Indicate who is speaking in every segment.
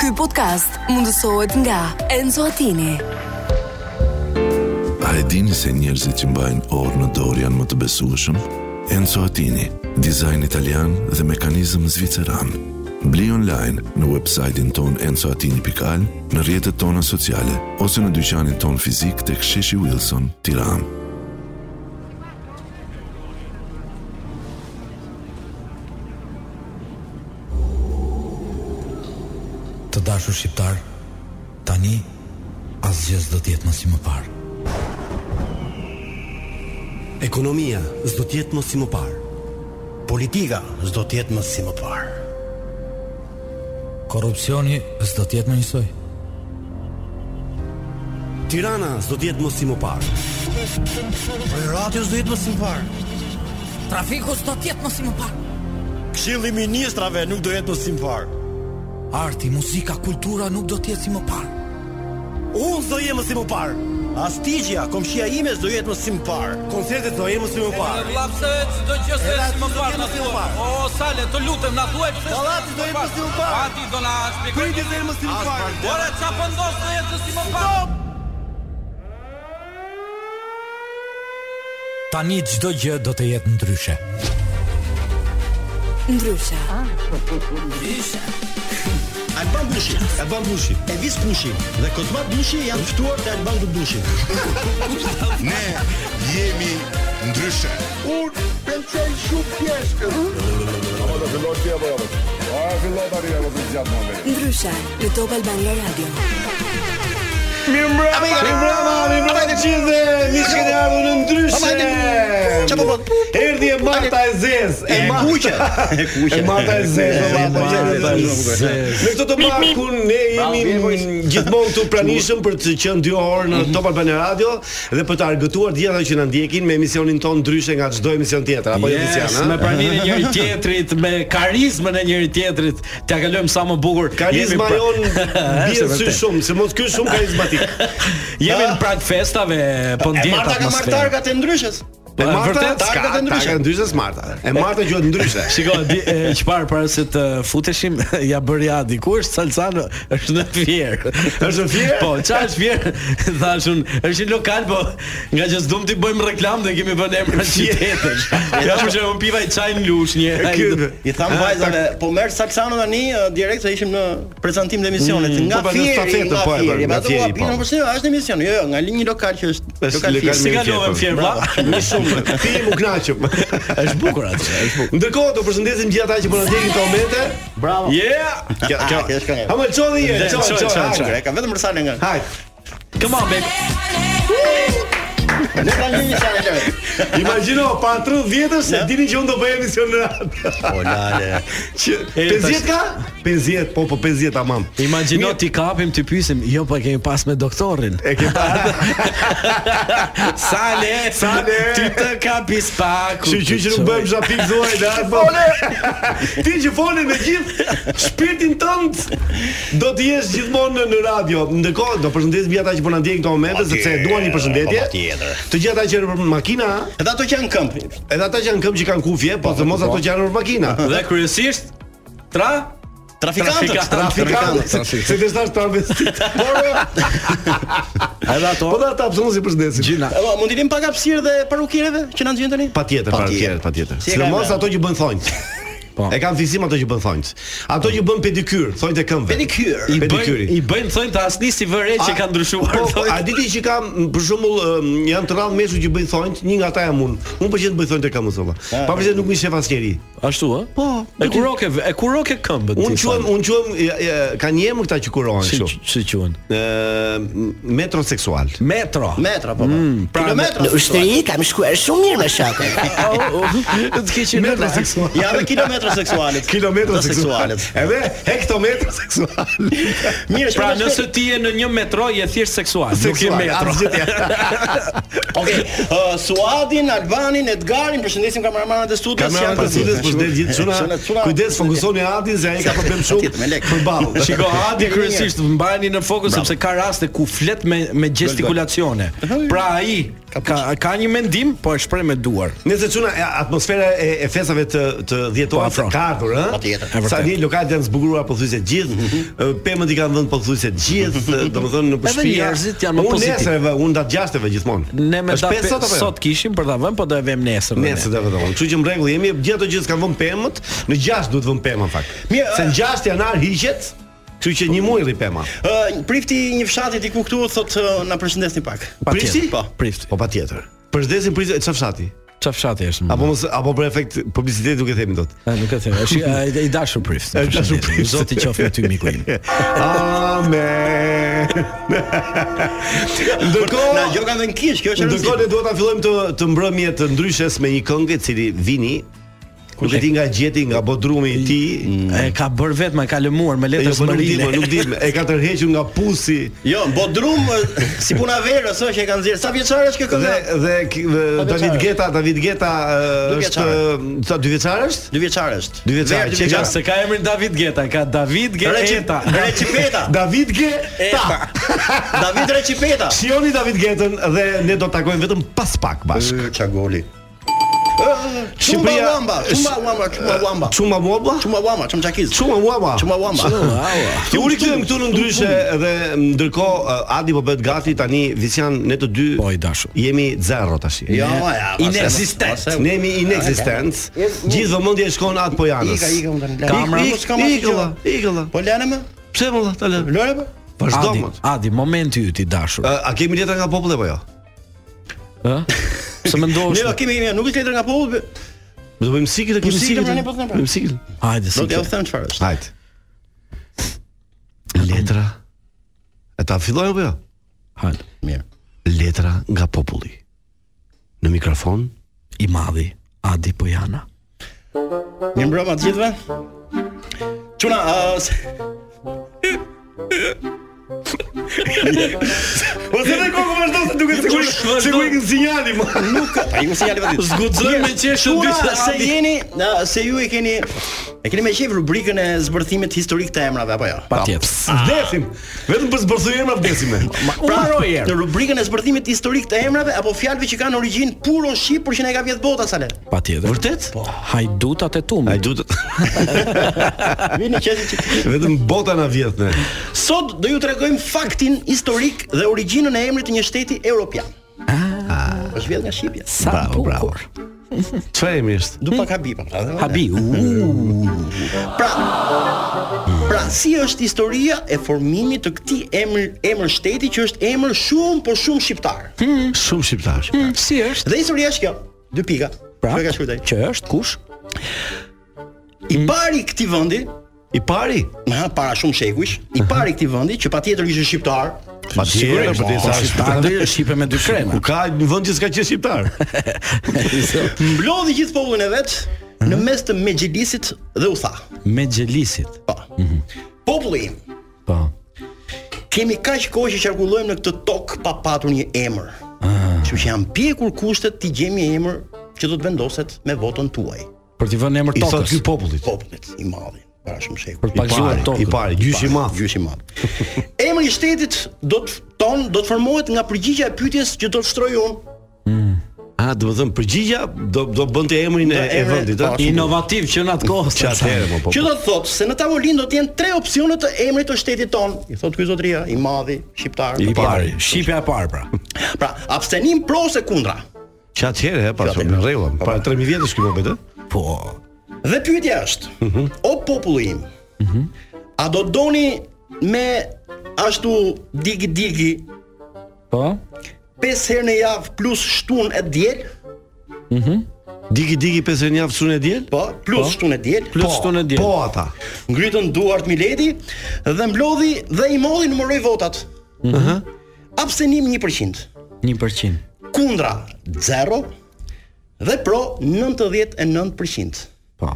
Speaker 1: Ky podcast mundësohet nga Enzo Attini.
Speaker 2: A e dini se njerëzit që mbajnë orë në dorë janë më të besueshëm? Enzo Attini, dizajn italian dhe mekanizëm zviceran. Bli online në website-in ton enzoatini.al, në rjetët tona sociale, ose në dyqanin ton fizik të ksheshi Wilson, tiran.
Speaker 3: Të dashur shqiptar, tani asgjë s'do të jetë më si më parë.
Speaker 4: Ekonomia s'do të jetë më si më parë. Politika s'do të jetë më si më parë.
Speaker 3: Korrupsioni s'do të jetë më njësoj.
Speaker 4: Tirana s'do të jetë më si më parë. Rati s'do jetë më si më parë.
Speaker 5: Trafiku s'do të jetë mos i më parë.
Speaker 4: Këshilli i ministrave nuk do jetë më si më parë.
Speaker 3: Arti, muzika, kultura nuk do të jetë si më parë.
Speaker 4: Unë s'do jem më si më parë. Astigja, komshia ime s'do jetë më si më parë. Koncertet do jem më si më parë.
Speaker 6: Vllapse çdo gjë se
Speaker 4: Edhe
Speaker 6: si më
Speaker 4: aty
Speaker 6: parë
Speaker 4: do
Speaker 6: na
Speaker 4: jemi si më
Speaker 6: thuaj.
Speaker 4: parë.
Speaker 6: O Sale, të lutem na thuaj pse.
Speaker 4: Dallati do jemi si më parë.
Speaker 6: Ati do na shpjegoj.
Speaker 4: Priti do jem më si më parë.
Speaker 6: Ora çfarë po ndos në jetë si më parë?
Speaker 3: Tani çdo gjë do të jetë ndryshe.
Speaker 1: Ndryshe,
Speaker 4: Alban Bushi, Alban Bushi, Elvis Bushi dhe Kozma Bushi janë ftuar te Alban Bushi.
Speaker 7: Ne jemi ndryshe.
Speaker 1: ndryshe në Top Albania Radio.
Speaker 8: Hajde qizë dhe miqë e ardhur në ndryshe
Speaker 4: Çfarë po bën?
Speaker 8: Erdi e Marta e Zez E
Speaker 4: E
Speaker 8: Marta
Speaker 4: kuqe. E kuqe.
Speaker 8: E Marta e Zez o valla, po qenë të ndryshe. Në këtë të markun ne jemi gjithmonë këtu pranishëm për të qenë 2 orë në
Speaker 9: Mhm.
Speaker 8: Top Albana Radio dhe për të argëtuar të gjithë ata që na ndjekin me emisionin ton ndryshe nga çdo emision tjetër apo jo
Speaker 9: Yes,
Speaker 8: emision,
Speaker 9: me
Speaker 8: ha?
Speaker 9: praninë e njëri tjetrit, me karizmën e njëri tjetrit, t'ja kalojmë sa më bukur. Jemi
Speaker 8: Karizma
Speaker 9: pra-
Speaker 8: jon bie sy
Speaker 9: Është vërtet.
Speaker 8: shumë, se mos ky është shumë karizmatik.
Speaker 9: Jemi në prag festave, po
Speaker 4: E
Speaker 9: ndjet
Speaker 4: Marta ka marrë
Speaker 9: atmosferë.
Speaker 4: targat e ndryshës.
Speaker 8: E Marta,
Speaker 9: vërtet?
Speaker 8: targa
Speaker 9: Ka,
Speaker 8: e ndryshe,
Speaker 9: targa.
Speaker 8: ndryshe Marta. E Marta gjuhet ndryshe.
Speaker 9: Shiko, di, e, që parë para se të futeshim, ja bëri Adi. Ku është Salsano? Është në Fier.
Speaker 8: Është në Fier?
Speaker 9: Po, çfarë është Fier? Thashun, është një lokal, po nga që s'dum ti bëjmë reklam dhe kemi vënë emra qytetesh. Ja, për që unë piva i çaj në lush një.
Speaker 8: Ky-
Speaker 4: I tham vajzave, po merr Salsano tani eh, direkt se ishim në prezantim të emisionit nga
Speaker 8: po, pra, në
Speaker 4: Fieri,
Speaker 8: stafetë,
Speaker 4: nga
Speaker 8: po, e bërë,
Speaker 4: Fieri.
Speaker 8: nga Fieri,
Speaker 4: Nga Fieri,
Speaker 8: po.
Speaker 4: po. Po pse është në emision? Jo, jo, nga linjë lokal që është
Speaker 8: Është
Speaker 4: lokal
Speaker 8: lokal
Speaker 4: Fieri.
Speaker 9: Si kalovem Fier, vlla?
Speaker 8: Më shumë. Ti më kënaqëm.
Speaker 9: Është bukur atë, është bukur.
Speaker 8: Ndërkohë do përshëndesim gjithë ata që po na ndjekin këto momente.
Speaker 4: Bravo.
Speaker 9: Yeah!
Speaker 8: Kjo kjo.
Speaker 4: Ah, kjo është këngë.
Speaker 8: Ha më çoni je,
Speaker 9: Dhe,
Speaker 8: çon
Speaker 9: çon,
Speaker 8: çon.
Speaker 9: çon,
Speaker 8: hajde.
Speaker 4: jo,
Speaker 9: çon.
Speaker 4: E ka vetëm për Salen nga.
Speaker 8: Hajde.
Speaker 9: Come on, baby.
Speaker 4: Ne ta lini Salen lëre.
Speaker 8: Imagjino pa 30 vjetësh se dini që unë do bëj emision në radhë.
Speaker 4: Po lale.
Speaker 8: Që
Speaker 9: E,
Speaker 8: 50
Speaker 9: tash-
Speaker 8: ka? 50, po po 50 tamam.
Speaker 9: Imagjino
Speaker 8: Mirë,
Speaker 9: ti kapim, ti pyesim, jo po e kemi pas me doktorin.
Speaker 8: E ke pa.
Speaker 9: Sale,
Speaker 8: Sale.
Speaker 9: ti të kapis pak.
Speaker 8: Kështu që që nuk bëjmë shapik zuaj dhe atë po. Ti që fole me gjithë shpirtin tënd do të jesh gjithmonë në, në radio. Ndërkohë do përshëndes mbi ata që po na ndjekin këto momente sepse duan një
Speaker 4: po,
Speaker 8: përshëndetje.
Speaker 4: patjetër.
Speaker 8: Të gjithë ata që janë në makina,
Speaker 4: Edhe ato që janë këmp.
Speaker 8: edhe ata që janë këmbë që kanë kufje, po të mos ato që janë në makina.
Speaker 9: Dhe kryesisht tra
Speaker 4: Trafikantët,
Speaker 9: Trafikantët.
Speaker 8: Trafikantët, se të thash travestit. Por
Speaker 9: edhe ato
Speaker 8: po da ata pse mos i përshëndesim.
Speaker 9: gjyna.
Speaker 4: E, po, mund i lim pak hapësirë dhe parukireve që na nxjën tani?
Speaker 8: Patjetër, patjetër,
Speaker 4: Patjetër.
Speaker 8: patjetër.
Speaker 4: Si e
Speaker 8: Sidomos
Speaker 4: kanë,
Speaker 8: ato që bën thonjt. Po. E kanë fisim ato që bën thonjt. Ato që bën pedikyr, thonjt e këmbëve.
Speaker 4: Pedikyr.
Speaker 9: I
Speaker 8: pedikyri.
Speaker 9: bëjnë i bëjnë thënë të asni si vëre që kanë ndryshuar
Speaker 8: Po, po, a
Speaker 9: thonë.
Speaker 8: diti që kam për shembull ëm, janë të rradh meshu që bëjnë thonjt, një nga ata jam unë. Unë pëlqen të bëj thonjt e kam unë. Pavarësisht nuk më shef asnjëri.
Speaker 9: Ashtu ë? Po. E kuroke e kuroke këmbët.
Speaker 8: Unë quhem, unë quhem e, e, ka një emër këta që kurohen
Speaker 9: si
Speaker 8: kështu.
Speaker 9: si quhen?
Speaker 8: Ë metroseksual.
Speaker 9: Metro.
Speaker 4: Metra po. Mm,
Speaker 9: pra,
Speaker 4: kilometra.
Speaker 10: Ushtri kam shkuar shumë mirë me shokët.
Speaker 9: Të keqin
Speaker 8: Metroseksual.
Speaker 4: Ja dhe kilometra seksualet.
Speaker 8: Kilometra
Speaker 4: Dhe
Speaker 8: seksualet. Edhe hektometra seksual.
Speaker 4: Mirë,
Speaker 9: Pra
Speaker 4: shpejt,
Speaker 9: nëse ti je në një metro je thjesht seksual, nuk je metro.
Speaker 8: asgjë tjetër.
Speaker 4: Okej,
Speaker 11: uh,
Speaker 4: ë, Suadin, Albanin, Edgarin, përshëndesim kameramanët e studios.
Speaker 8: Kamerat e cilës po del gjithë çuna. Kujdes, fokusoni Adin se ai ka problem shumë
Speaker 4: Patjetër, me lek.
Speaker 8: përballë.
Speaker 9: Shiko, Adi kryesisht mbajeni në fokus sepse ka raste ku flet me me gestikulacione. Pra ai Ka ka një mendim, po e shpreh me duar.
Speaker 8: Nëse çuna e, atmosfera e, e festave të të 10
Speaker 9: Po,
Speaker 8: toa
Speaker 9: afro.
Speaker 8: të ardhur,
Speaker 9: Patjetër.
Speaker 8: ë?
Speaker 9: E
Speaker 8: Sa
Speaker 9: vërtet.
Speaker 8: një lokalet janë zbukuruar pothuajse të gjithë, ë, pemët i kanë vënë pothuajse të gjithë, ë, domethënë në
Speaker 9: Edhe
Speaker 8: përshpia.
Speaker 9: njerëzit janë më pozitiv.
Speaker 8: Unë nesërve, unë datë gjashteve gjithmonë.
Speaker 9: Ne me
Speaker 8: Është
Speaker 9: da
Speaker 8: pesë
Speaker 9: pe-
Speaker 8: sot apo jo?
Speaker 9: sot kishim për ta vënë, po do e vëmë nesër. ne.
Speaker 8: Nesër do të vëmë. Kështu që në rregull jemi gjithë ato gjë që kanë vënë pemët, në 6 duhet vëmë pemë në fakt.
Speaker 11: Mirë,
Speaker 8: se në 6 janar hiqet, kështu që një muaj rri pema.
Speaker 11: Ë, Uh, prifti i një fshati diku këtu thotë ë, na përshëndesni pak.
Speaker 8: Prifti?
Speaker 11: Po.
Speaker 9: Prift.
Speaker 8: Po patjetër. Përshëndesim prifti çfarë fshati?
Speaker 9: Çfarë fshati është?
Speaker 8: Apo mos apo për efekt publiciteti nuk e themi dot.
Speaker 9: A, nuk e them. Është a, i dashur prift.
Speaker 8: E dashur prift.
Speaker 9: Zoti qoftë me ty miku im.
Speaker 8: Amen. Ndërkohë
Speaker 11: Na gjoka dhe në kish, kjo është
Speaker 8: Ndërkohë ne duhet ta fillojmë të të mbrëmje të ndryshes me një këngë i cili vini Nuk e di nga gjeti, nga bodrumi i ti
Speaker 9: E ka bër vetëm, e ka lëmuar me
Speaker 8: Mm. Jo,
Speaker 9: letër
Speaker 8: po nuk di, po
Speaker 9: smarile.
Speaker 8: nuk di E ka tërhequr nga pusi
Speaker 11: Jo, Bodrum ë, si puna verës është që e kanë zirë. Sa vjeçare është kjo këngë?
Speaker 8: Dhe dhe, k- dhe
Speaker 11: Po,
Speaker 8: David
Speaker 11: vjeçare.
Speaker 8: Geta, David Geta ë,
Speaker 11: Dy
Speaker 8: është ë, sa dy vjeçar është?
Speaker 11: Dy vjeçare është.
Speaker 8: Dy vjeçar,
Speaker 11: Verë, dy
Speaker 8: që ka
Speaker 11: vjeçare.
Speaker 9: Se ka emrin David Geta, ka David Geta.
Speaker 11: Recip- Recipeta.
Speaker 8: David Geta.
Speaker 11: David Recipeta.
Speaker 8: Shihoni David Getën dhe ne do të takojmë vetëm pas pak bashkë.
Speaker 11: Çagoli. Çumba
Speaker 8: Shqipëria-
Speaker 11: Wamba, Çumba Wamba, Çumba Wamba.
Speaker 8: Çuma muabla?
Speaker 11: Çumba Wamba, Çum Çakiz.
Speaker 8: Çuma muabla.
Speaker 11: Çumba Wamba.
Speaker 8: Ti u rikthyem këtu në ndryshe edhe ndërkohë Adi po bëhet gati tani Visian ne të dy
Speaker 9: Po i dashur.
Speaker 8: jemi zero tash.
Speaker 11: Jo, ja.
Speaker 9: Inexistent.
Speaker 8: Ne jemi inexistent. Gjithë vëmendja e shkon atë po janës.
Speaker 11: Ika, ika, unë tani.
Speaker 9: Kamera,
Speaker 11: Ik, ik,
Speaker 8: Ikë,
Speaker 11: ik,
Speaker 8: ikëlla, ikëlla.
Speaker 11: Po lënë më?
Speaker 8: Pse më ta lë?
Speaker 11: Lëre më?
Speaker 8: Vazhdo
Speaker 9: Adi,
Speaker 8: më.
Speaker 9: Adi, momenti yt i dashur.
Speaker 8: Ë, A kemi letra nga populli apo jo?
Speaker 9: Ë? Se mendosh.
Speaker 11: Ne do kemi kemi- nuk është letër nga populli.
Speaker 8: Po Do bëjmë siklet, e kemi
Speaker 11: siklet,
Speaker 8: siklet.
Speaker 11: ne po them pra.
Speaker 8: Bëjmë siklet.
Speaker 9: Hajde
Speaker 11: Do
Speaker 9: si.
Speaker 11: t'ju them çfarë është.
Speaker 8: Hajt. Letra. E ta filloj apo jo?
Speaker 9: Hajde.
Speaker 11: Mirë.
Speaker 8: Letra nga populli. Në mikrofon
Speaker 9: I madhi Adi po Pojana.
Speaker 11: Mirë mbrëma të gjithëve. Çuna, ë, s- Po
Speaker 8: Ose dhe koku vazhdo se duket sikur sikur ikën sinjali më.
Speaker 11: pa ju si jale vetë.
Speaker 9: Zguxoj me qeshë dy
Speaker 11: Çuna, se
Speaker 9: se
Speaker 11: jeni, ë, se ju e keni e keni me qejf rubrikën e zbërthimit historik të emrave apo jo?
Speaker 9: Patjetër.
Speaker 8: Vdesim. Vetëm për zbërthyerje më vdesim ne.
Speaker 9: U mbaroj
Speaker 11: Pra, Në
Speaker 9: herë.
Speaker 11: rubrikën e zbërthimit historik të emrave apo fjalëve që kanë origjinë puro shqipër që ne ka vjet bota sa le.
Speaker 9: Patjetër.
Speaker 8: Vërtet?
Speaker 9: Po, hajdutat e
Speaker 8: Ai
Speaker 9: tumit.
Speaker 8: duhet
Speaker 11: Vini qesi që
Speaker 8: vetëm bota na vjet ne.
Speaker 11: sot do ju tregojmë faktin historik dhe origjinën e emrit të një shteti evropian. Ah, është vjet nga Shqipja.
Speaker 9: Sa bukur.
Speaker 8: Çfarë jemi është?
Speaker 11: Du pak habi, pa.
Speaker 9: Habi. u,
Speaker 11: Pra, pra si është historia e formimit të këtij emër emër shteti që është emër shumë por shumë shqiptar.
Speaker 8: Shumë shqiptar.
Speaker 9: Si është?
Speaker 11: Dhe historia është kjo. Dy pika.
Speaker 9: Pra,
Speaker 11: Kjo e ka shkruar ai.
Speaker 9: që është kush?
Speaker 11: I pari këtij vendi,
Speaker 8: I pari?
Speaker 11: ha, para shumë shekujsh, i pari këtij vendi që patjetër ishte shqiptar,
Speaker 8: Patjetër,
Speaker 11: Sigurisht,
Speaker 8: po ti
Speaker 11: po,
Speaker 8: sa
Speaker 9: Shqiptar dhe shqipe me dy krema.
Speaker 8: Ku ka një vend që s'ka qenë shqiptar.
Speaker 11: mblodhi gjithë popullin e vet në mes të Mexhilisit dhe u tha.
Speaker 9: Me xhelisit.
Speaker 11: Po. Populli im,
Speaker 9: Po.
Speaker 11: kemi kaq kohë që qarkullojmë në këtë tokë pa patur një emër. Kështu që janë pjekur kushtet të gjejmë një emër që do të vendoset me votën tuaj.
Speaker 9: Për t'i vënë emër
Speaker 8: I thot
Speaker 9: tokës.
Speaker 8: ky popullit.
Speaker 11: Popullit i madh, para shumë
Speaker 9: Për
Speaker 11: shekuj.
Speaker 9: të pagzuar
Speaker 8: I
Speaker 9: tokën.
Speaker 8: pari, gjyshi i madh.
Speaker 11: Gjysh i madh. Emri i shtetit do të ton do të formohet nga përgjigjja e pyetjes që do të shtroj unë.
Speaker 8: A, do të thënë përgjigja do do bënte emrin e, e
Speaker 11: emrin,
Speaker 8: vendit,
Speaker 11: po,
Speaker 8: a?
Speaker 9: Inovativ që në atë kohë.
Speaker 8: Që atëherë më po.
Speaker 11: Që do të thotë se në tavolinë do të jenë tre opsione të emrit të shtetit ton. I thot ky zotëria, i madhi, shqiptar.
Speaker 8: I pari.
Speaker 9: Shqipja e parë pra.
Speaker 11: Pra, abstenim pro ose kundra.
Speaker 8: Që atëherë, po. he, pa shumë në rregull. Para 3000 vjetësh ky po bëhet, ë?
Speaker 9: Po.
Speaker 11: Dhe pyetja është,
Speaker 8: Mhm.
Speaker 11: o populli im, a do doni me ashtu digi digi
Speaker 9: Po.
Speaker 11: 5 herë në javë plus shtun e diel,
Speaker 8: Digi digi pesë javë sunë e diel?
Speaker 11: po, plus shtun e diel,
Speaker 9: Plus shtunë e diel.
Speaker 8: Po ata.
Speaker 11: ngritën duart Mileti dhe mblodhi dhe i modhi numëroi votat. Uh-huh. Ëh.
Speaker 9: Mhm.
Speaker 11: Abstenim 1%,
Speaker 9: 1%.
Speaker 11: kundra 0 dhe pro 99%.
Speaker 9: Po.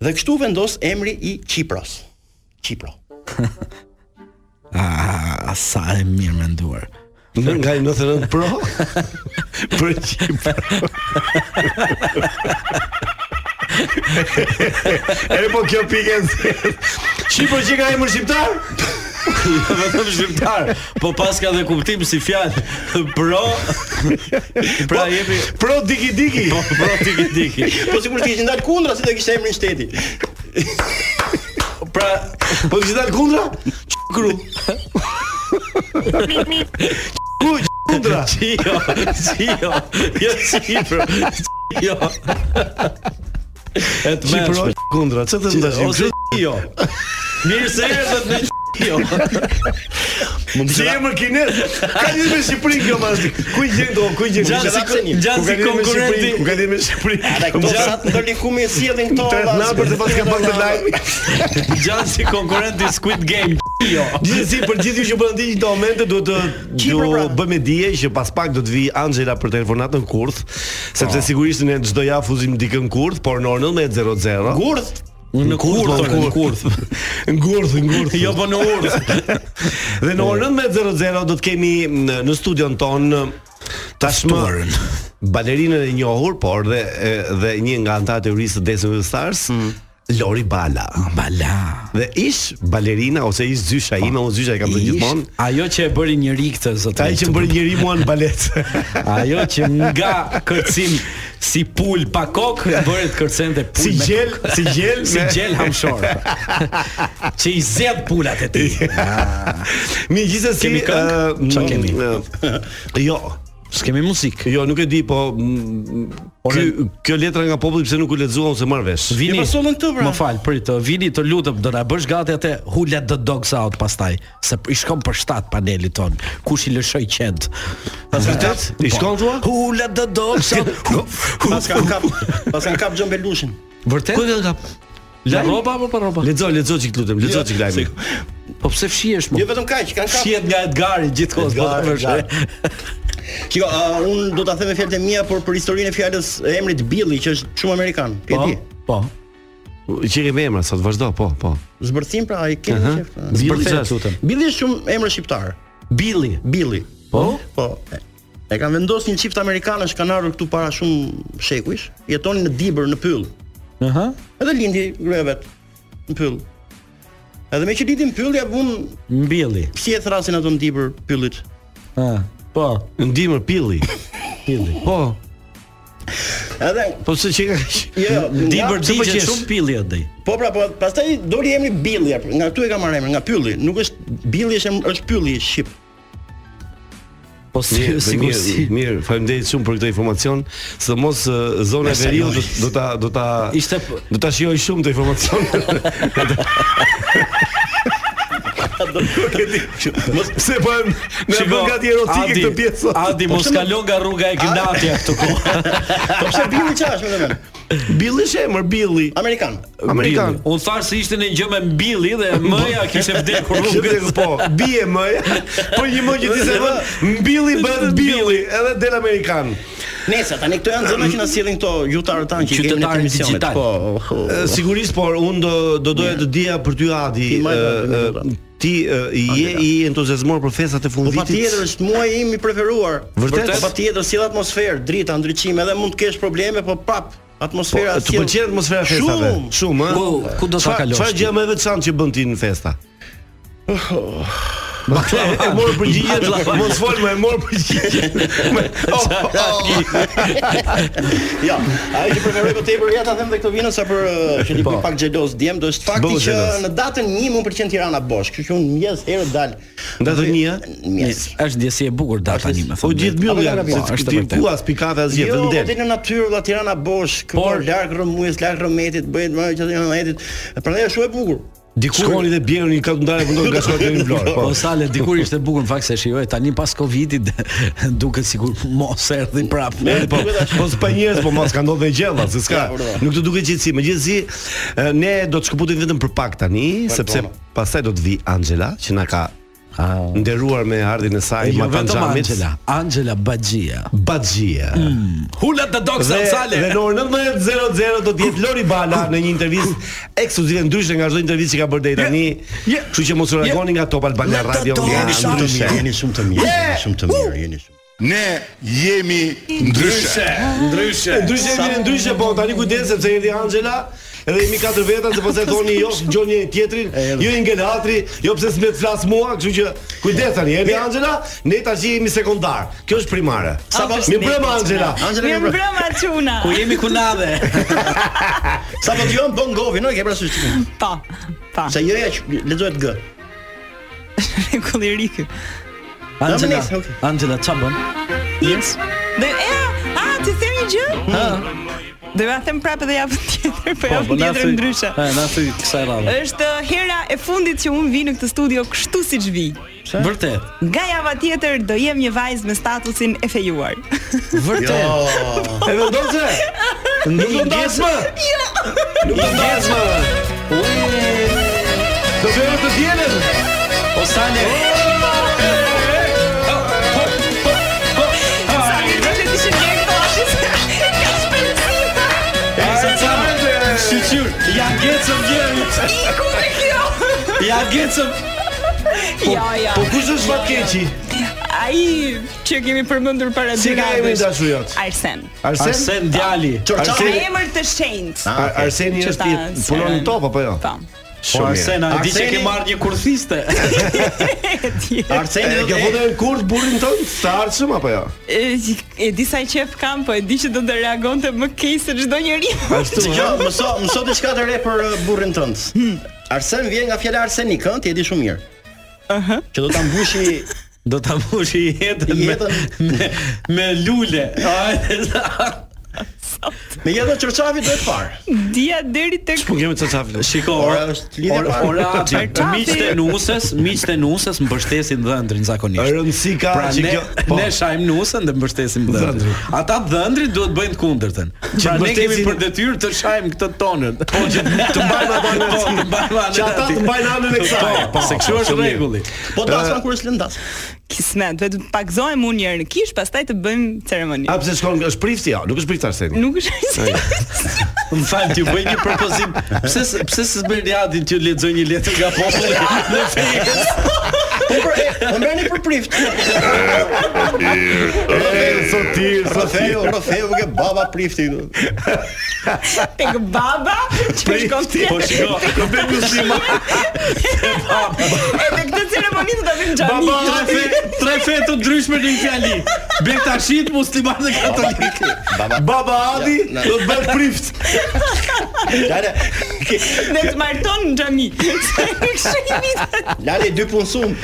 Speaker 11: Dhe kështu vendos emri i Qipros. Qipro.
Speaker 9: Ah, sa e mirë menduar.
Speaker 8: Në nga i 99 Pro Për Qipër E po kjo pikë e zezë Qipër që ka emër shqiptar
Speaker 9: jo vetëm shqiptar, po paska dhe kuptim si fjalë. Pro pra jepi
Speaker 8: pro diki diki.
Speaker 9: Po pro diki diki.
Speaker 11: Po sigurisht të kishte ndal kundra se do kishte emrin shteti.
Speaker 9: pra,
Speaker 8: po kishte ndal kundra? Kru. Ku kundra?
Speaker 9: Qio, qio. Jo qipro. Qio. E të
Speaker 8: Qipro
Speaker 9: mëshme.
Speaker 8: kundra. Çfarë të ndash?
Speaker 9: Ose qio. Mirë se erdhët në qio.
Speaker 8: Mund të jemi kinez. Ka lidhje me Shqipërinë kjo mazdi. Ku i gjen do? Ku i gjen?
Speaker 9: Gjatë si-
Speaker 8: Ku ka lidhje
Speaker 9: gjatë si
Speaker 8: me Shqipërinë?
Speaker 9: konkurrenti.
Speaker 8: Ku ka lidhje me Shqipërinë?
Speaker 11: Ata këto sat ndërlikumi e sjellin këto.
Speaker 8: Të na për të pas ka pak të lajm.
Speaker 9: Gjatë si konkurrenti Squid Game. Jo.
Speaker 8: Gjithsesi për gjithë ju që po na ndiqni këto momente duhet të ju
Speaker 11: Qipro, pra.
Speaker 8: bëmë dije që pas pak do të vi Angela për telefonatën kurth, sepse sigurisht ne çdo javë fuzim dikën kurth, por në orën 19:00.
Speaker 11: Gurth.
Speaker 9: Në kurth,
Speaker 8: po,
Speaker 9: në kurth.
Speaker 8: Ngurth, ngurth.
Speaker 9: Jo po në urth.
Speaker 8: Dhe në orën 19:00 do të kemi në, në studion ton tashmë
Speaker 3: ftuarën.
Speaker 8: balerinën e njohur, por dhe e- dhe një nga antarët e jurisë të Dancing with the Stars, Lori Bala.
Speaker 9: Bala.
Speaker 8: Dhe ish balerina ose ish zysha ime, unë zysha e kam thënë gjithmonë.
Speaker 9: Ish ajo që e bëri njëri këtë zot.
Speaker 8: Ai që më bëri njëri mua në balet.
Speaker 9: ajo që nga kërcim si pul pa kokë bëret kërcente pul
Speaker 8: Si
Speaker 9: me
Speaker 8: gjel,
Speaker 9: kokë.
Speaker 8: si gjel,
Speaker 9: si
Speaker 8: me-
Speaker 9: gjel hamshor. që i zgjedh pulat e tij.
Speaker 8: Mi gjithsesi,
Speaker 9: Kemi këngë?
Speaker 8: ë,
Speaker 9: Çfarë kemi?
Speaker 8: ë, jo,
Speaker 9: S'kemë muzikë.
Speaker 8: jo nuk e di, po mm, ky kjo letra nga populli pse nuk u lexua ose marr vesh.
Speaker 9: Vini.
Speaker 11: E pa sollën këtë, pra.
Speaker 9: Më fal, prit, të vini të lutem, do na bësh gati atë Who let the dogs out pastaj, se i shkon për shtat panelit ton. Kush i lëshoi qend?
Speaker 8: Pas vërtet? I shkon thua?
Speaker 9: Who let the dogs out?
Speaker 11: Pas kanë kap, pas kanë kap xhombelushin.
Speaker 9: Vërtet? Ku do kap? La roba apo pa roba?
Speaker 8: Lexo, lexo çik lutem, lexo çik lajmi.
Speaker 9: Po pse fshihesh
Speaker 11: Jo
Speaker 9: më?
Speaker 11: vetëm kaq, kanë kap.
Speaker 9: Fshihet nga Edgari gjithkohë, po
Speaker 8: Edgar,
Speaker 9: të vërtet.
Speaker 11: Shiko, uh, un do ta them me fjalët e mia, por për historinë e fjalës e emrit Billy, që është shumë amerikan. Ti e
Speaker 9: Po,
Speaker 11: di.
Speaker 9: po.
Speaker 8: Që kemi emra sot, vazhdo, po, po.
Speaker 11: Zbërthim pra ai kemi
Speaker 8: Aha.
Speaker 11: qef. pra.
Speaker 8: Billy
Speaker 11: Zbërthim.
Speaker 8: çfarë lutem?
Speaker 11: Billy është shumë emër shqiptar.
Speaker 9: Billy.
Speaker 11: Billy.
Speaker 9: Po?
Speaker 11: Po. e- E kanë vendosur një çift amerikanësh kanë ardhur këtu para shumë shekujsh, jetonin në Dibër në Pyll.
Speaker 9: Aha.
Speaker 11: Edhe lindi gruaja vet në Pyll. Edhe me që lindi në Pyll ja vun
Speaker 9: Mbilli.
Speaker 11: si e thrasin ato në Dibër Pyllit.
Speaker 9: Ah, po.
Speaker 8: Ndimër Pilli.
Speaker 9: Pilli.
Speaker 8: Po,
Speaker 11: Edhe
Speaker 8: po pse që
Speaker 11: jo,
Speaker 9: Di
Speaker 11: nga-
Speaker 9: për
Speaker 8: Ç'po
Speaker 9: di që
Speaker 8: qesh?
Speaker 9: shumë pilli atje.
Speaker 11: Po pra, po pastaj doli emri Billi, apo- nga këtu e ka marrë emrin, nga Pylli. Nuk është Billi, është em- është Pylli shqip.
Speaker 9: Po si
Speaker 8: mirë,
Speaker 9: sigurisht.
Speaker 8: mirë, faleminderit shumë për këtë informacion. Sidomos ë, zona e
Speaker 9: Sa
Speaker 8: veriut do,
Speaker 9: joj.
Speaker 8: do ta do ta
Speaker 9: Ishte
Speaker 8: do ta shijoj shumë të informacion. Pse po e- na bën gati erotike
Speaker 9: Adi-
Speaker 8: këtë pjesë. Po
Speaker 9: Adi mos kalo nga rruga e gimnatja këtu kohë.
Speaker 11: Po pse Billi çfarë është më thënë?
Speaker 8: Billi është emër Billi.
Speaker 11: Amerikan.
Speaker 8: Amerikan.
Speaker 9: Billi. Unë tharë se ishte në gjë me mbilli dhe mëja kishte vdekur
Speaker 8: Kjo
Speaker 9: rrugës.
Speaker 8: vdekur, po, bie më, po një më që ti se vën, mbilli bëhet billi, edhe del amerikan.
Speaker 11: Nëse tani këto janë zona që na sjellin këto gjutarët tanë që i kemi në
Speaker 9: Qytetarët
Speaker 11: emisionet.
Speaker 9: digital.
Speaker 11: Po.
Speaker 8: E, Sigurisht, por unë do do doja të dija për ty Adi,
Speaker 11: Ti majtë,
Speaker 8: e, e,
Speaker 11: Adi,
Speaker 8: pra, ti e, je i entuziazmuar për festat e
Speaker 11: Po
Speaker 8: fundit.
Speaker 11: patjetër është muaji im i preferuar.
Speaker 8: Vërtet?
Speaker 11: Po patjetër sjell atmosferë, drita, ndriçime, edhe mund të kesh probleme, po prap atmosfera
Speaker 8: Po, të pëlqen atmosfera e festave.
Speaker 11: Shumë.
Speaker 8: Shumë, ë.
Speaker 9: Ku- ku do ta
Speaker 8: Çfarë-
Speaker 9: kalosh
Speaker 8: Çfarë
Speaker 9: ti?
Speaker 8: gjë më e veçantë që bën ti në festa? Baklavan. e morë përgjigjen, mos fol më, e morë përgjigjen. Me- Oh,
Speaker 11: Ja, ajo që preferoj më tepër ja ta them edhe këto vinën sa për uh, që ti
Speaker 8: Po.
Speaker 11: bëj pak xhelos djem, do është fakti
Speaker 8: Bëhu
Speaker 11: që
Speaker 8: xhelos.
Speaker 11: në datën 1 më pëlqen Tirana Bosh, kështu që unë mjes herë dal.
Speaker 8: Datën 1, ë?
Speaker 11: Mjes.
Speaker 9: Është ndjesi e bukur data tani më
Speaker 8: Po gjithë mbyll
Speaker 11: Apo
Speaker 8: janë,
Speaker 11: janë
Speaker 8: se
Speaker 9: rapi.
Speaker 8: ti
Speaker 9: Është e
Speaker 8: ku as pikave asgjë,
Speaker 11: Jo,
Speaker 8: vetëm
Speaker 11: po
Speaker 8: del.
Speaker 11: ti në natyrë vëlla Tirana Bosh,
Speaker 9: Por-
Speaker 11: por larg rrëmujës, larg rrëmetit, bëhet më që në rrëmetit. Prandaj është shumë e bukur.
Speaker 8: Dikur shkoni dhe bjerë një kalendare vendon nga shkolla deri në Vlorë. Po.
Speaker 9: Po sale dikur ishte bukur në fakt se shijoj tani pas Covidit duket sikur mos erdhi prapë.
Speaker 8: E, po, po s'pa njerëz, po mos ka ndodhur dhe gjella, se s'ka.
Speaker 11: Ja, vërtet.
Speaker 8: Nuk të duket gjithsesi, megjithësi e, ne do të shkëputim vetëm për pak tani, sepse
Speaker 11: tona.
Speaker 8: pastaj do të vi Angela që na ka nderuar me ardhin e saj
Speaker 9: Jo vetëm
Speaker 8: Matanxhamit.
Speaker 9: Angela, Angela Bagjia.
Speaker 8: Bagjia.
Speaker 9: Hula the dogs
Speaker 8: Dhe,
Speaker 9: out sale.
Speaker 8: dhe në orën 19:00 do të jetë Lori Bala në një intervistë ekskluzive ndryshe nga çdo intervistë që ka bërë deri tani.
Speaker 9: Je.
Speaker 8: Kështu që mos u largoni nga Top Albana
Speaker 9: Let the
Speaker 8: Radio.
Speaker 9: dogs
Speaker 8: nga
Speaker 11: Jeni shumë të
Speaker 8: ndryshe.
Speaker 11: mirë, jeni shumë të mirë, jeni shumë të mirë, jeni shumë.
Speaker 7: Ne jemi ndryshe.
Speaker 8: Ndryshe, ndryshe, vjen ndryshe, po tani kujdes sepse erdhi Angela edhe jemi katër veta se pastaj thoni jo, dëgjoni njëri tjetrin, jo Ingelatri, jo pse s'më të flas mua, kështu që kujdes tani, jemi Angela, ne tash jemi sekondar. Kjo është primare. Sa
Speaker 12: po-
Speaker 8: mbrëmë Angela.
Speaker 12: Mirë mbrëma Çuna.
Speaker 9: kunave.
Speaker 11: Sa po dëgjon Bon Govi, no, e ke parasysh ti?
Speaker 12: Po. Po.
Speaker 11: Sa jëja që lexohet G.
Speaker 12: Rregull i ri ky.
Speaker 9: Angela,
Speaker 12: Nëse, okay.
Speaker 9: Angela, çfarë bën?
Speaker 12: Yes. Dhe e, a ti them një gjë? Do ja them prapë edhe javën tjetër, po
Speaker 9: po,
Speaker 12: javën
Speaker 9: na
Speaker 12: tjetër
Speaker 9: thuj-
Speaker 12: ndryshe.
Speaker 9: E, na thuj kësaj radhe.
Speaker 12: Është hera e fundit që unë vi në këtë studio kështu siç vi.
Speaker 9: Vërtet.
Speaker 12: Nga java tjetër do jem një vajzë me statusin e fejuar. Po.
Speaker 9: Vërtet. Jo.
Speaker 8: E vendon se? Nuk do ndash më.
Speaker 12: Jo.
Speaker 8: Nuk do ndash më. Do vjen të dielën.
Speaker 9: O sale.
Speaker 12: Sa vjetë që Oh, ti shënjej këto ashtë? Ka shpenzita.
Speaker 9: E sa çfarë? Shqyr, ja gecëm djerit.
Speaker 12: Iku me kjo.
Speaker 9: Ja gecëm.
Speaker 12: Jo, jo.
Speaker 8: Po kush është fatkeqi?
Speaker 12: Ai që kemi përmendur para dy
Speaker 8: Si ka emrin dashur jot?
Speaker 12: Arsen.
Speaker 8: Arsen?
Speaker 9: Arsen djali.
Speaker 12: Arsen. Me
Speaker 8: Arsen.
Speaker 12: emër të shenjtë.
Speaker 8: Ar- Arseni
Speaker 12: Që
Speaker 8: është
Speaker 12: ta-
Speaker 8: i- punon në top apo jo?
Speaker 12: Po.
Speaker 9: Po Arsen, a e di që
Speaker 8: Arseni-
Speaker 9: ke marrë një kurthiste.
Speaker 8: Arseni do të thotë në kurt burrin ton, të arshëm apo jo?
Speaker 12: E, e di sa qef kam, po e di që do të reagonte më keq se çdo njeri.
Speaker 8: Ashtu.
Speaker 11: Dëgjoj, mëso, mëso diçka të re për uh, burrin tënd.
Speaker 8: Hmm.
Speaker 11: Arsen vjen nga fjala arsenik, ëh, ti e di shumë mirë.
Speaker 12: Ëhë.
Speaker 11: Që do ta mbushi
Speaker 9: Do ta mbushi jetën me
Speaker 11: Jetën.
Speaker 9: me, me lule.
Speaker 11: me jetën çorçavi duhet parë.
Speaker 12: Dia deri tek
Speaker 8: Po kemi të çafle.
Speaker 9: Shiko,
Speaker 11: Ora është lidhja
Speaker 9: ora,
Speaker 11: parë.
Speaker 9: ora,
Speaker 12: Çfarë?
Speaker 9: miqtë e nusës, miqtë e nusës mbështesin dhëndrin zakonisht.
Speaker 8: Rëndësi ka
Speaker 9: Pra
Speaker 8: që
Speaker 9: ne,
Speaker 8: kjo. Po.
Speaker 9: ne shajm nusën dhe mbështesim dhëndrin.
Speaker 8: Dhëndrin.
Speaker 9: Ata dhëndrin duhet bëjnë të kundërtën. Pra ne
Speaker 8: mbështesin-
Speaker 9: kemi për detyrë të shajm këtë tonën. Po që të mbajmë atë anën. Po, të mbajmë anën.
Speaker 8: Që ata të
Speaker 9: aty.
Speaker 8: mbajnë anën e kësaj.
Speaker 9: Po, se kjo është rregulli.
Speaker 11: Po dasman kur është lëndas.
Speaker 12: kismet, vetëm të pakzohem unë një herë në kish, pastaj të bëjmë ceremoni.
Speaker 8: A pse shkon është prifti ja, nuk është prift Arseni.
Speaker 12: Nuk është ai.
Speaker 9: Më fal, ti bëj një propozim. Pse s- pse s'e bën riadin ti lexoj një letër nga populli në fejës?
Speaker 11: Po për e, më merrni për prift.
Speaker 8: Sot ti, sot ti.
Speaker 11: Rofeu, Rofeu ke baba prifti.
Speaker 12: Tek baba që shkon ti.
Speaker 9: Po shiko, do bëj musliman.
Speaker 12: Edhe këtë ceremoni do ta bëjmë në xhami.
Speaker 9: Baba, tre fe, tre fe të ndryshme në një fjali. Bektashit, musliman dhe katolik.
Speaker 11: Baba.
Speaker 8: Baba Adi
Speaker 11: Ja, na-
Speaker 8: do të bëhet prift.
Speaker 11: Lale, ke,
Speaker 12: Dhe të marton në xhami. Se Kështu i vitet.
Speaker 11: lale dy punsum.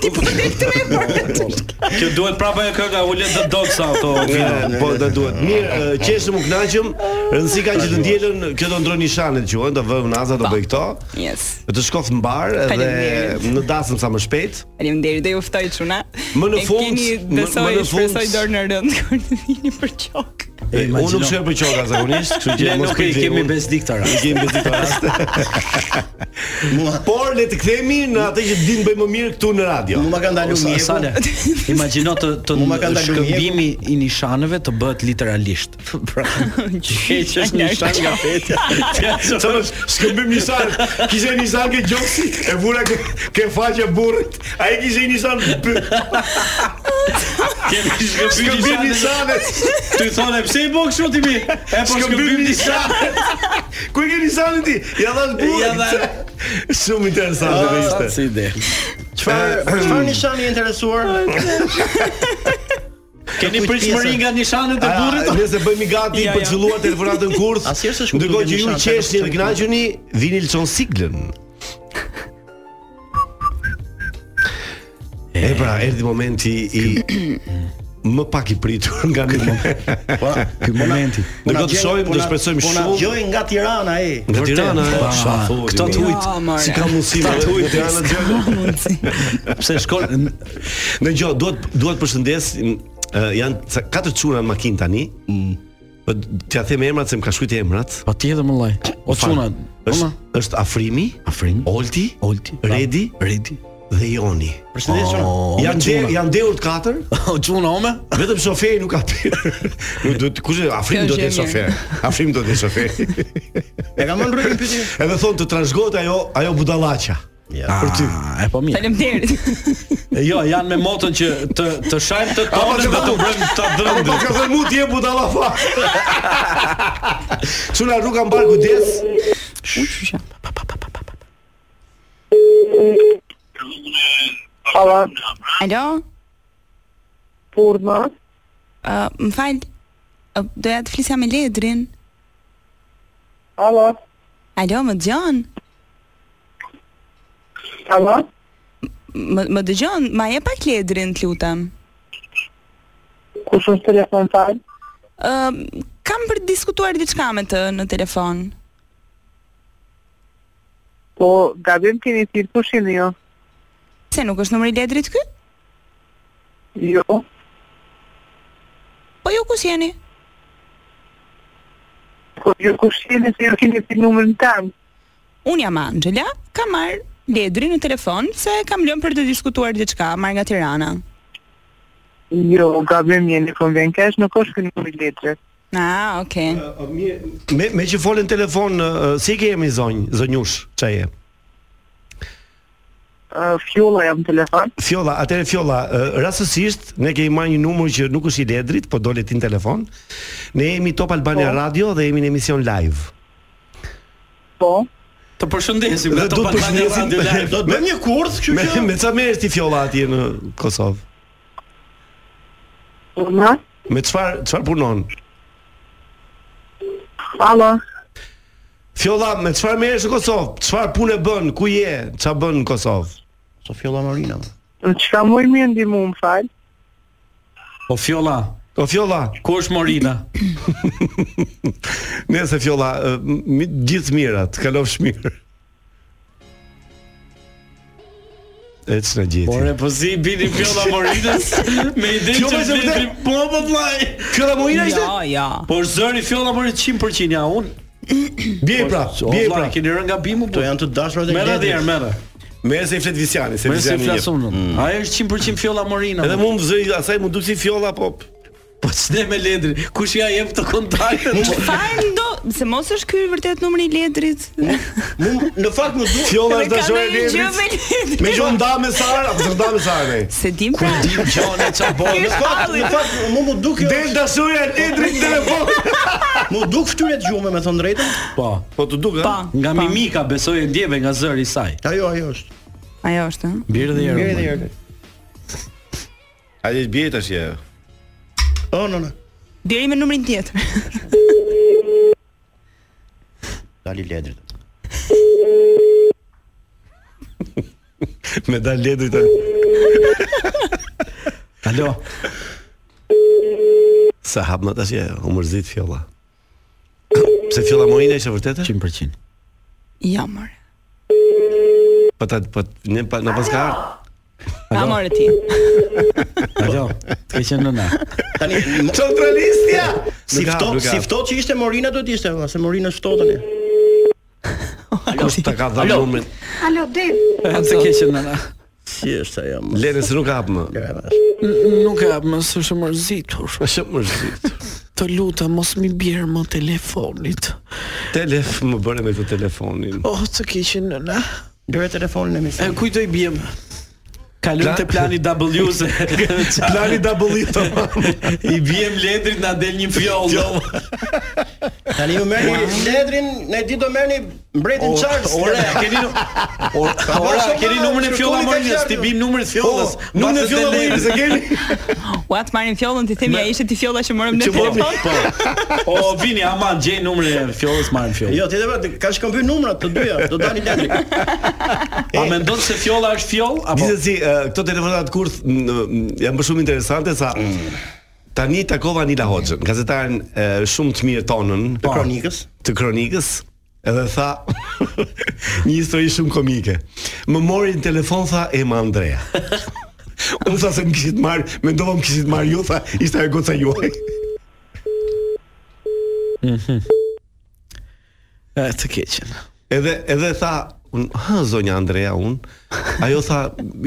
Speaker 12: Ti po del këtu e bërë.
Speaker 9: Kjo duhet prapa e kënga Ulet the Dogs ato.
Speaker 8: Mirë, po do duhet. Mirë, e, qeshëm u kënaqëm. Rëndësi ka që të ndielën, kjo do ndroni shanet quhen, do vëmë naza do bëj këto.
Speaker 12: Yes.
Speaker 8: Të shkof mbar edhe
Speaker 12: Faleminderit.
Speaker 8: në dasëm sa më shpejt.
Speaker 12: Faleminderit, do ju ftoj çuna.
Speaker 8: Më në
Speaker 12: E
Speaker 8: fund,
Speaker 12: keni
Speaker 8: më-
Speaker 12: besoj,
Speaker 8: më në fund-
Speaker 12: shpresoj dorë në rënd kur të vini për qok.
Speaker 9: E,
Speaker 8: E, Unë nuk shkoj për qoka zakonisht, kështu që
Speaker 9: Ne
Speaker 8: mos
Speaker 9: nuk i
Speaker 8: kujtni,
Speaker 9: kemi
Speaker 8: unë-
Speaker 9: bezdik të
Speaker 8: I
Speaker 9: rast.
Speaker 8: kemi bezdik të rast.
Speaker 11: Mua
Speaker 8: Por le të kthehemi në atë që dinë bëjmë më mirë këtu në radio.
Speaker 11: mua ma ka ndalu
Speaker 9: Sa- Sale,
Speaker 11: mjeku.
Speaker 9: imagjino të, të
Speaker 11: Mu ma ka ndalu
Speaker 9: shkëmbimi i nishanëve të bëhet literalisht. Pra, keq është nishan nga petja.
Speaker 8: Sa më shkëmbim Nisan, kishte Nisan ke gjoksi, e vura ke, ke faqe burrit. Ai kishte Nisan. b-
Speaker 9: Kemi
Speaker 8: Shkëmbim
Speaker 9: shkëmbim nishan.
Speaker 8: Nisan.
Speaker 9: Ty thonë pse i bën kështu ti mi? E po shkëmbim
Speaker 8: Shkëmbim Nisan. Ku e ke Nisanin ti? Ja dhash
Speaker 9: Ja
Speaker 8: burrit.
Speaker 9: dha-
Speaker 8: Shumë interesante do
Speaker 9: nishan.
Speaker 8: ishte. Eh, hmm.
Speaker 9: Si ide.
Speaker 11: Çfarë çfarë nishani je interesuar?
Speaker 9: Keni
Speaker 11: Kujt
Speaker 9: pritshmëri
Speaker 11: pjesë?
Speaker 9: nga nishanët e
Speaker 8: A,
Speaker 9: burrit?
Speaker 8: Ah, Nëse bëhemi gati
Speaker 12: Ja,
Speaker 8: për
Speaker 12: ja.
Speaker 8: të zhvilluar telefonatën kurth.
Speaker 11: Asnjëherë s'e shkëmbim
Speaker 8: Ndërkohë që ju
Speaker 11: Nisan,
Speaker 8: qeshni
Speaker 11: s'e
Speaker 8: dhe kënaquni, vini lçon siglën. E pra, erdhi momenti i më pak i pritur nga ne.
Speaker 11: Po.
Speaker 9: Ky momenti.
Speaker 8: Do të shohim, do shpresojmë
Speaker 11: Po na
Speaker 8: shumë.
Speaker 11: dëgjoj nga Tirana e.
Speaker 8: Nga
Speaker 9: Vërtet,
Speaker 8: Tirana, e?
Speaker 9: po.
Speaker 8: Sa thuhet,
Speaker 9: Këto
Speaker 8: i
Speaker 9: të
Speaker 8: mirë.
Speaker 9: ujt.
Speaker 12: Ja, more.
Speaker 8: Si ka mundësi
Speaker 9: Sa
Speaker 8: me
Speaker 9: thuj,
Speaker 8: nga Tirana dëgjoj?
Speaker 9: Pse shkon
Speaker 8: Në gjo, duhet duhet përshëndes m, ë, janë ca- katër çuna në makinë tani. Po t'ja them emrat se më ka shkruajti emrat.
Speaker 9: Pa tjetër Po më lloj. O Po, çuna,
Speaker 8: Është është Afrimi,
Speaker 9: Afrim,
Speaker 8: Olti,
Speaker 9: Olti,
Speaker 8: Redi
Speaker 9: Redi.
Speaker 8: dhe Joni.
Speaker 11: Përshëndetje çuna.
Speaker 8: Janë de, janë dehur të katër,
Speaker 9: O çuna ome?
Speaker 8: vetëm shoferi nuk ka pirë. Nuk do të kush e-
Speaker 12: Kjo
Speaker 8: Afrim do të
Speaker 12: është
Speaker 8: jetë
Speaker 12: e mirë.
Speaker 8: shofer. Afrim do të jetë shofer.
Speaker 11: E kam marrë rrugën pyetje.
Speaker 8: Edhe thon të trashgohet ajo ajo budallaqa.
Speaker 9: Ja, për ty. E po mirë.
Speaker 12: Faleminderit.
Speaker 9: Jo, janë me motën që të të shajm të tonën dhe të bëjmë të
Speaker 8: Po
Speaker 9: dhëndë.
Speaker 8: ka thënë mu t'je budala fa. Çuna rruga mbar kujdes.
Speaker 13: Alo,
Speaker 12: Alo,
Speaker 13: Purma.
Speaker 12: uh, më falë, uh, doja të flisja me Ledrin.
Speaker 13: Alo,
Speaker 12: Alo, më dëgjon?
Speaker 13: alo.
Speaker 12: Më, më dëgjon, ma je pak Ledrin, të lutem.
Speaker 13: Kush është telefon fal?
Speaker 12: Uh, kam për të diskutuar diçka me të në telefon.
Speaker 13: Po, gabim keni thirë kush jeni jo?
Speaker 12: Pse nuk është numri i Ledrit ky?
Speaker 13: Jo,
Speaker 12: Po ju kush jeni?
Speaker 13: po ju kush jeni se ju keni thirë numërin tam.
Speaker 12: Unë jam Angela, kam marr Ledrin në telefon se kam lënë për të diskutuar diçka, marr nga Tirana.
Speaker 13: Jo, gabim jeni konven kesh, nuk është kënë numëri letre.
Speaker 12: Ah, okay.
Speaker 8: Me me që folën telefon, ë, si ke jemi zonj, zonjush, çaj je?
Speaker 13: Fjolla jam telefon.
Speaker 8: Fjolla, atëre Fjolla, ë, rastësisht ne kemi marrë një numër që nuk është i ledrit, po dole ti në telefon. Ne jemi Top Albania Radio dhe jemi në emision live.
Speaker 13: Po.
Speaker 9: Të përshëndesim
Speaker 8: Dhe do të përshëndesim.
Speaker 9: do të bëjmë një kurth,
Speaker 8: Me me ça merresh ti Fjolla atje në Kosovë?
Speaker 13: Purma,
Speaker 8: Me çfar çfarë punon?
Speaker 13: alo.
Speaker 8: Fjolla, me çfarë merresh në Kosovë? Çfarë punë bën? Ku je? Ça bën në Kosovë?
Speaker 11: So Fjolla Marina.
Speaker 13: Çka më i mirë ndimu më fal?
Speaker 9: O Po, Fjolla.
Speaker 8: O Fjolla,
Speaker 9: ku është Morina?
Speaker 8: Nëse Fjolla, ë, mi- gjithë mirat, kalofsh mirë. E që në gjithë
Speaker 9: Por e po si i bini Fjolla Morinës me ide që
Speaker 8: Fjolla ishte
Speaker 9: vdetri
Speaker 8: vërtet-
Speaker 9: po po vllai.
Speaker 8: Fjolla Morina ishte?
Speaker 9: Ja, ja. Por Po zëri Fjolla Morinës 100% ja un.
Speaker 8: Bje pra, bje pra.
Speaker 9: Keni rënë gabimu po.
Speaker 11: Kto janë të dashurat e
Speaker 9: Merë edhe herë,
Speaker 11: Gledrit.
Speaker 9: merë.
Speaker 8: Merë se i flet Visiani, se
Speaker 9: Merë se
Speaker 8: Visiani i jep.
Speaker 9: flasun. Ai është 100% Fjolla Morina. po.
Speaker 8: Edhe
Speaker 9: mo.
Speaker 8: mu më zëri, asaj mu duk si Fjolla, po
Speaker 9: Po ç'ne me ledrin? Kush ja jep të kontaktet?
Speaker 12: Çfarë ndo? Se mos është ky vërtet numri i Ledrit.
Speaker 11: Mu në fakt më duhet
Speaker 8: Fjolla
Speaker 12: Dhe
Speaker 8: është
Speaker 12: ka
Speaker 8: dashore e
Speaker 12: ndonjë gjë me
Speaker 8: Ledrit.
Speaker 12: Ledrin.
Speaker 8: Me
Speaker 11: po.
Speaker 8: gjon nda me Sara, apo s'nda me Sara ne.
Speaker 12: Se dim pra.
Speaker 9: Dim qone ça bën.
Speaker 11: Në fakt, në fakt mu më duk jo.
Speaker 8: Del dashuria e Ledrit në telefon.
Speaker 11: Mu duk fytyrë të gjumë me thënë drejtën.
Speaker 9: Po.
Speaker 8: Po të duk,
Speaker 12: Pa.
Speaker 8: ha?
Speaker 9: Nga mimika besoj e ndjeve nga zëri i saj.
Speaker 11: Ajo, ajo është.
Speaker 12: Ajo është, ëh.
Speaker 9: Birë dhe erë.
Speaker 11: Mirë edhe herë.
Speaker 8: A dhe bje tash je.
Speaker 11: Oh, no, no.
Speaker 12: Deri me numrin tjetër.
Speaker 11: Dali Ledrit.
Speaker 8: Me dal Ledrit. a.
Speaker 9: Alo.
Speaker 8: Sa hap më tash je, u mërzit Fjolla. Pse Fjolla Moina ishte vërtetë?
Speaker 9: 100%.
Speaker 12: Ja, more.
Speaker 8: Po ta po ne pa na pas ka. ardhur.
Speaker 12: Ja, more ti.
Speaker 9: Alo. Të ke qenë nëna.
Speaker 11: Tani mo-
Speaker 8: Centralistja.
Speaker 11: si
Speaker 8: Nuk ka,
Speaker 11: ftohtë,
Speaker 8: nuk ka.
Speaker 11: si ftohtë që ishte Morina do të ishte, valla, se Morina është ftohtë tani.
Speaker 8: Kush ta ka dhënë numrin?
Speaker 9: Të ke qenë nëna.
Speaker 11: Si është ajo? mo?
Speaker 8: Lene se nuk hap më.
Speaker 5: Nuk e hap më së shmërzitur.
Speaker 8: Po shumë mërzit.
Speaker 5: Të lutem mos mi bjerë më telefonit.
Speaker 8: Telef më bëre me këtë telefonin.
Speaker 9: Po,
Speaker 5: Oh, të keqen nëna.
Speaker 11: Lëre telefonin e mi.
Speaker 9: E kujt do i bjem? Kalon te plani W se
Speaker 8: Plani W tamam.
Speaker 9: i bjem letrit na del një fjollë.
Speaker 11: Tani ju merrni Ledrin, ne di do merrni mbretin Charles.
Speaker 9: Ore, a keni nu- Or- Ore, a keni numrin e fjolla Morinës, ti bim numrin
Speaker 11: Po,
Speaker 9: e fjollës.
Speaker 8: Nuk në
Speaker 9: mbas
Speaker 8: fjolla
Speaker 9: të
Speaker 8: Moina se
Speaker 9: del-
Speaker 8: keni.
Speaker 12: Ua, të marrin fjollën, ti themi ja ishte ti fjolla që morëm në
Speaker 9: Që po,
Speaker 12: telefon.
Speaker 9: po. O vini aman gjej numrin e fjollës marrin fjollën.
Speaker 11: Jo, tjetër vetë ka shkëmbyr numrat të dyja, do dali Ledri.
Speaker 9: A mendon se fjolla është fjollë apo?
Speaker 8: Gjithsesi, ë, eh, këto telefonat kurth n- n- janë më shumë interesante sa Tani takova Nila Hoxhën, gazetaren e, shumë të mirë tonën
Speaker 11: Të kronikës.
Speaker 8: të kronikës, edhe tha një histori shumë komike. Më mori në telefon tha Ema Andrea. Unë tha se më kishit marrë, mendova më kishit marrë ju, tha ishte ajo goca juaj.
Speaker 9: E, të keqen.
Speaker 8: Edhe edhe tha un ha zonja Andrea un. Ajo tha,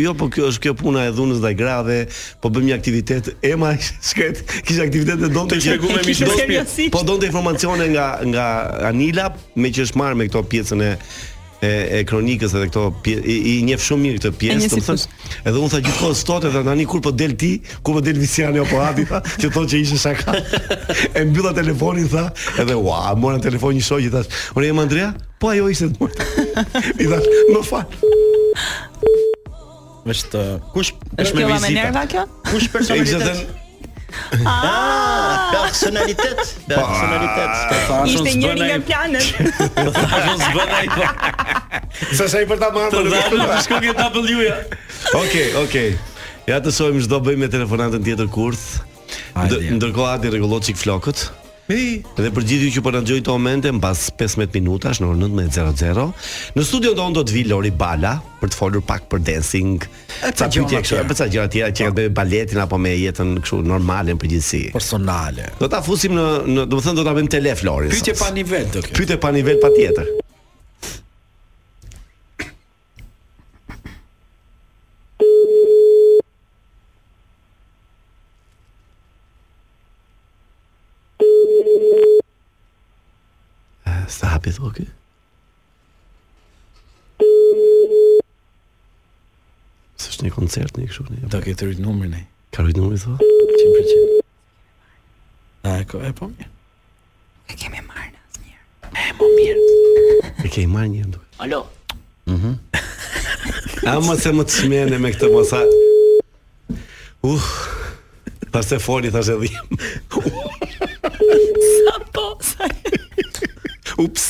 Speaker 8: jo po kjo është kjo puna e dhunës ndaj grave, po bëjmë një aktivitet. Ema shkret, kishte aktivitet dhe donte
Speaker 9: Të shpjegu me
Speaker 8: Kishte
Speaker 9: miqtë.
Speaker 8: seriozi. Po donte informacione nga nga Anila, me që është marrë me këto pjesën e e, e kronikës edhe këto pje- i, i njeh shumë mirë këtë pjesë,
Speaker 14: njeh si
Speaker 8: domethënë. Edhe unë tha gjithkohë stot edhe tani kur po del ti, kur po del Visiani apo Adi tha, që thotë që ishte shaka. e mbylla telefonin tha, edhe ua, mora në telefon një shoqë i thash, "Ore jam Andrea?" Po ajo ishte të mortë. I thash, "Më fal."
Speaker 9: Është
Speaker 11: kush
Speaker 12: Është kjo me nerva kjo?
Speaker 11: Kush personalitet? Ah, personalitet, personalitet.
Speaker 12: Ishte njëri nga planet.
Speaker 9: Ashtu s'bën ai po.
Speaker 8: Sa sa i për ta marrë.
Speaker 9: Të dhashur të shkojë W-ja.
Speaker 8: Okej, okej. Ja të sojmë çdo bëjmë me telefonatën tjetër kurth. Ndë- Ndërkohë Adi rregullon çik flokët. Mi. Dhe për gjithë ju që po na dëgjojnë këto momente mbas 15 minutash në orën 19:00, në studion tonë do të vi Lori Bala për të folur pak për dancing,
Speaker 9: E ca gjëra
Speaker 8: pyetje kështu,
Speaker 9: tjera. Po.
Speaker 8: për ca gjëra tjera që kanë bërë baletin apo me jetën kështu normale në përgjithësi.
Speaker 9: Personale.
Speaker 8: Do ta fusim në, në do të thënë do ta bëjmë tele Florin.
Speaker 9: Pyetje
Speaker 8: sot.
Speaker 9: pa nivel do kjo.
Speaker 8: Pyetje pa nivel patjetër. Sa hapi thua ky? Së është një koncert një kështu një.
Speaker 9: Do ke të rrit numrin ai.
Speaker 8: Ka rrit numri thua?
Speaker 9: 100%. A e ko e po mirë.
Speaker 12: E kemi marrë në
Speaker 9: E mo mirë.
Speaker 8: E ke i marrë një nduk.
Speaker 9: Alo.
Speaker 8: Mhm. A mos e më të smene me këtë mos a... Uh, thashtë e foli, thashtë e dhjem.
Speaker 12: Sa po, sa
Speaker 8: Ups.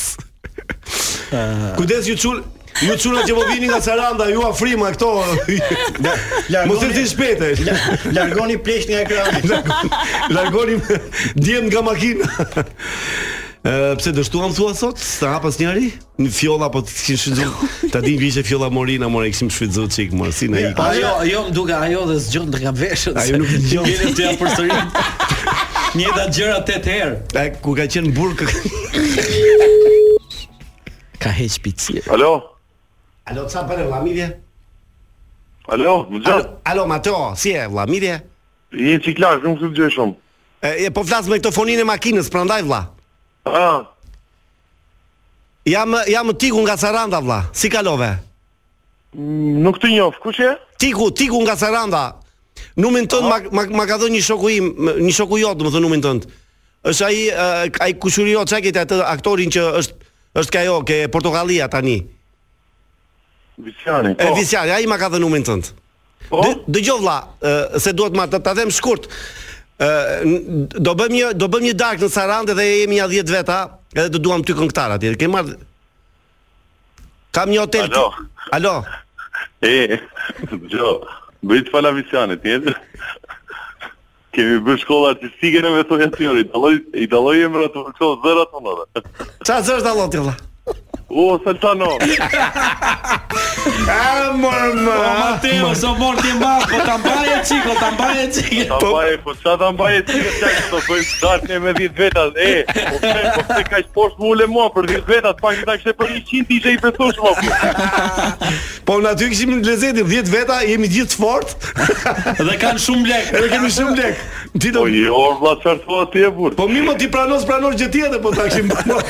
Speaker 8: Kujdes ju çul, ju çuna që po vini nga Saranda, ju afrima këto. Mos e ti shpete.
Speaker 11: Largoni pleqt nga ekrani.
Speaker 8: Largoni djem nga makina. Ë pse dështuam thua sot? Sa hapas njëri? Në fjolla po të kishin shfrytzuar. Ta din që ishte fjolla Morina, more i kishim shfrytzuar çik, more si na ikën.
Speaker 11: jo,
Speaker 9: Ajo, ajo më duke ajo dhe zgjon nga veshët.
Speaker 8: Ajo nuk zgjon.
Speaker 9: Gjeni të ja përsërit. Njëta gjëra 8 herë.
Speaker 8: E ku ka qenë burk.
Speaker 9: Ka heq pici.
Speaker 15: Alo,
Speaker 8: Alo, ça bën vlla Mirje?
Speaker 15: alo, më gjë.
Speaker 8: Alo Mateo, si je vlla Mirje?
Speaker 15: Je çik larg, nuk të dëgjoj shumë.
Speaker 8: E, e po flas me këtë fonin e makinës, prandaj vlla.
Speaker 15: Ah,
Speaker 8: Jam jam tiku nga Saranda vlla. Si kalove?
Speaker 15: Nuk të njoh. Kush je?
Speaker 8: Tiku, tiku nga Saranda. Numrin tënd ma, ma, ma ka dhënë një shoku im, më- një shoku jot, domethënë numrin tënd. Është ai e, ai kushurio çka ke atë aktorin që është është ka ajo ke Portokallia tani.
Speaker 15: Viciani.
Speaker 8: E
Speaker 9: Po.
Speaker 8: Visiari, ai ma ka dhënë numrin tënd. Po. Dëgjoj vlla, ë, se duhet ma ta ta them shkurt. Ë, n- do bëjmë një do bëjmë një dark në Sarandë dhe jemi ja 10 veta, edhe do duam ty këngëtar atje. Ke marr Kam një hotel. Alo. Alo.
Speaker 15: E, dëgjoj. Bëjt fala Vicianit, tjetër. Kemi bërë shkollë artistike në Vesoja Tjori. Dalloj, i dalloj emrat të vërqo zërat të mëllë.
Speaker 8: Ça zësh dallon ti vlla?
Speaker 15: O, Saltano.
Speaker 8: A mor më.
Speaker 9: Po Mateo, so mor ti mbar, po ta mbaje çiko, ta mbaje çiko.
Speaker 15: Ta mbaje, po qa ta mbaje ti këtë qakë të bëjmë darkën e me 10 vetat, e, po pse, po pse ka që poshtë mule mua për 10 vetat, pak këta kështë për 100 ti që i besu shumë,
Speaker 8: Po unë aty kishim në lezetin 10 veta, jemi gjithë fort.
Speaker 9: Dhe kanë shumë lek.
Speaker 8: Edhe kemi shumë lek. Ti do
Speaker 15: Po jo, vlla çfarë thua ti e burr?
Speaker 8: Po mi mo ti pranos pranos gjë tjetër, po ta kishim pranuar.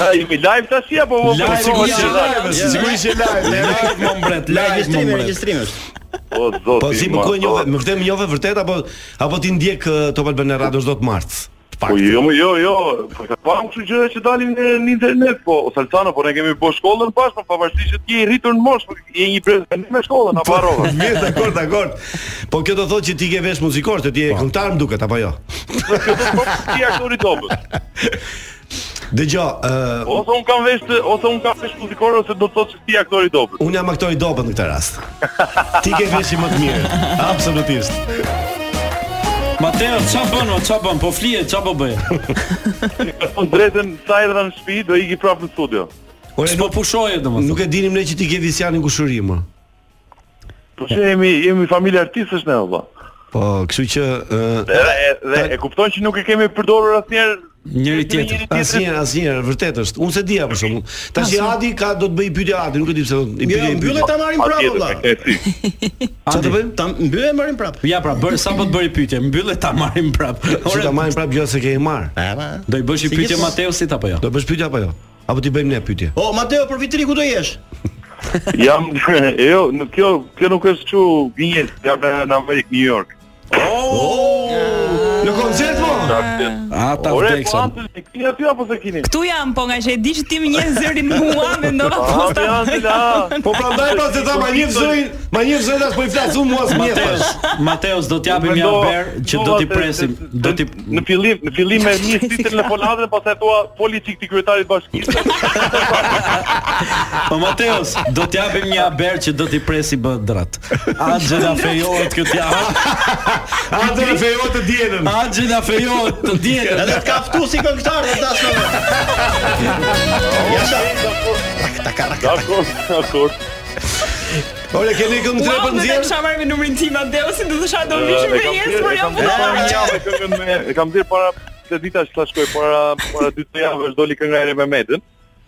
Speaker 15: Ha, jemi live tash apo po?
Speaker 8: Live, sigurisht
Speaker 15: po,
Speaker 8: je live,
Speaker 15: ja.
Speaker 8: sigurisht je live. Live më mbret,
Speaker 11: Regjistrimi, regjistrimi është.
Speaker 15: O zoti.
Speaker 8: Po si më kohë njove, më vërtet më njove vërtet apo apo ti ndjek uh, Top Albana Radio çdo të martë.
Speaker 15: Po jo, më jo, jo. Po ka pam kështu gjëra që dalin në, në internet, po o, Salcano, po ne kemi po shkollën bashkë, po pavarësisht që ti je i rritur në moshë, po je një brez me shkollën apo harrova.
Speaker 8: Mirë, dakor, dakor. Po kjo do thotë që ti ke vesh muzikor, se ti je këngëtar më duket apo jo?
Speaker 15: Ti je aktori dobët.
Speaker 8: Dëgjoj, uh, ë
Speaker 15: Ose un kam vesh të- ose un kam vesh muzikor ose do të thotë se ti je aktori dobët.
Speaker 8: Unë jam aktori dobët në këtë rast. Ti ke veshin më të mirë, absolutisht.
Speaker 9: Mateo, ça bën, o, ça bën? Po flihet, ça po bëj?
Speaker 15: Unë drejtën sa erdha në shtëpi do iki prapë në studio.
Speaker 8: Ore
Speaker 9: nuk pushoje domosdoshmë.
Speaker 8: Nuk e dinim ne që ti ke visianin kushëri më.
Speaker 15: Po që jemi jemi familje artistësh ne valla.
Speaker 8: Po, kështu që uh, ë
Speaker 15: Dhe, dhe e kupton që nuk e kemi përdorur asnjëherë
Speaker 9: njëri
Speaker 15: tjetrin.
Speaker 8: Asnjëherë, asnjëherë, vërtet është. Unë se dija për shkakun. Tash i Adi ka do të bëj pyetje Adi, nuk e di pse do të
Speaker 11: Jo, mbyllet ta marrim prapë valla.
Speaker 8: Çfarë të bëjmë?
Speaker 11: Ta mbyllë marrim prapë.
Speaker 9: Ja pra, bër sa po të bëri pyetje, mbyllet ta marrim prap.
Speaker 8: Ora ta marrim prapë gjë se ke i marr.
Speaker 11: Do
Speaker 9: i bësh i
Speaker 8: Si
Speaker 9: pyetje
Speaker 8: gjithmonë.
Speaker 9: Mateosit apo jo?
Speaker 8: Do bësh pyetje apo jo? Apo ti bëjmë ne pyetje?
Speaker 11: O Po, Mateo, për vitri ku do jesh?
Speaker 15: Jam jo, në kjo kjo nuk është çu gënjes, jam në në Amerikë, New York.
Speaker 8: Në koncert po?
Speaker 12: Ah.
Speaker 9: A Ah, ta
Speaker 15: vdeksa. po Kini aty apo se kini?
Speaker 12: Ktu jam, po nga që e di që ti më njeh zërin mua, mendova
Speaker 15: Ah,
Speaker 12: po sta.
Speaker 15: mirë, la.
Speaker 8: Po prandaj pas se ta ma njeh zërin, ma njeh zërin as po i flas unë mua s'mjeh tash.
Speaker 9: Mateos do t'japim një haber që do t'i presim. Do t'i
Speaker 15: në fillim në fillim e një si telefonatën, pastaj thua foli çik ti kryetarit bashkisë.
Speaker 9: Po Mateos, do t'japim një haber që do t'i presi bëhet drat. A gjëna fejohet këtë javë.
Speaker 8: A do të fejo të dienën.
Speaker 9: A gjëna fejohet të dielën.
Speaker 11: Edhe të ka ftu si këngëtar do dash me. Ja sa. Ta ka ta ka.
Speaker 15: Dakor, dakor.
Speaker 8: Ore keni këngë tre
Speaker 12: Wow,
Speaker 8: për
Speaker 12: do të
Speaker 8: nxjerr?
Speaker 12: kisha marrë me numrin tim Mateo, si do të thosha do
Speaker 15: E
Speaker 12: vishim për
Speaker 15: kam
Speaker 12: jesë jo
Speaker 15: thirrë-
Speaker 12: për
Speaker 15: e
Speaker 12: jam
Speaker 15: kam thirrë para një
Speaker 12: punë.
Speaker 15: javë këngën me e kam dhënë para të ditash ta shkoj para para dy të javësh doli kënga e re me Medën.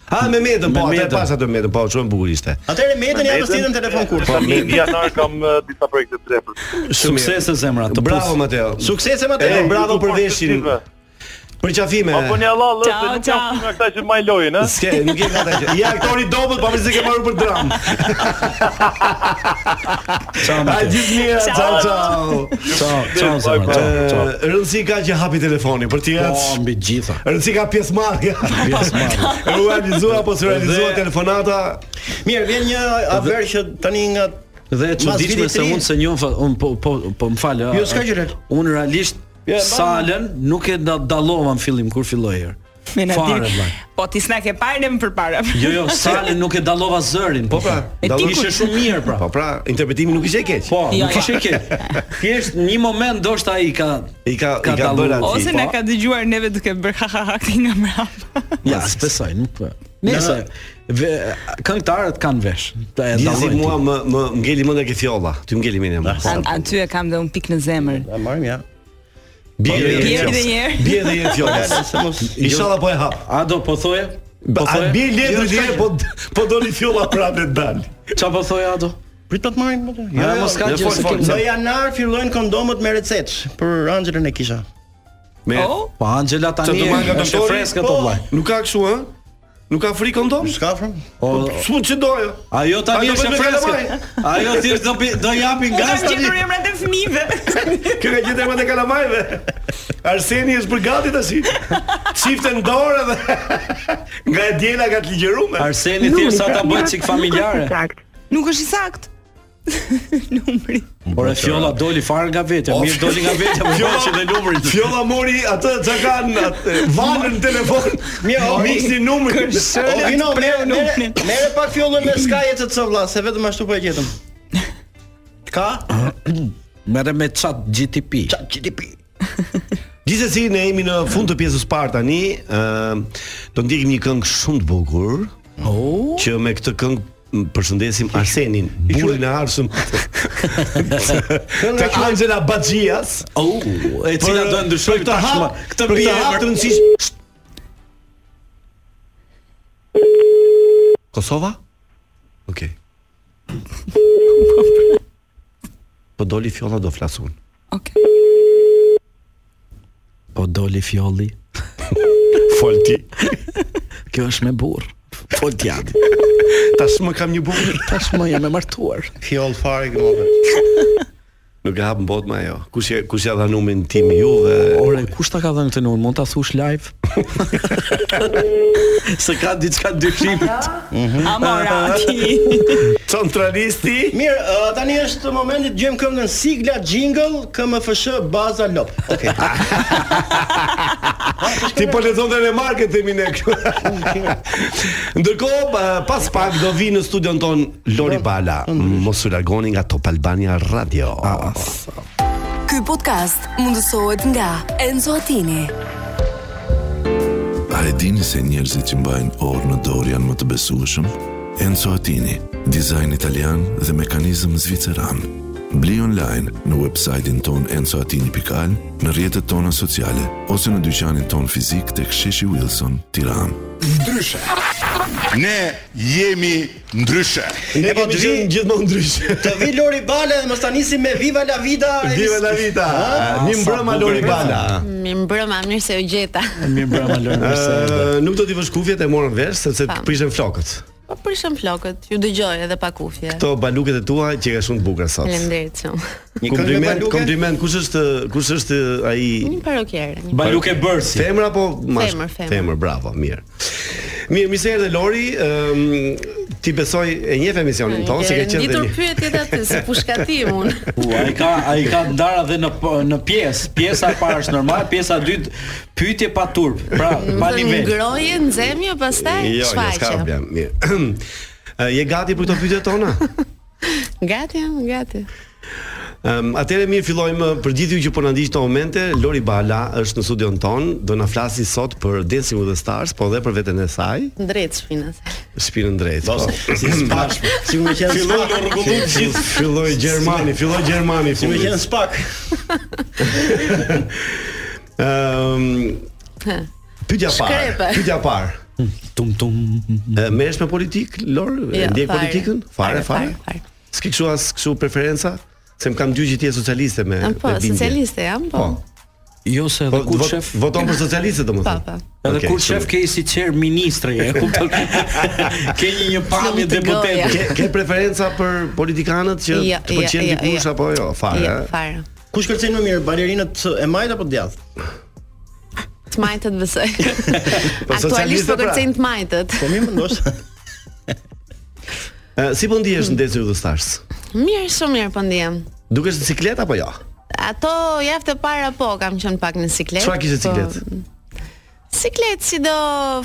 Speaker 8: Ha me metën po,
Speaker 9: Me
Speaker 8: atë
Speaker 9: Medën.
Speaker 8: pas atë metën po, shumë e bukur ishte.
Speaker 11: Atëherë metën ja vështirën telefon kur.
Speaker 15: Po në janar kam eh, disa projekte të re për.
Speaker 8: Shumë mirë.
Speaker 9: Suksese zemra, të
Speaker 8: Bravo
Speaker 9: pus.
Speaker 8: Mateo.
Speaker 11: Suksese
Speaker 8: E,
Speaker 11: Mateo.
Speaker 8: bravo për veshin. Për qafime.
Speaker 15: Po bëni Allah, lë, se
Speaker 12: Ciao,
Speaker 15: nuk
Speaker 12: ciao.
Speaker 15: jam nga këta që mbajnë lojën, ëh.
Speaker 8: Ske, nuk e ka ta gjë. Ja aktori dobët pavarësisht se po ke marrë për dram.
Speaker 9: Ciao
Speaker 8: A
Speaker 9: Mateo.
Speaker 8: gjithë mirë, ciao ciao.
Speaker 9: Ciao, ciao zemra. ciao, Ciao.
Speaker 8: Eh, Rëndësi ka që hapi telefonin për tirat.
Speaker 9: Po mbi gjitha.
Speaker 8: Rëndësi ka pjesëmarrja.
Speaker 9: Pjesëmarrje.
Speaker 8: U realizua apo s'u realizua
Speaker 9: Dhe-
Speaker 8: telefonata.
Speaker 11: Mirë, vjen një afer që tani nga
Speaker 9: Dhe e
Speaker 11: Mas
Speaker 9: çuditshme
Speaker 11: vitit
Speaker 9: se
Speaker 11: ri-
Speaker 9: unë se njoh, un po po po më fal. a-
Speaker 11: Jo, s'ka gjë, Lel.
Speaker 9: Unë realisht
Speaker 11: Ja, mba-
Speaker 9: salën nuk e da- dallova në fillim kur filloi herë.
Speaker 12: Me na
Speaker 9: Fare,
Speaker 12: di.
Speaker 9: vllai.
Speaker 12: Po ti s'na ke parë ne më përpara.
Speaker 9: Jo, jo, salën nuk e dallova zërin. Po
Speaker 8: pra,
Speaker 12: E
Speaker 8: dallo-
Speaker 12: ti
Speaker 9: Ishte shumë mirë pra.
Speaker 8: Po pra, interpretimi nuk ishte i keq.
Speaker 9: Po,
Speaker 12: Jo,
Speaker 9: nuk
Speaker 12: jo.
Speaker 9: ishte keq. Thjesht një moment ndoshta ai ka
Speaker 8: I ka i ka
Speaker 9: dallu.
Speaker 8: bërë atë.
Speaker 12: Ose
Speaker 8: po.
Speaker 12: na ka dëgjuar neve duke bërë ha ha ha këti nga mbrapa.
Speaker 9: ja, besoj, nuk po. Nëse ve- këngëtarët kanë vesh. Ta e
Speaker 8: Gjithsi
Speaker 9: dallojnë.
Speaker 8: mua më më ngeli mendja ke fjolla. Ty ngeli mendja më.
Speaker 12: An- Aty e kam dhe un pikë në zemër.
Speaker 11: A marrim ja.
Speaker 8: Bie
Speaker 11: Bie
Speaker 8: dhe
Speaker 12: Bjerë dhe
Speaker 8: një.
Speaker 12: njerë.
Speaker 8: Bie dhe një fjolla.
Speaker 11: Se mos Jo,
Speaker 8: Inshallah po e hap.
Speaker 9: A do po thoje? Po
Speaker 8: A
Speaker 9: thoje?
Speaker 8: bie letër dhe po po doli fjolla prapë të dal.
Speaker 9: Çfarë po thoje Ado?
Speaker 11: prit ta të marrim atë.
Speaker 9: Ja, mos ka gjë Po se
Speaker 11: Në
Speaker 9: kemi.
Speaker 11: janar fillojnë kondomët me recetë për Anxhelën e kisha.
Speaker 8: Me
Speaker 12: Oh,
Speaker 9: Po Angela tani
Speaker 8: të marrë nga
Speaker 9: është e
Speaker 8: doktori?
Speaker 9: freskët
Speaker 8: Po.
Speaker 9: o vllai.
Speaker 8: Nuk ka kështu, ë? Nuk ka frikë kondom?
Speaker 11: S'ka afër?
Speaker 9: O,
Speaker 8: S'u ç'i doja.
Speaker 9: Ajo tani
Speaker 8: Ajo
Speaker 9: është e
Speaker 8: vetëm e
Speaker 9: freskët. Ajo thjesht do pi- do japin
Speaker 12: Unë
Speaker 9: gas
Speaker 12: kam
Speaker 9: tani.
Speaker 12: gjetur emrat e fëmijëve.
Speaker 8: Kjo ka gjetë emrat e kalamajve. Arseni është për gati tash. Çifte në dorë dhe nga e diela ka të ligjërume.
Speaker 9: Arseni thjesht sa ta bëj çik familjare.
Speaker 12: Nuk është i sakt. Numri.
Speaker 9: Por e fjolla doli fare nga vetja, mirë doli nga vetja me
Speaker 8: Fjolla
Speaker 9: bashkë dhe numrin.
Speaker 8: Fjolla mori atë që kanë atë vanën në telefon.
Speaker 11: Mirë, o,
Speaker 8: miksi numrin.
Speaker 11: O vino, merë
Speaker 12: numrin.
Speaker 11: merë- merë pak fjollën me skaje të të vlla, se vetëm ashtu po e gjetëm. Ka?
Speaker 9: Merë me chat GTP.
Speaker 11: Qa, GDP.
Speaker 8: Gjithsesi ne jemi në fund të pjesës parë tani, ë do ndjekim një këngë shumë të bukur. Oh. Që me këtë këngë m, përshëndesim Arsenin, burrin e arsëm të Angela Baxhias.
Speaker 9: Au, e cila do e ndryshoj
Speaker 8: për këtë
Speaker 9: tashmë.
Speaker 8: hap-
Speaker 9: Këtë
Speaker 8: për
Speaker 9: bie
Speaker 8: këtë hap të
Speaker 9: emër.
Speaker 8: rëndësish. Kosova? Okej. Po doli fjolla do flasun.
Speaker 12: Okej.
Speaker 9: Po doli fjolli.
Speaker 8: Fol ti.
Speaker 9: Kjo është me burr. Po djati.
Speaker 8: Tashmë kam një burr.
Speaker 9: Tashmë jam e martuar.
Speaker 11: Fjoll fare këtu.
Speaker 8: Nuk e hap në botë me ajo. Kush e kush ja dha numrin tim juve?
Speaker 9: Ore, kush ta ka dhënë këtë numër? Mund ta thush live? Se ka diçka dyshim.
Speaker 12: Amora ti.
Speaker 8: Centralisti?
Speaker 11: Mirë, ë, tani është momenti të gjejmë këngën sigla jingle KMFSH baza lop. Okej.
Speaker 8: Ti po lexon dhe remarkët e mine këtu. Ndërkohë, pa- pas pak do vi në studion ton Lori Bala. Mos u largoni nga Top Albania Radio.
Speaker 9: Ah.
Speaker 1: Ky podcast mundësohet nga Enzo Attini.
Speaker 2: A e dini se njerëzit që mbajnë orë në dorë janë më të besueshëm? Enzo Attini, dizajn italian dhe mekanizëm zviceran. Bli online në website-in ton enzoatini.al, në rjetët tona sociale, ose në dyqanin ton fizik të ksheshi Wilson, tiran.
Speaker 7: Ndryshe Ne jemi ndryshe.
Speaker 11: Ne po të vi
Speaker 8: gjithmonë ndryshe.
Speaker 11: Të vi Lori Bala dhe mos ta nisim me Viva la Vida. e
Speaker 8: Viva
Speaker 11: nis-
Speaker 8: la Vida.
Speaker 11: Ha?
Speaker 8: Mi mbrëma Lori Bala.
Speaker 14: Mi mbrëma, mirë se u gjeta.
Speaker 9: Mi mbrëma Lori
Speaker 8: Ë, Nuk do t'i vësh kufjet e morën vesh sepse
Speaker 14: Pam.
Speaker 8: prishën flokët.
Speaker 14: Po prishëm flokët, ju dëgjoj edhe pa kufje.
Speaker 8: Këto baluket e tua që ka shumë të bukura sot.
Speaker 14: Faleminderit shumë.
Speaker 8: Kompliment, kompliment. Kush është kush është ai
Speaker 14: Një parokjer. një
Speaker 8: bërsi. Femër apo mash?
Speaker 14: Femër, femër.
Speaker 8: Femër, bravo, mirë. Mirë, mi se erdhe Lori, ëm ti besoj e njeh emisionin
Speaker 14: parokjer.
Speaker 8: ton, se ke qenë dhe
Speaker 14: Nditur
Speaker 8: një.
Speaker 14: pyetjet aty, si pushkatim unë.
Speaker 9: U, ai ka ai ka ndara dhe në po- në pjesë. Pjesa e parë është normale, pjesa e dytë pyetje pa turp. Pra, pa
Speaker 14: Më
Speaker 9: nivel.
Speaker 14: ngroje, nxemje, pastaj
Speaker 8: Jo, jo, s'ka
Speaker 14: shfaqe.
Speaker 8: problem. Mirë. Ë, Je gati për këto pyetje tona?
Speaker 14: Gati jam, gati.
Speaker 8: Um, Atëherë mirë fillojmë për gjithë ju që po na ndiqni në momente. Lori Bala është në studion ton, do na flasi sot për Dancing with the Stars, po edhe për veten e saj,
Speaker 14: Drejt shpinës.
Speaker 8: shpinën drejt. Po.
Speaker 11: Si spash, si më qenë
Speaker 8: Filloi
Speaker 11: spak.
Speaker 8: rregullu të gjithë. Filloi Gjermani, filloi Gjermani
Speaker 11: Si më
Speaker 8: fundit.
Speaker 11: qenë spak.
Speaker 8: Ëm Ehm, pyetja e parë.
Speaker 14: Shkrepe.
Speaker 8: Pyetja e parë. Hmm, Tum tum. Merresh me politik, Lor?
Speaker 14: Jo,
Speaker 8: Ndjek
Speaker 14: fare.
Speaker 8: politikën? Fare, fare. S'ke kështu as kështu preferenca? Se më kam dy që ti je socialiste me.
Speaker 14: Jam po,
Speaker 8: me bindje.
Speaker 14: socialiste jam, po.
Speaker 8: Po. Jo se edhe kur shef voton për socialistët
Speaker 14: Po,
Speaker 8: domethënë.
Speaker 14: po.
Speaker 9: Edhe
Speaker 8: Okej,
Speaker 9: kur
Speaker 8: shumë.
Speaker 9: shef ke i si qer ministri, e kupton? ke një një pamje
Speaker 14: Shumë të goja.
Speaker 9: deputeti.
Speaker 8: Ke, ke preferenca për politikanët që
Speaker 14: Jo,
Speaker 8: të pëlqen
Speaker 14: jo, jo,
Speaker 8: dikush
Speaker 14: jo.
Speaker 8: apo jo? Fare.
Speaker 14: Jo,
Speaker 8: eh?
Speaker 14: fare.
Speaker 11: Kush kërcen më mirë, balerinat e majt apo djathtë?
Speaker 14: Të majtët besoj.
Speaker 8: Po,
Speaker 14: Aktualisht
Speaker 8: socialiste
Speaker 14: po
Speaker 8: pra.
Speaker 14: kërcejnë të majtët.
Speaker 11: Po mi mendosh?
Speaker 8: Ë, si po ndihesh në Dancing with the Stars?
Speaker 14: Mirë, shumë mirë po ndihem.
Speaker 8: Dukesh në ciklet apo jo?
Speaker 14: Ato javët e para po kam qenë pak në siklet.
Speaker 8: Çfarë kishte
Speaker 14: po-
Speaker 8: ciklet?
Speaker 14: Siklet si do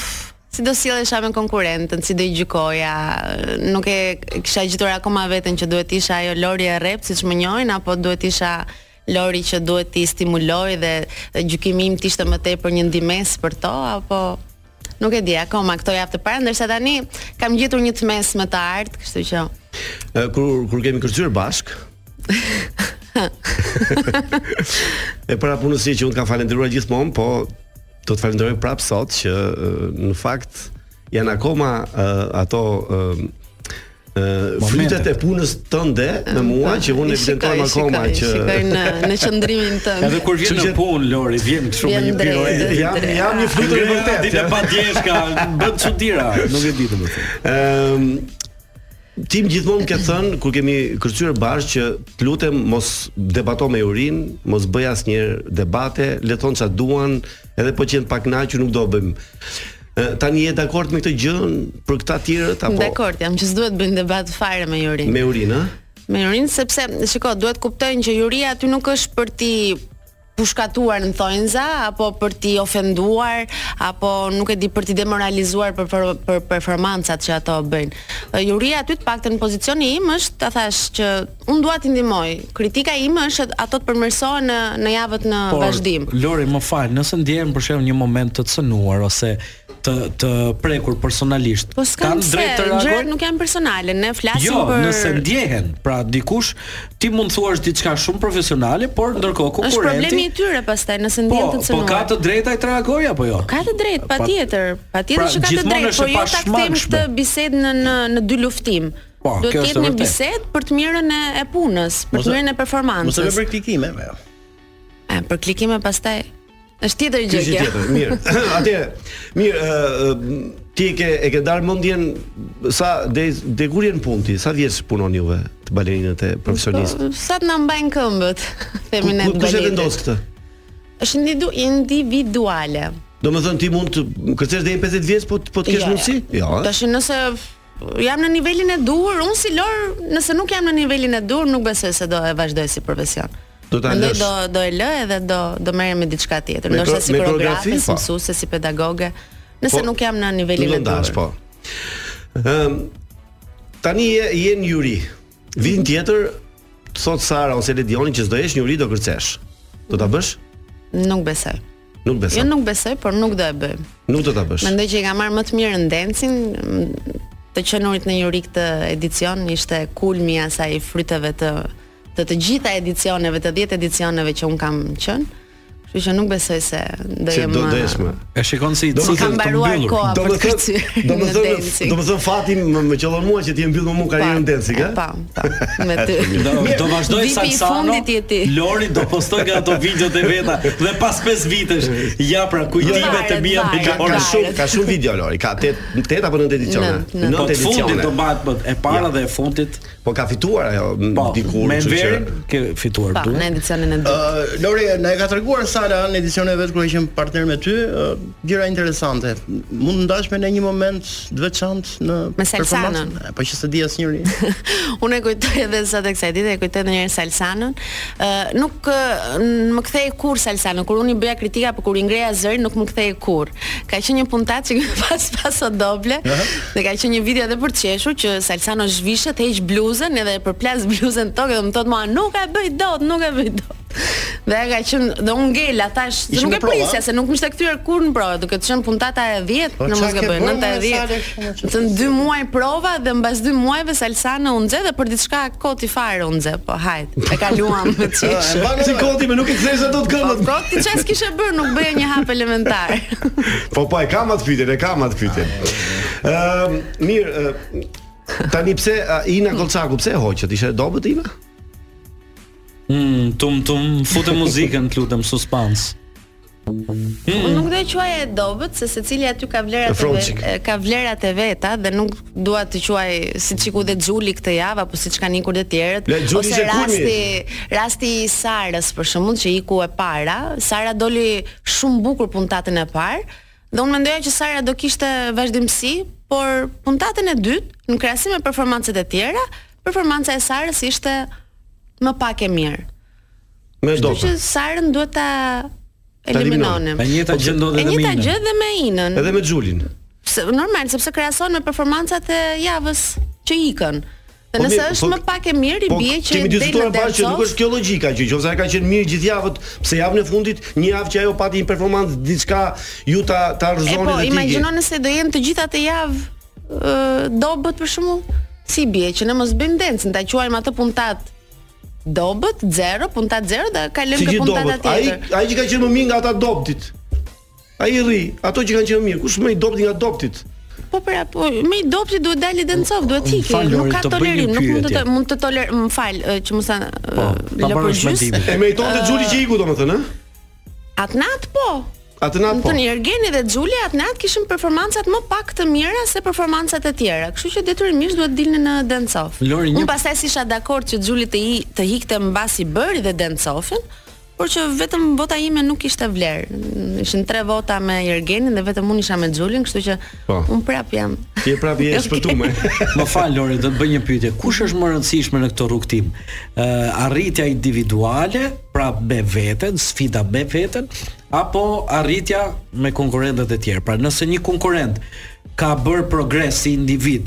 Speaker 14: f- si do sillesha me konkurrentën, si do i gjykoja, nuk e kisha gjetur akoma veten që duhet isha ajo Lori e rep siç më njohin apo duhet isha Lori që duhet ti stimuloj dhe gjykimi im të ishte më tepër një ndimes për to apo nuk e di akoma këto javë të para, ndërsa tani kam gjetur një tmes me të art, kështu që
Speaker 8: Ë, kur kur kemi kërcyer bashk. e para punës si që unë të kam falendëruar gjithmonë, po do të falenderoj prapë sot që ë, në fakt janë akoma ë, ato ë, ë, frytet e punës tënde me mua që unë
Speaker 14: i
Speaker 8: evidentoj
Speaker 14: Ah, po. shikoj,
Speaker 8: akoma
Speaker 14: shikoj,
Speaker 8: që
Speaker 14: shikoj në në qëndrimin tënd.
Speaker 9: Edhe kur vjen
Speaker 8: Kështu
Speaker 9: në
Speaker 8: që-
Speaker 9: punë Lori, vjen kështu me
Speaker 14: Vjen
Speaker 9: një
Speaker 14: drejt,
Speaker 9: piruetë.
Speaker 14: drejt. Jam- jam një
Speaker 8: flutur i vërtet,
Speaker 9: Ditë
Speaker 8: ja.
Speaker 9: pa djeshka, bën çuditëra, nuk e di domethënë.
Speaker 8: Ëm Ehm, Tim gjithmonë ke thënë kur kemi kërcyer bashkë që të lutem mos debato me Eurin, mos bëj asnjë debate, le të thonë çfarë duan, edhe po qenë pak kënaqur nuk do bëjmë. Ë, Tani je dakord me këtë gjë për këta tjerët apo
Speaker 14: Dakor, jam që s'duhet bëjnë debat fare me Jurin.
Speaker 8: me Eurin, ë?
Speaker 14: Me Jurin sepse shiko, duhet kuptojnë që juria aty nuk është për ti pushkatuar në thonjza apo për ti ofenduar apo nuk e di për ti demoralizuar për për, për performancat që ato bëjnë. Ë, Juria aty të paktën pozicioni im është ta thash që unë dua t'i ndihmoj. Kritika ime është ato të përmirësohen në në javët në vazhdim.
Speaker 9: Lori, më fal, nëse ndjehem për shemb një moment të cënuar ose të të prekur personalisht,
Speaker 14: Po s'kam
Speaker 9: kanë
Speaker 14: pse,
Speaker 9: drejt të
Speaker 14: gjërat
Speaker 9: reagojnë?
Speaker 14: nuk janë personale, ne flasim
Speaker 9: Jo,
Speaker 14: për
Speaker 9: nëse ndjehen, pra dikush ti mund thuash diçka shumë profesionale, por ndërkohë
Speaker 14: Është problemi i
Speaker 9: konkurrenti
Speaker 14: tyre pastaj nëse
Speaker 9: Po,
Speaker 14: ndjen të
Speaker 9: po
Speaker 14: cënuar.
Speaker 9: ka të drejtë ai të reagojë apo jo?
Speaker 14: Ka të drejtë, patjetër, patjetër
Speaker 9: Pra,
Speaker 14: që ka të
Speaker 9: gjithmonë
Speaker 14: drejtë,
Speaker 9: është
Speaker 14: por
Speaker 9: e
Speaker 14: jo ta kthejmë
Speaker 9: pashmangshme.
Speaker 14: këtë bisedë në në në dy luftim.
Speaker 9: Po,
Speaker 14: Duhet
Speaker 9: kjo
Speaker 14: të
Speaker 9: është
Speaker 14: jetë
Speaker 9: e
Speaker 14: një
Speaker 9: vërtetë.
Speaker 14: bisedë për të mirën e, e punës, për
Speaker 11: Mos e-
Speaker 14: të mirën e
Speaker 11: Mos e
Speaker 14: performancës.
Speaker 11: bëj për klikime, me.
Speaker 14: E, për klikime pastaj është tjetër gjë
Speaker 8: Gjë
Speaker 14: kjo.
Speaker 8: tjetër, mirë. Atëherë, mirë, ë, ë, ti e ke e ke darë mendjen sa deri deri kur je në punë ti? Sa vjeç punon juve të balerinët e profesionistë?
Speaker 14: Po, Sa të na mbajnë këmbët, themi ne
Speaker 8: Ku- Kush e vendos këtë?
Speaker 14: Është individu- individuale.
Speaker 8: Do me thënë ti mund të kërcesh deri 50 vjeç po po të kesh mundësi? Jo. eh?
Speaker 14: Tash nëse jam në nivelin e duhur, unë si Lor, nëse nuk jam në nivelin e duhur, nuk besoj se do e vazhdoj si profesion.
Speaker 8: Do ta
Speaker 14: Mendoj
Speaker 8: lësh.
Speaker 14: do do e lë edhe do do merrem me diçka tjetër,
Speaker 8: Me
Speaker 14: ndoshta
Speaker 8: kro-
Speaker 14: si
Speaker 8: me
Speaker 14: koreografe,
Speaker 8: koreografi,
Speaker 14: si
Speaker 8: po.
Speaker 14: mësuese, si pedagoge, nëse
Speaker 8: Po,
Speaker 14: nuk jam në
Speaker 8: Nuk
Speaker 14: nivelin
Speaker 8: do
Speaker 14: e duhur.
Speaker 8: ndash, po. Ëm tani je je në juri.
Speaker 14: Mhm.
Speaker 8: Vitin tjetër thot Sara ose Ledioni që s'do jesh në juri do kërcesh. Do ta bësh?
Speaker 14: Nuk besoj.
Speaker 8: Nuk
Speaker 14: Jo
Speaker 8: besoj.
Speaker 14: nuk besoj, por nuk do e bëj.
Speaker 8: Nuk do ta bësh.
Speaker 14: Mendoj që i ka marrë më të mirë në dancing, m, të qenurit në juri këtë edicion ishte kulmi i asaj fryteve të të të gjitha edicioneve, të 10 edicioneve që un kam qenë. Kështu që nuk besoj se do
Speaker 8: Se
Speaker 14: jem
Speaker 8: do
Speaker 14: uh,
Speaker 8: deshme.
Speaker 9: E shikon si
Speaker 14: Si ka mbaruar koha për kërcyr
Speaker 8: Do më
Speaker 14: në
Speaker 8: thënë,
Speaker 14: dancing.
Speaker 8: do më thënë fati më më qellon mua që ti e mbyll me mua karrierën dancing, a?
Speaker 14: Pa, pa. Me ty.
Speaker 9: Do, do vazhdoj
Speaker 14: Vipi i
Speaker 9: Saksano.
Speaker 14: fundit je ti.
Speaker 9: Lori do postoj nga ato videot e veta dhe pas 5 vitesh ja pra kujdime të mia me
Speaker 8: Ka,
Speaker 9: Lori.
Speaker 8: ka shumë ka shumë video Lori, ka 8 8 apo 9 edicione.
Speaker 9: Nënt, nënt. Po, të fundit do
Speaker 8: bëhet më e para dhe e fundit. Po ka fituar ajo m, dikur,
Speaker 9: po, me
Speaker 8: kështu që-
Speaker 9: Enverin ke fituar
Speaker 14: Pa,
Speaker 9: du.
Speaker 14: në edicionin e dytë.
Speaker 11: Ë, Lori, na e ka treguar Sara në edicionin e vet kur e qenë partner me ty, ë, gjëra interesante. Mund të ndash me në një moment të veçantë në
Speaker 14: Me Salsanën.
Speaker 11: performancën? E, Po që se di asnjëri.
Speaker 14: Unë e kujtoj edhe sot e kësaj dite, e kujtoj ndonjëherë Salsanën. Ë nuk ë, n- më kthej kur Salsanën, kur unë i bëja kritika apo kur i ngreja zërin, nuk më kthej kur. Ka qenë një puntat që kemi pas pas o doble. Dhe ka qenë një video edhe për të qeshur që Salsano zhvishet, heq bluzën edhe e përplas bluzën në tokë dhe më thotë mua nuk e bëj dot, nuk e bëj dot. Dhe ajo ka qenë dhe unë ngela thash, se
Speaker 11: Ishim
Speaker 14: nuk
Speaker 11: në
Speaker 14: e
Speaker 11: prova,
Speaker 14: prisja
Speaker 11: a?
Speaker 14: se nuk më ishte kthyer kur në provë, duke të qenë puntata e 10,
Speaker 11: Po,
Speaker 14: në mos
Speaker 11: çfarë ke
Speaker 14: gaboj,
Speaker 11: bërë me
Speaker 14: 9 e
Speaker 11: Sale
Speaker 14: 10.
Speaker 11: kështu, që-
Speaker 14: Të dy muaj prova dhe mbas dy muajve Salsana u nxe dhe për diçka koti fare u nxe, po hajt. E kaluam me çish.
Speaker 8: Si koti më nuk e kthesh ato të këmbët.
Speaker 14: Po ti çes kishe bër, nuk bëja një hap elementar.
Speaker 8: Po po e kam atë pyetjen, e kam atë pyetjen.
Speaker 14: Ah.
Speaker 8: Ëm mirë, ë, tani pse a, Ina Kolçaku pse e hoqët? Ishte e dobët Ina?
Speaker 9: Mm, tum tum, futë muzikën, të lutem, suspans.
Speaker 14: Unë
Speaker 9: Mm.
Speaker 14: nuk do e quaj e dobët se secili aty ka vlerat e
Speaker 9: Fronçik.
Speaker 14: veta, ka vlerat e veta dhe nuk dua të quaj siç iku dhe Xhuli këtë javë apo siç kanë ikur të tjerët
Speaker 16: Le, Xhuli
Speaker 14: ose
Speaker 16: ishte kulmi.
Speaker 14: rasti rasti i Sarës për shembull që iku e para, Sara doli shumë bukur puntatën e parë dhe unë mendoja që Sara do kishte vazhdimsi, por puntatën e dytë në krahasim me performancat e tjera, performanca e Sarës ishte më pak e mirë.
Speaker 8: Me
Speaker 14: Kështu që Sarën duhet ta eliminonim.
Speaker 8: Ta eliminonim. E njëjta gjë ndodhi
Speaker 14: E
Speaker 8: edhe me
Speaker 14: njëjta
Speaker 8: Inën.
Speaker 14: gjë dhe me Inën.
Speaker 8: Edhe me Xhulin.
Speaker 14: Se, normal, sepse krahason me performancat e javës që ikën. Dhe
Speaker 8: Po
Speaker 14: nëse
Speaker 8: mirë,
Speaker 14: është
Speaker 8: po-
Speaker 14: më pak e mirë, i bie që
Speaker 8: kemi
Speaker 14: del
Speaker 8: diskutuar
Speaker 14: në
Speaker 8: parë që nuk
Speaker 14: dancehall.
Speaker 8: është kjo logjika që nëse ai ka qenë mirë gjithë javën, pse javën e fundit, një javë që ajo pati një performancë diçka ju ta ta
Speaker 14: E
Speaker 8: rrezoni
Speaker 14: po,
Speaker 8: dhe ti.
Speaker 14: imagjino nëse do jenë të gjitha të javë ë, dobët për shembull, si bie që ne mos bëjmë dancën, ta quajmë atë puntat dobët 0, puntat 0 dhe kalojmë
Speaker 8: Si
Speaker 14: ke
Speaker 8: gjithë
Speaker 14: puntata
Speaker 8: dobët. Ai
Speaker 14: tjetër.
Speaker 8: ai që ka qenë më mirë nga ata dobtit. Ai rri, ato që kanë qenë më mirë, kush më i dobti nga dobtit?
Speaker 14: Po pra, po me i dopsi duhet dali Dencov, duhet
Speaker 8: Më
Speaker 14: hiki,
Speaker 8: fal,
Speaker 14: nuk
Speaker 8: Lori,
Speaker 14: ka
Speaker 8: të bëj një
Speaker 14: tolerim, nuk mund të
Speaker 8: pyetje.
Speaker 14: mund të toler, më fal, ë, që mos ta
Speaker 8: Po,
Speaker 14: ta lë për gjys.
Speaker 8: E meriton të Xhuli që iku domethënë, ë?
Speaker 14: Atë nat po.
Speaker 8: Atë
Speaker 14: Më
Speaker 8: natë po.
Speaker 14: thënë Ergeni dhe Xhuli atë nat kishin performancat më pak të mira se performancat e tjera, kështu që detyrimisht duhet dilnin në Dencov.
Speaker 9: Lori,
Speaker 14: Unë
Speaker 9: një
Speaker 14: pastaj si isha dakord që Xhuli të i, të hikte mbasi bëri dhe Dencofin, por që vetëm vota ime nuk ishte vlerë. Ishin tre vota me Ergenin dhe vetëm unë isha me Xhulin, kështu që
Speaker 9: Po.
Speaker 14: un prap jam.
Speaker 8: Ti e prapë je shpëtuar.
Speaker 9: Më fal Lori, do të bëj një pyetje. Kush është më e rëndësishme në këtë rrugtim? Ë arritja individuale, pra me veten, sfida me veten, apo arritja me konkurrentët e tjerë? Pra nëse një konkurrent ka bërë progres si individ,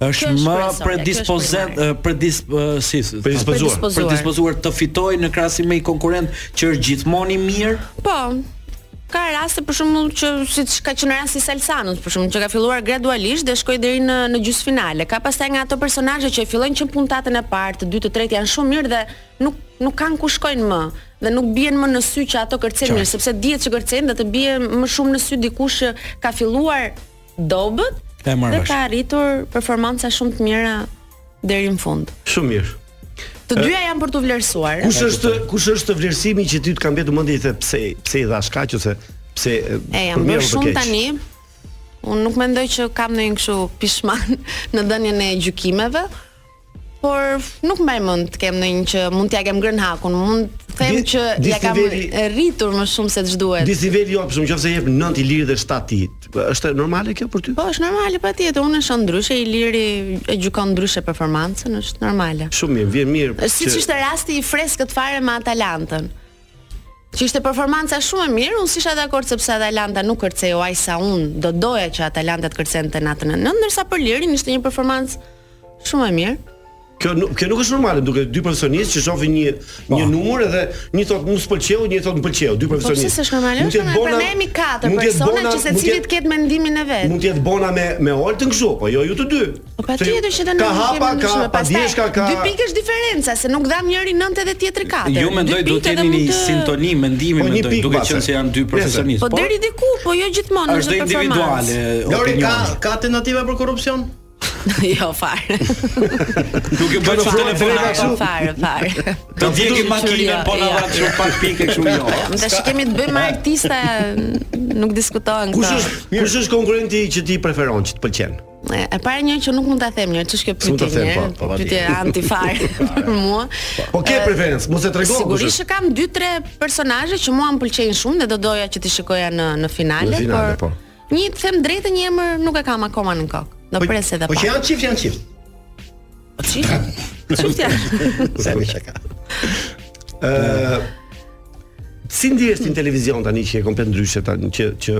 Speaker 9: është
Speaker 17: Kjo është
Speaker 9: më
Speaker 17: kryesore,
Speaker 9: predispozet
Speaker 17: kjo
Speaker 9: predis ë, si
Speaker 8: Predispozuar.
Speaker 9: predispozuar të fitojë në krahasim me një konkurrent që është gjithmonë i mirë.
Speaker 14: Po. Ka raste po për shembull që siç ka qenë rasti i Salsanut, për shembull, që ka filluar gradualisht dhe shkoi deri në në gjysmëfinale. Ka pastaj nga ato personazhe që e fillojnë që puntatën e parë, të dytë, të tretë janë shumë mirë dhe nuk nuk kanë ku shkojnë më dhe nuk bien më në sy që ato kërcejnë mirë, sepse dihet që kërcejnë dhe të bie më shumë në sy dikush që ka filluar dobët
Speaker 8: E marr
Speaker 14: dhe
Speaker 8: vesh.
Speaker 14: ka arritur performanca shumë të mira deri në fund.
Speaker 8: Shumë mirë.
Speaker 14: Të dyja janë për t'u vlerësuar.
Speaker 8: Kush është kush është vlerësimi që ty të ka mbetur mendje i the pse pse i dhash kaq ose pse
Speaker 14: E jam bërë shumë tani. Unë nuk mendoj që kam ndonjë kështu pishman në dhënien e gjykimeve, por nuk mbaj mend të kem ndonjë që mund t'ja kem ngrënë hakun. Mund të them
Speaker 8: Dis-
Speaker 14: që ja kam
Speaker 8: disniveli-
Speaker 14: rritur më shumë se ç'duhet.
Speaker 8: Disi veli jop, jo, shumë qofse jep 9 i lirë dhe 7 i. Është normale kjo për ty?
Speaker 14: Po, është normale patjetër, unë e shoh ndryshe, i liri e gjykon ndryshe performancën, është normale.
Speaker 8: Shumë mirë, vjen mirë.
Speaker 14: Siç ishte rasti i freskët fare me Atalantën. Që ishte performanca shumë e mirë, unë s'isha dakord sepse Atalanta nuk kërceu aq sa unë do doja që Atalanta të kërcente natën e 9, ndërsa për Lirin ishte një performancë shumë e mirë.
Speaker 8: Kjo nuk kjo nuk është normale, duke dy profesionistë që shohin një
Speaker 11: Po.
Speaker 8: një numër edhe një thotë mu s'pëlqeu, një thotë m'pëlqeu, dy
Speaker 14: Po pse
Speaker 8: profesionistë.
Speaker 14: s'është normale? Është normale, pra ne jemi katër persona që secili të ketë mendimin e vet.
Speaker 8: Mund të jetë bona me me Oltën kështu, po jo ju të dy.
Speaker 14: Po Patjetër që
Speaker 8: Ka hapa, ka padjeshka, ka-
Speaker 14: dy pikësh diferenca se nuk dham njëri 9 dhe tjetri 4.
Speaker 9: Ju mendoj do të jeni në sintoni mendimi
Speaker 8: Po, një
Speaker 9: mendoj,
Speaker 8: pikë
Speaker 9: duke
Speaker 8: base.
Speaker 9: qenë se janë dy profesionistë.
Speaker 14: Po deri diku, po jo gjithmonë
Speaker 9: Është individuale.
Speaker 11: Lori ka
Speaker 9: opinioni.
Speaker 11: ka alternativa për korrupsion?
Speaker 14: jo fare.
Speaker 9: Duke bërë çfarë telefona
Speaker 14: Po, fare, fare.
Speaker 9: Të djegi
Speaker 14: futur
Speaker 9: makinën
Speaker 14: qyria,
Speaker 9: po na
Speaker 14: ja.
Speaker 9: vrat shumë pak pikë kështu jo.
Speaker 14: Më tash kemi të bëjmë artista, nuk diskutohen
Speaker 8: Kush
Speaker 14: këto.
Speaker 8: është kush është konkurrenti që ti preferon, që të pëlqen?
Speaker 14: E e para një që nuk mund ta them një, ç'është kjo
Speaker 8: S'mund ta
Speaker 14: pyetje
Speaker 8: them,
Speaker 14: një?
Speaker 8: po, po, patjetër.
Speaker 14: Pyetje antifare për mua.
Speaker 8: Po ke preferencë, mos e tregon.
Speaker 14: Sigurisht që kam 2-3 personazhe që mua më pëlqejnë shumë dhe do doja që ti shikoja në në finale,
Speaker 8: Në finale, po.
Speaker 14: por një të them drejtën, një emër nuk e kam akoma në kokë. Do pres edhe
Speaker 11: Po
Speaker 14: pak.
Speaker 11: që janë çift, janë çift.
Speaker 14: Po çift? Çift janë.
Speaker 11: Sa më çka.
Speaker 8: Ë si ndihesh ti në televizion tani që je komplet ndryshe tani që që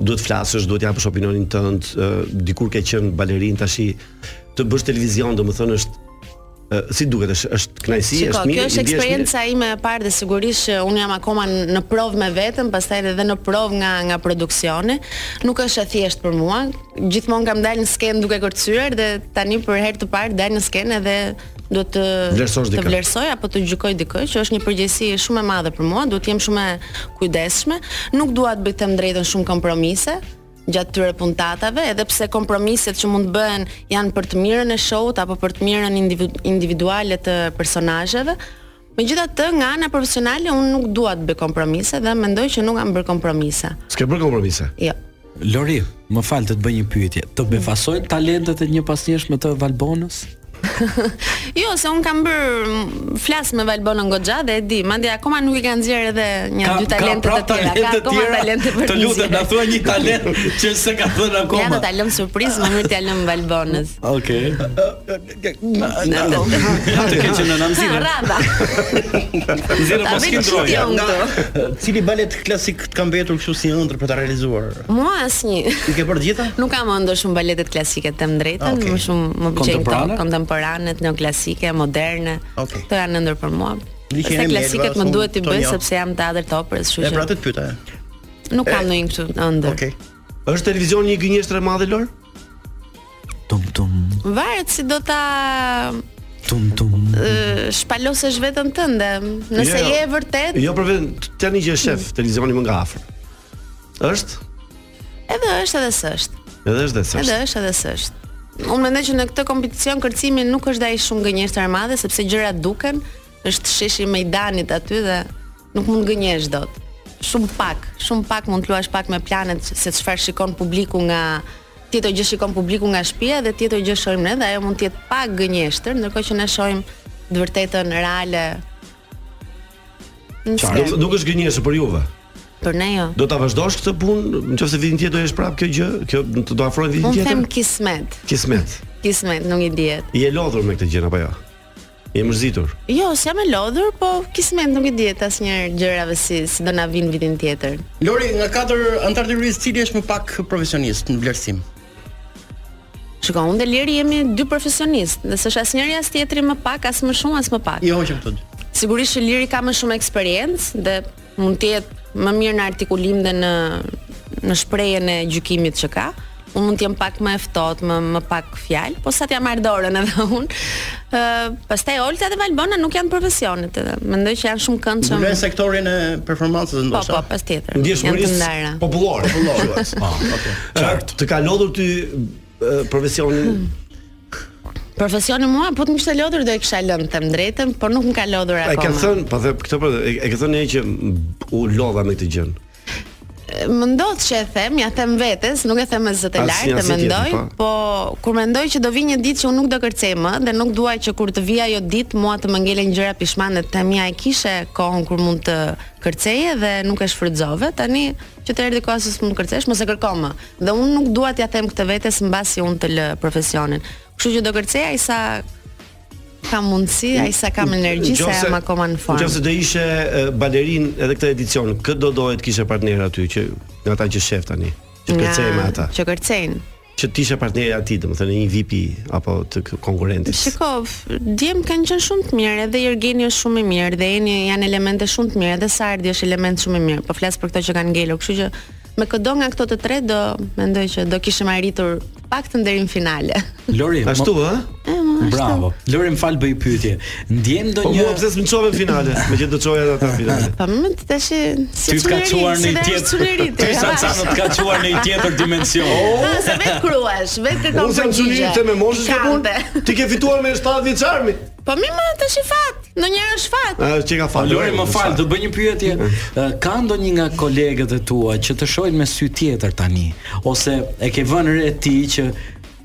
Speaker 8: duhet flasësh, duhet japësh opinionin tënd, ë, dikur ke qenë balerin tash të bësh televizion, domethënë është ë, si duket është është kënaqësi,
Speaker 14: Shiko,
Speaker 8: është mirë,
Speaker 14: kjo është
Speaker 8: i ndihesh mirë?
Speaker 14: eksperienca ime e parë dhe sigurisht që unë jam akoma n- në provë me veten, pastaj edhe në provë nga nga produksioni. Nuk është e thjeshtë për mua. Gjithmonë kam dalë në skenë duke kërcyer dhe tani për herë të parë dal në skenë edhe duhet të
Speaker 8: Vlerësosh
Speaker 14: të
Speaker 8: dikë.
Speaker 14: vlerësoj apo të gjykoj dikë, që është një përgjegjësi shumë e madhe për mua, duhet të jem shumë e kujdesshme. Nuk dua të bëj të them drejtën shumë kompromise gjatë tyre puntatave, edhe pse kompromiset që mund të bëhen janë për të mirën e show-ut apo për të mirën individu- individuale të personazheve. Megjithatë, nga ana profesionale unë nuk dua të bëj kompromise dhe mendoj që nuk kam bërë kompromise.
Speaker 8: S'ke bërë kompromise.
Speaker 14: Jo.
Speaker 9: Lori, më fal të të bëj një pyetje. Të
Speaker 17: Mm.
Speaker 9: befasojnë talentet e një pasnjësh me të Valbonës?
Speaker 14: Jo, se un kam bër m, flas me Valbonën goxha dhe e di, madje akoma nuk i kanë nxjerr edhe një dy
Speaker 9: pra
Speaker 14: talente të tjera, ka akoma talente për
Speaker 9: Të lutem na thuaj një talent që s'e ka
Speaker 14: Ja
Speaker 9: thënë
Speaker 14: do
Speaker 9: akoma.
Speaker 14: ta lëm surprizë, më mirë t'ja lëm Valbonës.
Speaker 9: Okej. Të keqë në nënëzirë.
Speaker 14: Rada.
Speaker 11: Zero
Speaker 14: Ta vetë që t'jon këtu.
Speaker 11: Cili balet klasik të kam vjetur kështu si ëndër për ta realizuar?
Speaker 14: Mua asnjë.
Speaker 11: I ke bërë gjitha?
Speaker 14: Nuk kam ëndër shumë baletet klasike
Speaker 8: Ah,
Speaker 14: të më drejtën,
Speaker 11: Okej.
Speaker 14: më shumë më pëlqejnë
Speaker 11: Kontemporane?
Speaker 14: këto kontemporane, neoklasike, moderne.
Speaker 11: Okej.
Speaker 14: Këto janë ëndër për mua.
Speaker 11: Liqeni
Speaker 14: Pastaj
Speaker 11: me
Speaker 14: klasiket
Speaker 11: Elva,
Speaker 14: më duhet t'i
Speaker 11: unë
Speaker 14: bëj
Speaker 11: Tonio.
Speaker 14: sepse jam teatër të operës, kështu
Speaker 11: E pra
Speaker 14: që
Speaker 11: të të pyeta.
Speaker 14: nuk kam ndonjë kështu ëndër.
Speaker 8: po.
Speaker 11: Okej.
Speaker 8: Është televizion një gënjeshtër e madhe Lor?
Speaker 14: Varet si do ta
Speaker 9: tum tum
Speaker 14: ë, shpalosesh veten tënde. Nëse
Speaker 8: Jo,
Speaker 14: je e vërtet,
Speaker 8: Jo, për vetëm t- tani që je
Speaker 14: Mm.
Speaker 8: shef televizioni më nga afër. Është?
Speaker 14: edhe është edhe s'është.
Speaker 8: Edhe është dhe s'është.
Speaker 14: Edhe është edhe s'është. Unë mendoj që në këtë kompeticion kërcimi nuk është ai shumë gënjeshtër e madhe sepse gjërat duken, është sheshi i ميدanit aty dhe nuk mund gënjesh dot. Shumë pak, shumë pak mund të luash pak me planet se çfarë shikon publiku nga tjetër gjë shikon publiku nga shtëpia dhe tjetër gjë shohim ne dhe ajo mund të jetë pak gënjeshtër, ndërkohë që ne shohim të vërtetën reale. Në
Speaker 8: Qartë.
Speaker 14: skenë.
Speaker 8: Nuk është gënjeshtër për juve.
Speaker 14: Për ne jo.
Speaker 8: Do ta vazhdosh këtë punë, nëse vitin tjetër do jesh prapë kjo gjë, kjo do të afrohet vitin
Speaker 14: Unë them
Speaker 8: tjetër.
Speaker 14: kismet.
Speaker 8: Kismet.
Speaker 14: Kismet, nuk i dihet.
Speaker 8: Je lodhur me këtë gjë apo jo? Je mërzitur.
Speaker 14: Jo, s'jam e lodhur, po kismet nuk i dihet asnjëherë gjërave si si do na vinë vitin tjetër.
Speaker 11: Lori, nga katër antarë të juris, cili është më pak profesionist në vlerësim?
Speaker 14: Shiko, unë dhe Leri jemi dy profesionistë, dhe s'është asnjëri as tjetri më pak, as më shumë, as më pak. Po,
Speaker 11: Jo, që më të dy.
Speaker 14: Sigurisht që Liri ka më shumë eksperiencë dhe mund të jetë më mirë në artikulim dhe në në shprehjen e gjykimit që ka. Unë mund të jem pak më e ftohtë, më më pak fjalë, po sa t'ja marr dorën edhe unë. Ë, pastaj Olta dhe Valbona nuk janë profesionet, edhe mendoj që janë shumë këndshëm.
Speaker 11: Në sektorin e performancës
Speaker 14: Po,
Speaker 11: ndoshta. Ah,
Speaker 14: po, pas tjetër.
Speaker 8: Ndjesh
Speaker 14: Janë të
Speaker 8: humoris
Speaker 14: ndara.
Speaker 8: popullor. Popullor.
Speaker 11: okay.
Speaker 8: Qartë. Të ka lodhur ty e, profesionin
Speaker 14: Hmm. Profesioni mua, po të më kishte lodhur do e kisha lënë të më drejtën, por nuk më ka lodhur
Speaker 8: E
Speaker 14: akoma.
Speaker 8: ke thënë, po the këtë për e e ke thënë ai që m, u lodha me këtë gjë.
Speaker 14: Më ndodh që e them, ja them vetes, nuk e them me zë të
Speaker 8: Asnjë,
Speaker 14: lartë, e
Speaker 8: asnjë
Speaker 14: mendoj,
Speaker 8: tjetër,
Speaker 14: po kur mendoj që do vi një ditë që unë nuk do kërcej më dhe nuk dua që kur të vi ajo ditë mua të më ngelen gjëra pishmane të mia e kishe kohën kur mund të kërceje dhe nuk e shfrytëzove. Tani që të erdhi koha se s'mund të kërcesh, mos e kërko më. Dhe unë nuk dua t'ja them këtë vetes mbasi unë të lë profesionin. Kështu që do kërcej ai sa kam mundësi, ai sa po, kam energji, sa
Speaker 8: Nëse-
Speaker 14: jam akoma në formë.
Speaker 8: Nëse do ishe e, balerin edhe këtë edicion, kë do dohet kishe partner aty që nga ata që shef tani, që
Speaker 14: Nga-
Speaker 8: kërcej me ata.
Speaker 14: Që kërcejnë.
Speaker 8: Që ti ishe partneri aty, domethënë një VIP apo të k- konkurentit.
Speaker 14: Shiko, djem kanë qenë shumë të mirë, edhe Jergeni është shumë i mirë, dhe Eni janë elemente shumë të mirë, edhe Sardi është element shumë i mirë. Po flas për këto që kanë ngelur, kështu që me këdo nga këto të tre do mendoj që do kishim arritur paktën deri në finale.
Speaker 9: Lori, mo-
Speaker 8: Ashtu, ë?
Speaker 14: E, mo, ashtu.
Speaker 9: Bravo. Lori, më fal bëj pyetje. Ndjen
Speaker 8: Po
Speaker 9: ndonjë
Speaker 8: mua pse s'më çove në finale, me që do çoja edhe ata në finale.
Speaker 14: Pa Po më të tash si
Speaker 9: Ty t'ka çuar në një tjetër. Ty sa
Speaker 14: çano
Speaker 9: çano t'ka çuar në një tjetër dimension.
Speaker 11: Oh.
Speaker 14: Ha, se vetë kruash, vetë kërkon
Speaker 8: Unë jam çuni se me moshës e kur. Ti ke fituar me 7 vjeçarmi.
Speaker 14: Po mi më të shi fat, në njerë është fat
Speaker 8: A çe ka fal.
Speaker 9: Lori, më fal, do bëj një pyetje. Ë,
Speaker 11: Mm.
Speaker 9: Ka ndonjë nga kolegët e tua që të shohin me sy tjetër tani ose e ke vënë re ti që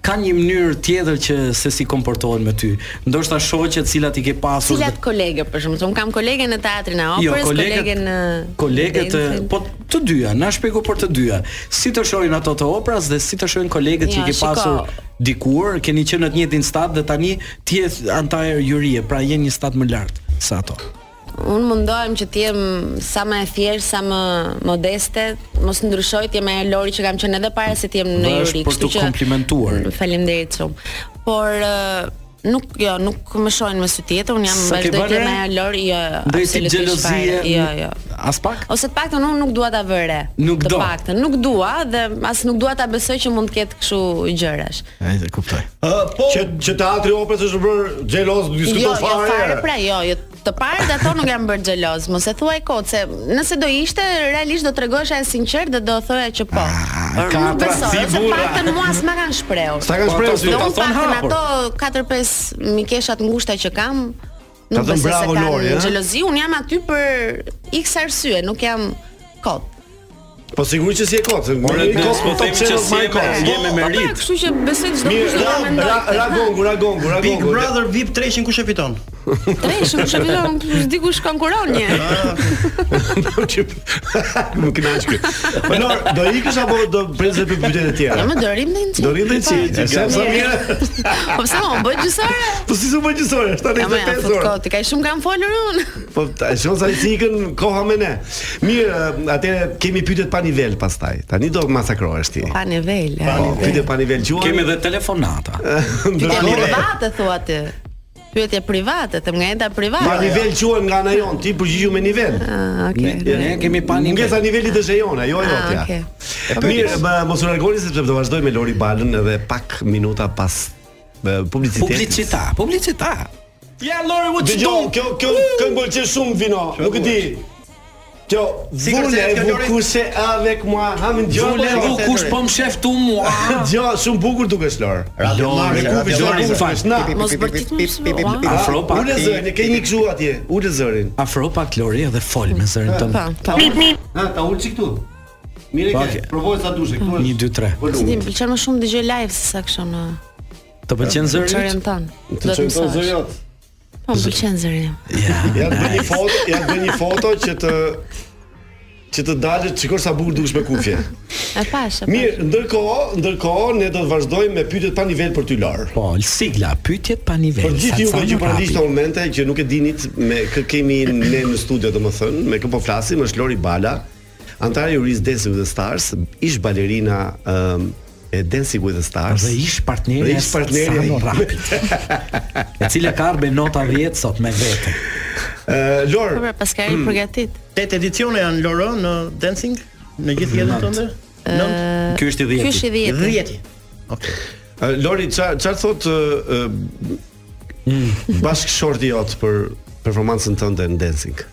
Speaker 9: ka një mënyrë tjetër që se si komportohen me ty. Ndoshta shoqe të cilat i ke pasur
Speaker 14: Cilat kolegë për shumë, se unë kam kolege në teatrin e
Speaker 9: Jo,
Speaker 14: operës,
Speaker 9: kolegët-
Speaker 14: kolege në...
Speaker 9: kolegët e-
Speaker 14: dancing.
Speaker 9: po të dyja, na shpjego për të dyja. Si të shohin ato të operas dhe si të shohin kolegët që
Speaker 14: Jo,
Speaker 9: i ke
Speaker 14: shiko.
Speaker 9: pasur dikur, keni qenë në të njëjtin stat dhe tani ti je antar jurie, pra je një stat më lart se ato.
Speaker 14: Unë mundohem që t'jem sa më e thjeshtë, sa më modeste, mos ndryshoj t'jem e Lori që kam qenë edhe para se t'jem në
Speaker 9: Dhe
Speaker 14: juri,
Speaker 9: është për të komplimentuar.
Speaker 14: Faleminderit shumë. Por ë, nuk jo, nuk më shohin me sy tjetër, unë jam
Speaker 9: Sa ke
Speaker 14: vazhdoj
Speaker 9: bërë?
Speaker 14: të jem e Lori, jo,
Speaker 9: Ndaj si
Speaker 14: absolutisht
Speaker 9: xhelozie.
Speaker 14: fare, Jo, jo.
Speaker 9: As pak?
Speaker 14: Ose të paktën unë nuk dua ta vë re.
Speaker 9: Nuk
Speaker 14: të
Speaker 9: do.
Speaker 14: paktën, nuk dua dhe as nuk dua ta besoj që mund të ketë kështu gjërash.
Speaker 9: Ai e kuptoj.
Speaker 8: Ë, po që që teatri i operës është bërë xhelos,
Speaker 14: Jo,
Speaker 8: diskuton
Speaker 14: jo fare,
Speaker 8: fare.
Speaker 14: pra jo, jo të parë ato nuk jam bërë xheloz, mos e thuaj kot se nëse do ishte realisht do tregohesha e sinqert dhe do thoja që po. Por
Speaker 9: ka
Speaker 14: nuk besoj,
Speaker 9: pra, si
Speaker 14: ose
Speaker 9: burra.
Speaker 14: paktën mua s'ma kanë shprehur. Po,
Speaker 8: S'ta kanë
Speaker 9: Po,
Speaker 8: shprehur,
Speaker 9: ato
Speaker 8: s'ta
Speaker 14: Do
Speaker 9: ta
Speaker 14: unë
Speaker 9: thonë
Speaker 14: paktën
Speaker 9: hapur.
Speaker 14: ato 4-5 mikesha të ngushta që kam,
Speaker 8: Ka
Speaker 14: nuk
Speaker 8: thënë
Speaker 14: besoj se
Speaker 8: bravo, Lori,
Speaker 14: kanë
Speaker 8: eh?
Speaker 14: xhelozi, unë jam aty për X arsye, nuk jam kot.
Speaker 8: Po sigurisht që si e kot.
Speaker 9: Ore,
Speaker 8: Ore,
Speaker 9: ne
Speaker 8: kot,
Speaker 9: po
Speaker 8: po them
Speaker 9: themi që
Speaker 8: që
Speaker 9: si
Speaker 8: si e
Speaker 9: jemi-
Speaker 8: kot.
Speaker 9: jemi me
Speaker 14: Po,
Speaker 9: merit.
Speaker 14: kështu që besoj çdo
Speaker 8: Mirë,
Speaker 14: kush do ta
Speaker 8: ra-
Speaker 14: mendoj.
Speaker 8: ra- ragongu, ragongu,
Speaker 11: Big
Speaker 8: ragongu.
Speaker 11: Brother VIP 300 kush e fiton?
Speaker 14: Tresh, kush e vjen, dikush konkuron një.
Speaker 8: Nuk kënaqesh kë. Po Lor, do ikësh apo do prezë për pyetjet e
Speaker 14: Ja
Speaker 8: tjera?
Speaker 14: më dorim dhe në
Speaker 8: Do rindë ti. E sa sa mirë.
Speaker 14: Po pse më bëj gjysore?
Speaker 8: Po si super gjësore,
Speaker 14: Ja më ja,
Speaker 8: 75
Speaker 14: fut
Speaker 8: orë.
Speaker 14: kot, ka shumë kam folur unë.
Speaker 8: Po ta e shon sa i ikën koha me ne. Mirë, atëre kemi pyetjet pa nivel pastaj. Tani do masakrohesh ti.
Speaker 14: Pa nivel.
Speaker 8: Pa
Speaker 14: ja.
Speaker 8: nivel. Pyetje pa nivel quhen.
Speaker 9: Kemi edhe telefonata.
Speaker 14: Pyetje
Speaker 8: Ndërkohë
Speaker 14: private thua ti. Pyetje private, të nga jeta private.
Speaker 8: pa nivel quhen nga ana jon, ti përgjigju me nivel.
Speaker 14: Ah, okay.
Speaker 8: Ne-
Speaker 9: Ne kemi pa nivel.
Speaker 8: Ngesa nivelit është e jona, jo e
Speaker 14: Ah,
Speaker 8: jotja.
Speaker 14: okay.
Speaker 8: Mirë, më- mos u largoni sepse do vazhdoj me Lori Balën edhe pak minuta pas e, publicitetit.
Speaker 9: Publicita, publicita. Ja Lori, u
Speaker 8: Dëgjoj, kjo kjo kjo më pëlqen shumë vino, nuk e di. Kjo
Speaker 11: Si kërcen
Speaker 8: vule
Speaker 11: kjo,
Speaker 8: vu
Speaker 11: Lori?
Speaker 8: kushe avec moi, ha më dëgjoj.
Speaker 9: Vule vu kush po më shef tu mua.
Speaker 8: Dëgjoj, shumë bukur dukesh Lor.
Speaker 11: Radio Marrë,
Speaker 8: me
Speaker 11: Radio
Speaker 8: kufi shumë
Speaker 11: Marrë,
Speaker 8: bukur
Speaker 9: fal.
Speaker 8: dukesh. Na.
Speaker 14: Mos bërtit më shumë.
Speaker 8: Ah,
Speaker 9: Afro pak.
Speaker 8: Ule zërin, e ke një kështu atje. Ule zërin.
Speaker 9: Afro pak Lori edhe fol me zërin tënd.
Speaker 14: Pa, pa.
Speaker 8: Ha, ta ul çik këtu. Mirë
Speaker 9: Po,
Speaker 8: ke.
Speaker 9: okay.
Speaker 8: Provoj sa dushe këtu. po
Speaker 9: 1 2 3.
Speaker 14: Si ti më pëlqen më shumë dëgjoj live se sa kështu në
Speaker 9: Të pëlqen zëri?
Speaker 14: çorën ton.
Speaker 8: Të
Speaker 14: Do të
Speaker 8: çojmë të
Speaker 14: mësosh.
Speaker 8: zëriot.
Speaker 14: Po më pëlqen zëri.
Speaker 9: Ja.
Speaker 8: Ja të bëj një foto, ja të bëj një foto që të që të dalësh, sikosh sa bukur dukesh me kufje.
Speaker 14: E pash. e pash.
Speaker 8: Mirë, ndërkohë, ndërkohë ne do të vazhdojmë me pyetjet pa nivel për ty Lor.
Speaker 9: Po, sigla, pyetjet pa nivel.
Speaker 8: Për Po, gjithë ju pra
Speaker 9: sa- sa
Speaker 8: që
Speaker 9: më
Speaker 8: para
Speaker 9: rapi.
Speaker 8: dishtë momente që nuk e dinit me kë kemi ne në studio domethënë, me kë po flasim është Lori Bala, antare e juris Dancing with the Stars, ish balerina ëm, e Dancing with the Stars.
Speaker 9: Dhe ish partneri
Speaker 8: Dhe ish partneri.
Speaker 9: Sano Rapit E cila ka arbe nota 10 sot me vete
Speaker 8: Ë, Lor,
Speaker 14: Po pra pas ka i përgatit.
Speaker 11: 8 edicione janë Loro në dancing në gjithë jetën tënde? 9,
Speaker 9: Ky është i
Speaker 14: Ky është i
Speaker 9: 10
Speaker 14: dhjeti.
Speaker 11: 10. Okej.
Speaker 8: ë, Lori çfarë çfarë thot ë,
Speaker 9: Mm.
Speaker 8: ë, bashkëshorti jot për performancën tënde në dancing?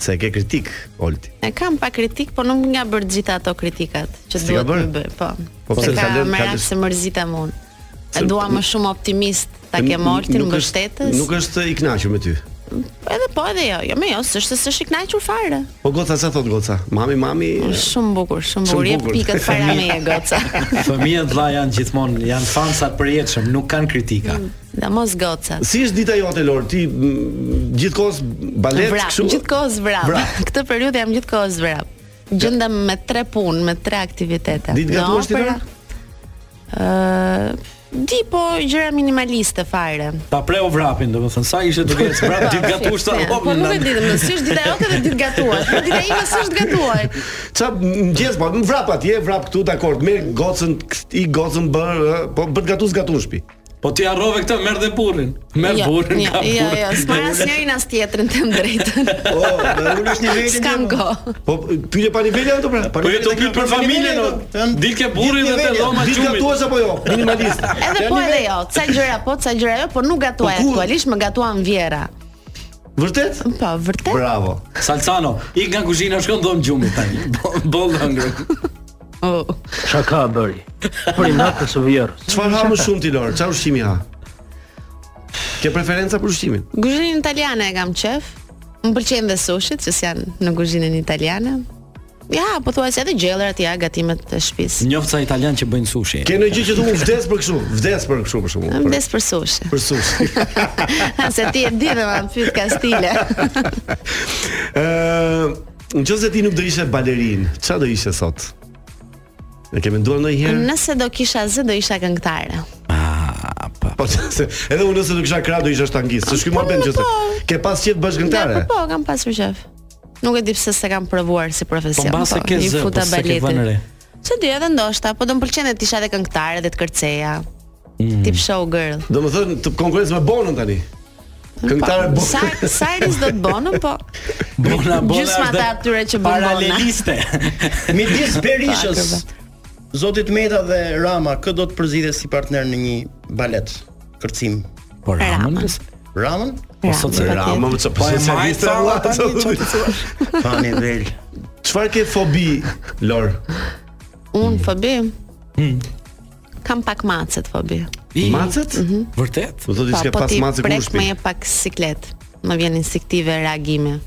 Speaker 8: Se e ke kritik, Olti.
Speaker 14: E kam pa kritik, po nuk nga bërë gjitha ato kritikat që
Speaker 8: S'ti ka
Speaker 14: duhet
Speaker 8: bërë?
Speaker 14: të bëj, po.
Speaker 8: Po
Speaker 14: se
Speaker 8: pse
Speaker 14: ka
Speaker 8: ka lënë-
Speaker 14: me
Speaker 8: ka
Speaker 14: rak
Speaker 8: lësh-
Speaker 14: se mërzitem unë. E dua më shumë optimist ta kem Oltin
Speaker 8: Nuk është-
Speaker 14: mbështetës.
Speaker 8: Nuk është i kënaqur me ty.
Speaker 14: Edhe po edhe jo, jo, më jo, s'është se s'është i kënaqur fare.
Speaker 8: Po goca çfarë thot goca? Mami, mami.
Speaker 14: Është shumë bukur, shumë bukur, jep
Speaker 8: bukur.
Speaker 14: pikët para meje goca.
Speaker 9: Fëmijët vlla janë gjithmonë Janë fansa përjetëshëm, nuk kanë kritika
Speaker 14: Dhe mos goca.
Speaker 8: Si është dita jote Lor? Ti mm, gjithkohës balet
Speaker 14: Vrap, gjithkohë zvrap.
Speaker 8: Vrap.
Speaker 14: Këtë periudhë jam gjithkohë zvrap. Gjendem me tre punë, me
Speaker 9: Po
Speaker 14: tre aktivitete.
Speaker 8: Ditë
Speaker 14: Në
Speaker 8: gatuash ti,
Speaker 14: opera,
Speaker 8: Lor?
Speaker 14: Ë, di po gjëra minimaliste fare.
Speaker 9: Ta preu vrapin, domethënë sa ishte duke ecë vrap ditë gatush ta
Speaker 14: Ja, Po nuk e di, më si është dita jote dhe ditë gatuash. Po dita ime s'është gatuaj.
Speaker 8: Ça mëngjes po vrap atje, vrap këtu, dakor. Merr gocën, i gocën bër, ë, po bër gatus gatus shtëpi.
Speaker 9: Po ti harrove këtë, merr dhe burrin.
Speaker 14: Jo,
Speaker 9: Merr burrin,
Speaker 14: ja,
Speaker 9: ka burrin.
Speaker 14: ja, ja, s'marr asnjërin as tjetrin të drejtën.
Speaker 8: Po, dhe unë është niveli.
Speaker 14: S'kam kohë.
Speaker 8: Po pyetje pa nivelin ato pra.
Speaker 9: Po jo, do pyet për familjen, o. Dil ke burrin dhe të dhoma
Speaker 8: Ditë
Speaker 9: çumit.
Speaker 8: gatuaz apo jo? Minimalist.
Speaker 14: Edhe po edhe jo, ca gjëra po, ca gjëra jo, por nuk gatuaj aktualisht, më gatuan Vjera.
Speaker 8: Po Vërtet?
Speaker 14: Po, vërtet.
Speaker 8: Bravo.
Speaker 9: Salsano, ik nga kuzhina, shkon dhom gjumit tani. Boll hungry.
Speaker 14: Oh.
Speaker 16: Çka ka bëri? Për natës së vjerës.
Speaker 8: Çfarë ha më shumë ti Lor? Çfarë ushqimi ha? Ke preferenca për ushqimin?
Speaker 14: Kuzhinën italiane e kam qef. Më pëlqejnë dhe sushit që janë në kuzhinën italiane. Ja, po thua se edhe gjellërat ja gatimet e shtëpisë.
Speaker 9: Njoft sa italian që bëjnë sushi.
Speaker 8: Ke ndonjë gjë që thua "U vdes për kështu, vdes për kështu për shkakun.
Speaker 14: Vdes për sushi.
Speaker 8: Për sushi.
Speaker 14: se ti e di dhe ma më pyet Kastile.
Speaker 8: Ë, nëse ti nuk do ishe balerin, çfarë do ishe sot? Ne ke menduar ndonjëherë?
Speaker 14: Nëse do kisha zë do isha këngëtare.
Speaker 8: Po se edhe unë nëse do kisha krah do isha shtangist. Se shkoj morben që se. Ke pas qet
Speaker 14: Po
Speaker 8: bashkëngëtare.
Speaker 14: po, kam pasur qef. Nuk e di pse s'e kam provuar si
Speaker 9: Po
Speaker 14: profesion.
Speaker 9: mbase ke
Speaker 14: i
Speaker 9: zë,
Speaker 14: futa
Speaker 9: po se ke
Speaker 14: baletit.
Speaker 9: vënë re.
Speaker 14: Se dy edhe ndoshta, po do më pëlqen të isha edhe këngëtare dhe të kërceja. Tip show girl.
Speaker 8: Do të thënë të konkurrencë me Bonën tani. Këngëtare
Speaker 14: Po,
Speaker 8: Bonë.
Speaker 14: Sa Saris do të bonën, po
Speaker 9: Bona
Speaker 14: gjysma të atyre që bën bona.
Speaker 11: Midis Berishës,
Speaker 14: Pak,
Speaker 11: Zotit Meta dhe Rama, kë do të përzihet si partner në një balet kërcim?
Speaker 9: Po Ramën.
Speaker 11: Ramën?
Speaker 8: Po sot se Rama më çfarë
Speaker 11: Pa e majtë,
Speaker 8: specialiste valla,
Speaker 14: po,
Speaker 11: tani,
Speaker 8: çfarë do të thuash?
Speaker 11: Pa nivel.
Speaker 8: Çfarë ke fobi Lor?
Speaker 14: Un fobi.
Speaker 8: Hmm.
Speaker 14: Kam pak macet fobi.
Speaker 8: Macet?
Speaker 9: Vërtet?
Speaker 8: Do
Speaker 14: Mhm.
Speaker 8: thotë
Speaker 14: Pa,
Speaker 8: se
Speaker 14: po
Speaker 8: pas
Speaker 14: ti
Speaker 8: macet
Speaker 14: prek
Speaker 8: kush
Speaker 14: me
Speaker 8: pi.
Speaker 14: një pak siklet. Më vjen instinktive reagime.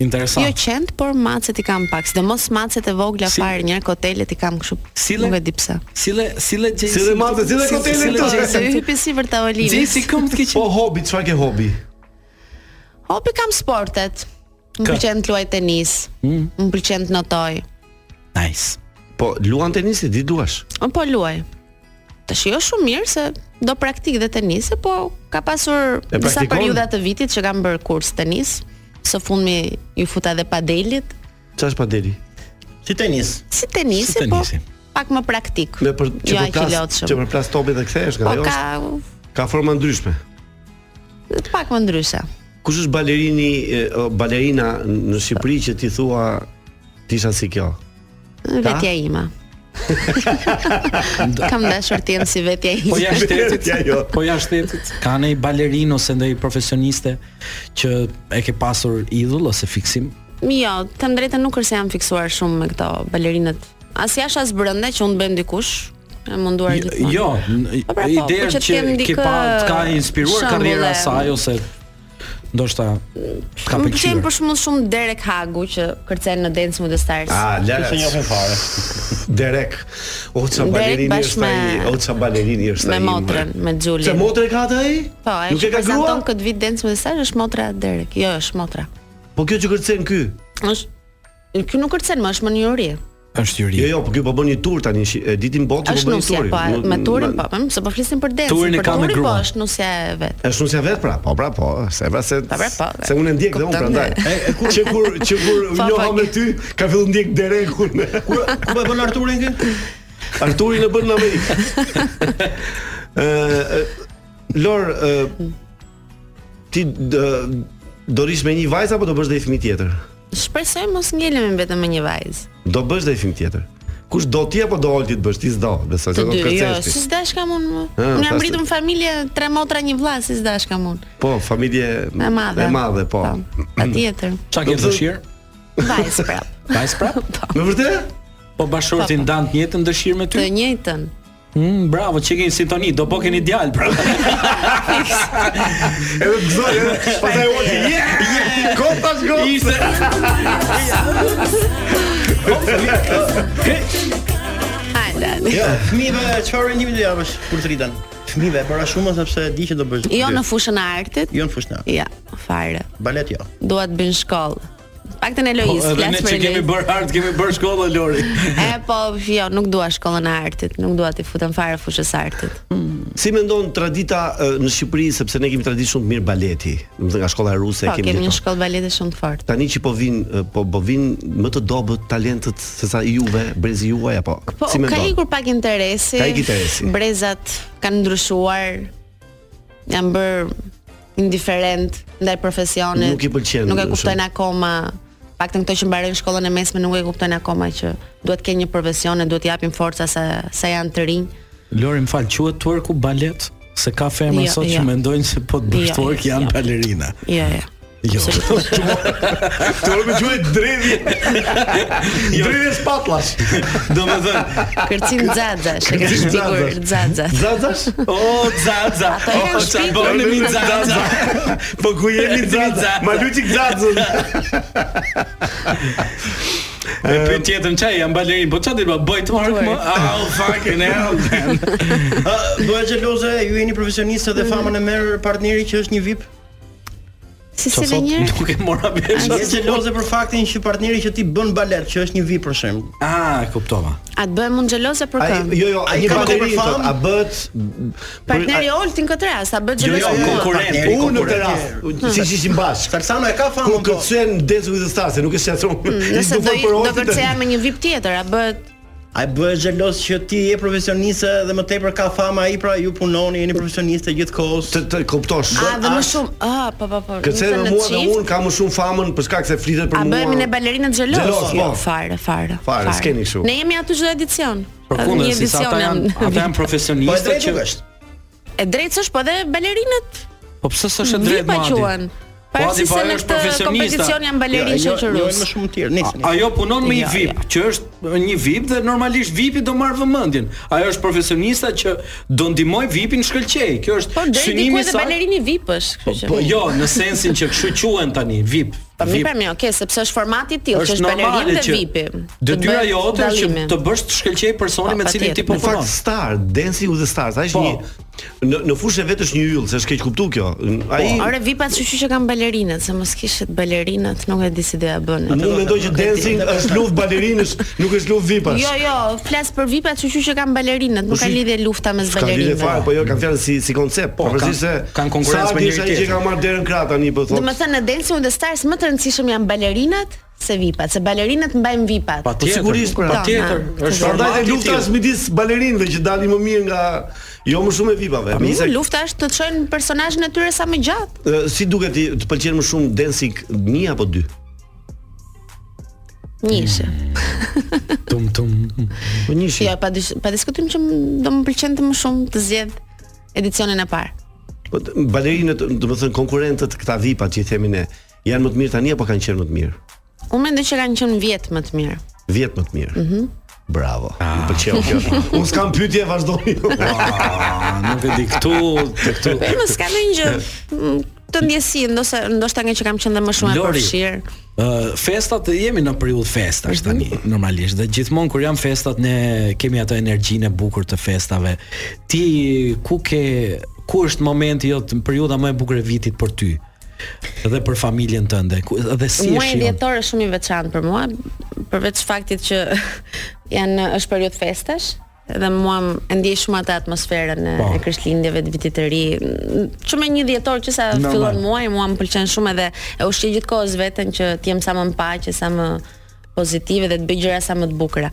Speaker 9: Interesant.
Speaker 14: Jo qend, por macet i kam pak. Sidomos macet e vogla
Speaker 9: Si-
Speaker 14: fare një kotelet i kam kështu.
Speaker 9: Sile-
Speaker 14: Nuk e di pse.
Speaker 9: Sile sile gjej.
Speaker 8: Sile macet, sile kotelet këto.
Speaker 14: Se hypi si për tavolinë.
Speaker 9: Gjej si këmbë të
Speaker 8: Po hobi, çfarë ke hobi?
Speaker 14: Hobi kam sportet. Më
Speaker 8: Ka.
Speaker 14: pëlqen të luaj tenis. Më pëlqen të notoj.
Speaker 9: Nice.
Speaker 8: Po luan tenisi di duash.
Speaker 14: Unë po luaj. Tash jo shumë mirë se do praktik dhe tenis, se po ka pasur
Speaker 8: E
Speaker 14: disa
Speaker 8: praktikon?
Speaker 14: periudha të vitit që kam bërë kurs tenis. Së fundmi ju futa edhe padelit.
Speaker 8: Çfarë është padeli?
Speaker 11: Si tenis.
Speaker 14: Si tenisi,
Speaker 8: Si tenisi.
Speaker 14: po pak më praktik.
Speaker 8: Me për që
Speaker 14: Jo
Speaker 8: për
Speaker 14: aq i
Speaker 8: plas,
Speaker 14: lotshëm.
Speaker 8: që për plas topit dhe kthehesh nga
Speaker 14: Po
Speaker 8: ajo.
Speaker 14: ka
Speaker 8: është- Ka forma ndryshme.
Speaker 14: pak më ndryshe.
Speaker 8: Kush është balerini e, o, balerina në Shqipëri që ti thua ti isha si kjo?
Speaker 14: Vetja ime. Kam dashur të jem si vetja ime.
Speaker 9: Po jashtë shtetit,
Speaker 8: ja, jo.
Speaker 9: Po jashtë shtetit. Ka ndonjë balerin ose ndonjë profesioniste që e ke pasur idhull ose fiksim?
Speaker 14: Jo, të më drejtën nuk është se jam fiksuar shumë me këto balerinët. As jashtë as brenda që unë bëjmë dikush. Jam munduar gjithmonë.
Speaker 9: Jo, n-
Speaker 14: Po, pra, po,
Speaker 9: ideja
Speaker 14: po që
Speaker 9: është që
Speaker 14: t'kem
Speaker 9: ke
Speaker 14: dikë
Speaker 9: pa të ka inspiruar
Speaker 14: shembull,
Speaker 9: karriera
Speaker 14: e-
Speaker 9: e saj ose ndoshta ka
Speaker 14: Më pëlqen
Speaker 9: pëlqyer.
Speaker 14: për shembull shumë Derek Hagu që kërcen në Dance with the Stars.
Speaker 8: Ah, Lara.
Speaker 14: Ishte njohur
Speaker 8: fare. Derek. O ça
Speaker 14: Derek
Speaker 8: balerini
Speaker 14: bashkë
Speaker 8: është ai,
Speaker 14: me-
Speaker 8: o ça balerini është
Speaker 14: me
Speaker 8: ai.
Speaker 14: motrën, me Julin.
Speaker 8: Se motrë ka atë ai?
Speaker 14: Po, ai
Speaker 8: Nuk e
Speaker 14: që
Speaker 8: ka
Speaker 14: prezanton
Speaker 8: grua?
Speaker 14: këtë vit Dance with the Stars është motra e Derek. Jo, është motra.
Speaker 8: Po kjo që kërcen ky.
Speaker 14: Është Ky nuk kërcen më, është më një uri.
Speaker 9: Është juri.
Speaker 8: Jo, jo, po ky po bën një tur tani, shi- e ditin botë po
Speaker 14: Është
Speaker 8: bën një
Speaker 14: nusja,
Speaker 8: tur.
Speaker 14: po, me turin po, më se po flisim për dance,
Speaker 8: Turin e
Speaker 14: për
Speaker 8: ka me
Speaker 14: turin po
Speaker 8: grua.
Speaker 14: është nusja e vet.
Speaker 8: Është shumë se vet pra, po pra po, se pra se
Speaker 14: pra, po,
Speaker 8: se unë e ndjek dhe unë
Speaker 14: kupton,
Speaker 8: prandaj.
Speaker 14: e.
Speaker 8: E, e, kur- Që kur që kur
Speaker 14: Po,
Speaker 8: njoha
Speaker 14: po,
Speaker 8: me ty, ka fillu ndjek derekun. Kur ku po e bën Arturin kë? Arturin e bën në Amerikë. Ë ë, Lor, ë ti dë- do rish me një vajzë apo do bësh dhe i fëmijë tjetër?
Speaker 14: Shpresoj mos ngelemi vetëm me një vajzë.
Speaker 8: Do bësh dhe i fëmijë tjetër. Kush do ti apo do Olti të bësh? Ti s'do, besoj se
Speaker 14: Të
Speaker 8: do
Speaker 14: dy, jo,
Speaker 8: kërcesh ti.
Speaker 14: si s'dash kam unë.
Speaker 8: Ah,
Speaker 14: Unë jam
Speaker 8: pas-
Speaker 14: rritur në familje tre motra një vlla, si s'dash kam unë.
Speaker 8: Po, familje
Speaker 14: E madhe.
Speaker 8: E madhe, po.
Speaker 14: Patjetër.
Speaker 9: Çka ke dëshirë?
Speaker 14: Vajzë prap.
Speaker 9: Vajs prap?
Speaker 8: Në vërtet?
Speaker 9: Po bashorti ndan të njëjtën dëshirë me ty.
Speaker 14: Të njëjtën.
Speaker 9: Mm, bravo, që keni sintoni, do po keni djalë pra.
Speaker 8: Edhe gëzoj, pastaj u ti. Kom tash kom.
Speaker 9: Ishte.
Speaker 14: Hajde.
Speaker 11: Jo, fëmijëve çfarë rendimi do japësh kur të rriten? Fëmijëve para shumë sepse di që do bësh.
Speaker 14: Jo në fushën e artit.
Speaker 11: Jo në fushën.
Speaker 14: Ja, fare.
Speaker 11: Balet jo.
Speaker 14: Dua të bëjnë shkollë. Paktën Eloiz,
Speaker 9: Po, edhe
Speaker 14: flas
Speaker 9: ne
Speaker 14: për
Speaker 9: që kemi
Speaker 14: Eloiz.
Speaker 9: bërë art, kemi bërë shkollë Lori.
Speaker 14: E po, jo, nuk dua shkollën e artit, nuk dua t'i futem fare fushës së artit.
Speaker 8: Si mendon tradita ë, në Shqipëri sepse ne kemi traditë shumë të mirë baleti, do të thënë nga shkolla ruse
Speaker 14: Po,
Speaker 8: kemi.
Speaker 14: kemi
Speaker 8: gjithë
Speaker 14: një
Speaker 8: to.
Speaker 14: shkollë balete shumë të fortë.
Speaker 8: Tani që po vin ë, po po vin më të dobët talentët sesa juve, brezi juaj apo
Speaker 14: Po,
Speaker 8: si
Speaker 14: ka
Speaker 8: mendon?
Speaker 14: ikur pak interesi.
Speaker 8: Ka ikur interesi.
Speaker 14: Brezat kanë ndryshuar. jam bër indiferent ndaj profesionit.
Speaker 8: Nuk i pëlqen,
Speaker 14: Nuk e
Speaker 8: shumë.
Speaker 14: kuptojnë akoma. Paktën këto që mbarojnë shkollën e mesme nuk e kuptojnë akoma që duhet të kenë një profesion e duhet t'i japim forca sa sa janë të rinj.
Speaker 9: Lori më fal, quhet twerku balet? Se ka femra
Speaker 14: Jo,
Speaker 9: sot
Speaker 14: jo.
Speaker 9: që mendojnë se po të bësh
Speaker 14: Jo,
Speaker 9: twerk
Speaker 14: jo,
Speaker 9: janë
Speaker 14: jo.
Speaker 9: balerina.
Speaker 8: Po,
Speaker 14: Jo, jo.
Speaker 9: Jo.
Speaker 8: Të më quhet dredhi. Dredhi spatllash.
Speaker 9: Domethënë,
Speaker 14: Kërcin xaxash, e
Speaker 8: Kërcin
Speaker 14: kemi sigur
Speaker 8: xaxash.
Speaker 14: xaxash.
Speaker 8: Xaxash?
Speaker 9: O xaxa.
Speaker 14: Ato e kanë shpikur.
Speaker 9: xaxa.
Speaker 8: Po ku jemi xaxa? Ma luçi xaxën.
Speaker 9: E pyet tjetën çaj jam balerin, po çfarë dilba bëj twerk më? Oh fucking hell. man.
Speaker 11: Doja xheloze, ju jeni profesionistë
Speaker 14: Mhm.
Speaker 11: dhe famën e merr partneri që është një VIP.
Speaker 14: Si si dhe njërë?
Speaker 9: Nuk e mora
Speaker 11: Je xheloze për faktin që partneri që ti bën balet, që është një VIP për shemb.
Speaker 9: Ah, kuptova.
Speaker 14: A të bëhem unë xheloze për
Speaker 8: Ai
Speaker 14: kë?
Speaker 8: jo jo,
Speaker 11: Ai
Speaker 8: një
Speaker 11: ka
Speaker 8: bateri
Speaker 11: bërë
Speaker 8: thot,
Speaker 11: famë?
Speaker 8: a bëhet
Speaker 14: Partneri Oltin këtë rast, a bëhet
Speaker 8: Jo, jo,
Speaker 14: xheloze për mua?
Speaker 8: konkurrent, unë në terras, si si si mbash.
Speaker 11: Salsano e ka po. famë,
Speaker 8: Ku kërcen Dance with the Stars, se nuk e shqetëson.
Speaker 14: Hmm, Nëse do do kërceja me një vip tjetër, a bëhet
Speaker 11: Ai bëhet xhelos që ti je profesioniste dhe më tepër ka famë ai, pra ju punoni, jeni profesioniste gjithkohës.
Speaker 8: Të të kuptosh.
Speaker 14: a dhe më shumë? Ah, po po po.
Speaker 8: Kërcen me mua dhe unë kam më shumë famën për shkak se flitet për
Speaker 14: A
Speaker 8: mua.
Speaker 14: bëhemi ne balerinat xhelos?
Speaker 8: Xhelos,
Speaker 14: Jo,
Speaker 8: po.
Speaker 14: fare, fare.
Speaker 8: Fare, s'keni kështu.
Speaker 14: Ne jemi aty çdo edicion.
Speaker 9: Përkundër
Speaker 14: Një
Speaker 9: se sa ata
Speaker 14: edicion
Speaker 9: janë,
Speaker 14: jam-
Speaker 9: ata janë
Speaker 11: po,
Speaker 9: profesionistë që
Speaker 14: E drejtë është, po dhe balerinat
Speaker 9: Po pse s'është e drejtë
Speaker 14: vipa
Speaker 9: Madi?
Speaker 14: quhen. Para
Speaker 9: Madi,
Speaker 14: si
Speaker 9: po
Speaker 14: se
Speaker 9: ajo
Speaker 14: në
Speaker 9: është
Speaker 14: këtë
Speaker 9: profesionista.
Speaker 14: kompeticion janë balerinë
Speaker 11: jo, jo, jo,
Speaker 14: shoqërues.
Speaker 11: më shumë tjerë. Nice.
Speaker 9: A- Ajo punon me një
Speaker 14: Ja,
Speaker 9: VIP, që është një VIP dhe normalisht VIP-i do marr vëmendjen. Ajo është profesionista që do ndihmoj VIP-in shkëlqej. Kjo është
Speaker 14: Po deri diku
Speaker 9: synimi i
Speaker 14: edhe
Speaker 9: saj.
Speaker 14: balerini VIP është, kështu që.
Speaker 9: Po jo, në sensin që kështu quhen tani, VIP.
Speaker 14: Po mirë
Speaker 9: VIP.
Speaker 14: pra mirë, okay, sepse është formati i tillë, që
Speaker 9: Është
Speaker 14: është balerin
Speaker 9: normale
Speaker 14: dhe
Speaker 9: që
Speaker 14: VIP-i.
Speaker 9: Detyra jote është që të bësh të shkëlqej
Speaker 14: Po,
Speaker 9: personin me cilin
Speaker 14: patjetër.
Speaker 9: ti po
Speaker 8: Në
Speaker 9: punon.
Speaker 8: fakt star, Dancing with the Stars,
Speaker 9: Po.
Speaker 8: ai është një në në fushë e vet është një yll, se është keq kuptu kjo. Ai
Speaker 14: Po, Ore VIP-at shqyqy që kanë balerinat, se mos kishit balerinat, nuk e di si do ja bënin.
Speaker 8: Unë mendoj që dancing është luftë balerinës, nuk është luftë vipash.
Speaker 14: Jo, jo, flas për VIP-at shqyqy që kanë balerinat, nuk
Speaker 8: Po,
Speaker 14: ka
Speaker 8: si-
Speaker 14: lidhje lufta mes
Speaker 8: Ka lidhje fare,
Speaker 14: balerinave.
Speaker 8: po jo, kanë fjalë si si koncept, po
Speaker 9: kanë-
Speaker 8: përgjithsisht se
Speaker 9: kanë konkurrencë me
Speaker 8: njëri tjetrin.
Speaker 9: njëri
Speaker 8: Sa dish ai që
Speaker 9: tjetrin.
Speaker 8: ka marrë derën krah tani po
Speaker 14: Do
Speaker 8: thotë.
Speaker 14: të thënë në Dancing with the Stars më të rëndësishëm janë balerinat se VIP-at, se balerinat mbajnë VIP-at.
Speaker 8: Po sigurisht pra.
Speaker 14: Na,
Speaker 8: Është prandaj dhe lufta është midis balerinëve që dalin më mirë nga jo më shumë e vipave.
Speaker 14: Po,
Speaker 8: Megjithëse-
Speaker 14: lufta është të çojnë personazhin e tyre sa më gjatë.
Speaker 8: Ë, si duket ti të pëlqen më shumë dancing 1 apo 2?
Speaker 14: Nishe.
Speaker 9: Mm. Tum tum.
Speaker 8: Po nishe.
Speaker 14: Jo, pa dysh- pa diskutim që m- do më pëlqente më shumë të zgjedh edicionin e parë.
Speaker 8: Po t- balerinët, do të thënë konkurrentët këta vipat që i themi ne, janë më të mirë tani apo kanë qenë më të mirë?
Speaker 14: Unë mendoj që kanë qenë vjet më të mirë.
Speaker 8: 10 më të mirë.
Speaker 14: Mhm.
Speaker 8: Bravo.
Speaker 9: Ah.
Speaker 8: Më pëlqeu kjo. Unë s'kam pyetje, vazhdoni.
Speaker 9: Nuk e di këtu, te këtu.
Speaker 14: Po mos ka ndonjë gjë m, të ndjesin, ndoshta ndoshta nga që kam qenë dhe më shumë e
Speaker 9: Lori.
Speaker 14: përfshirë.
Speaker 9: Ë festat jemi në periudhë festash tani normalisht dhe gjithmonë kur janë festat ne kemi atë energjinë e bukur të festave. Ti ku ke ku është momenti jot periudha më e bukur e vitit për ty? Dhe për familjen tënde. Ku, dhe si e
Speaker 14: Muaji
Speaker 9: shijon?
Speaker 14: dhjetor është shumë i veçantë për mua, përveç faktit që janë është periudhë festash dhe mua më- e ndjej shumë atë atmosferën e,
Speaker 9: Po.
Speaker 14: e Krishtlindjeve të vitit të ri. M, Që me një dhjetor që sa
Speaker 9: Normal.
Speaker 14: fillon muaji, mua më pëlqen shumë edhe e ushqej gjithkohës veten që të jem sa më në paqe, sa më pozitive dhe të bëj gjëra sa më të bukura.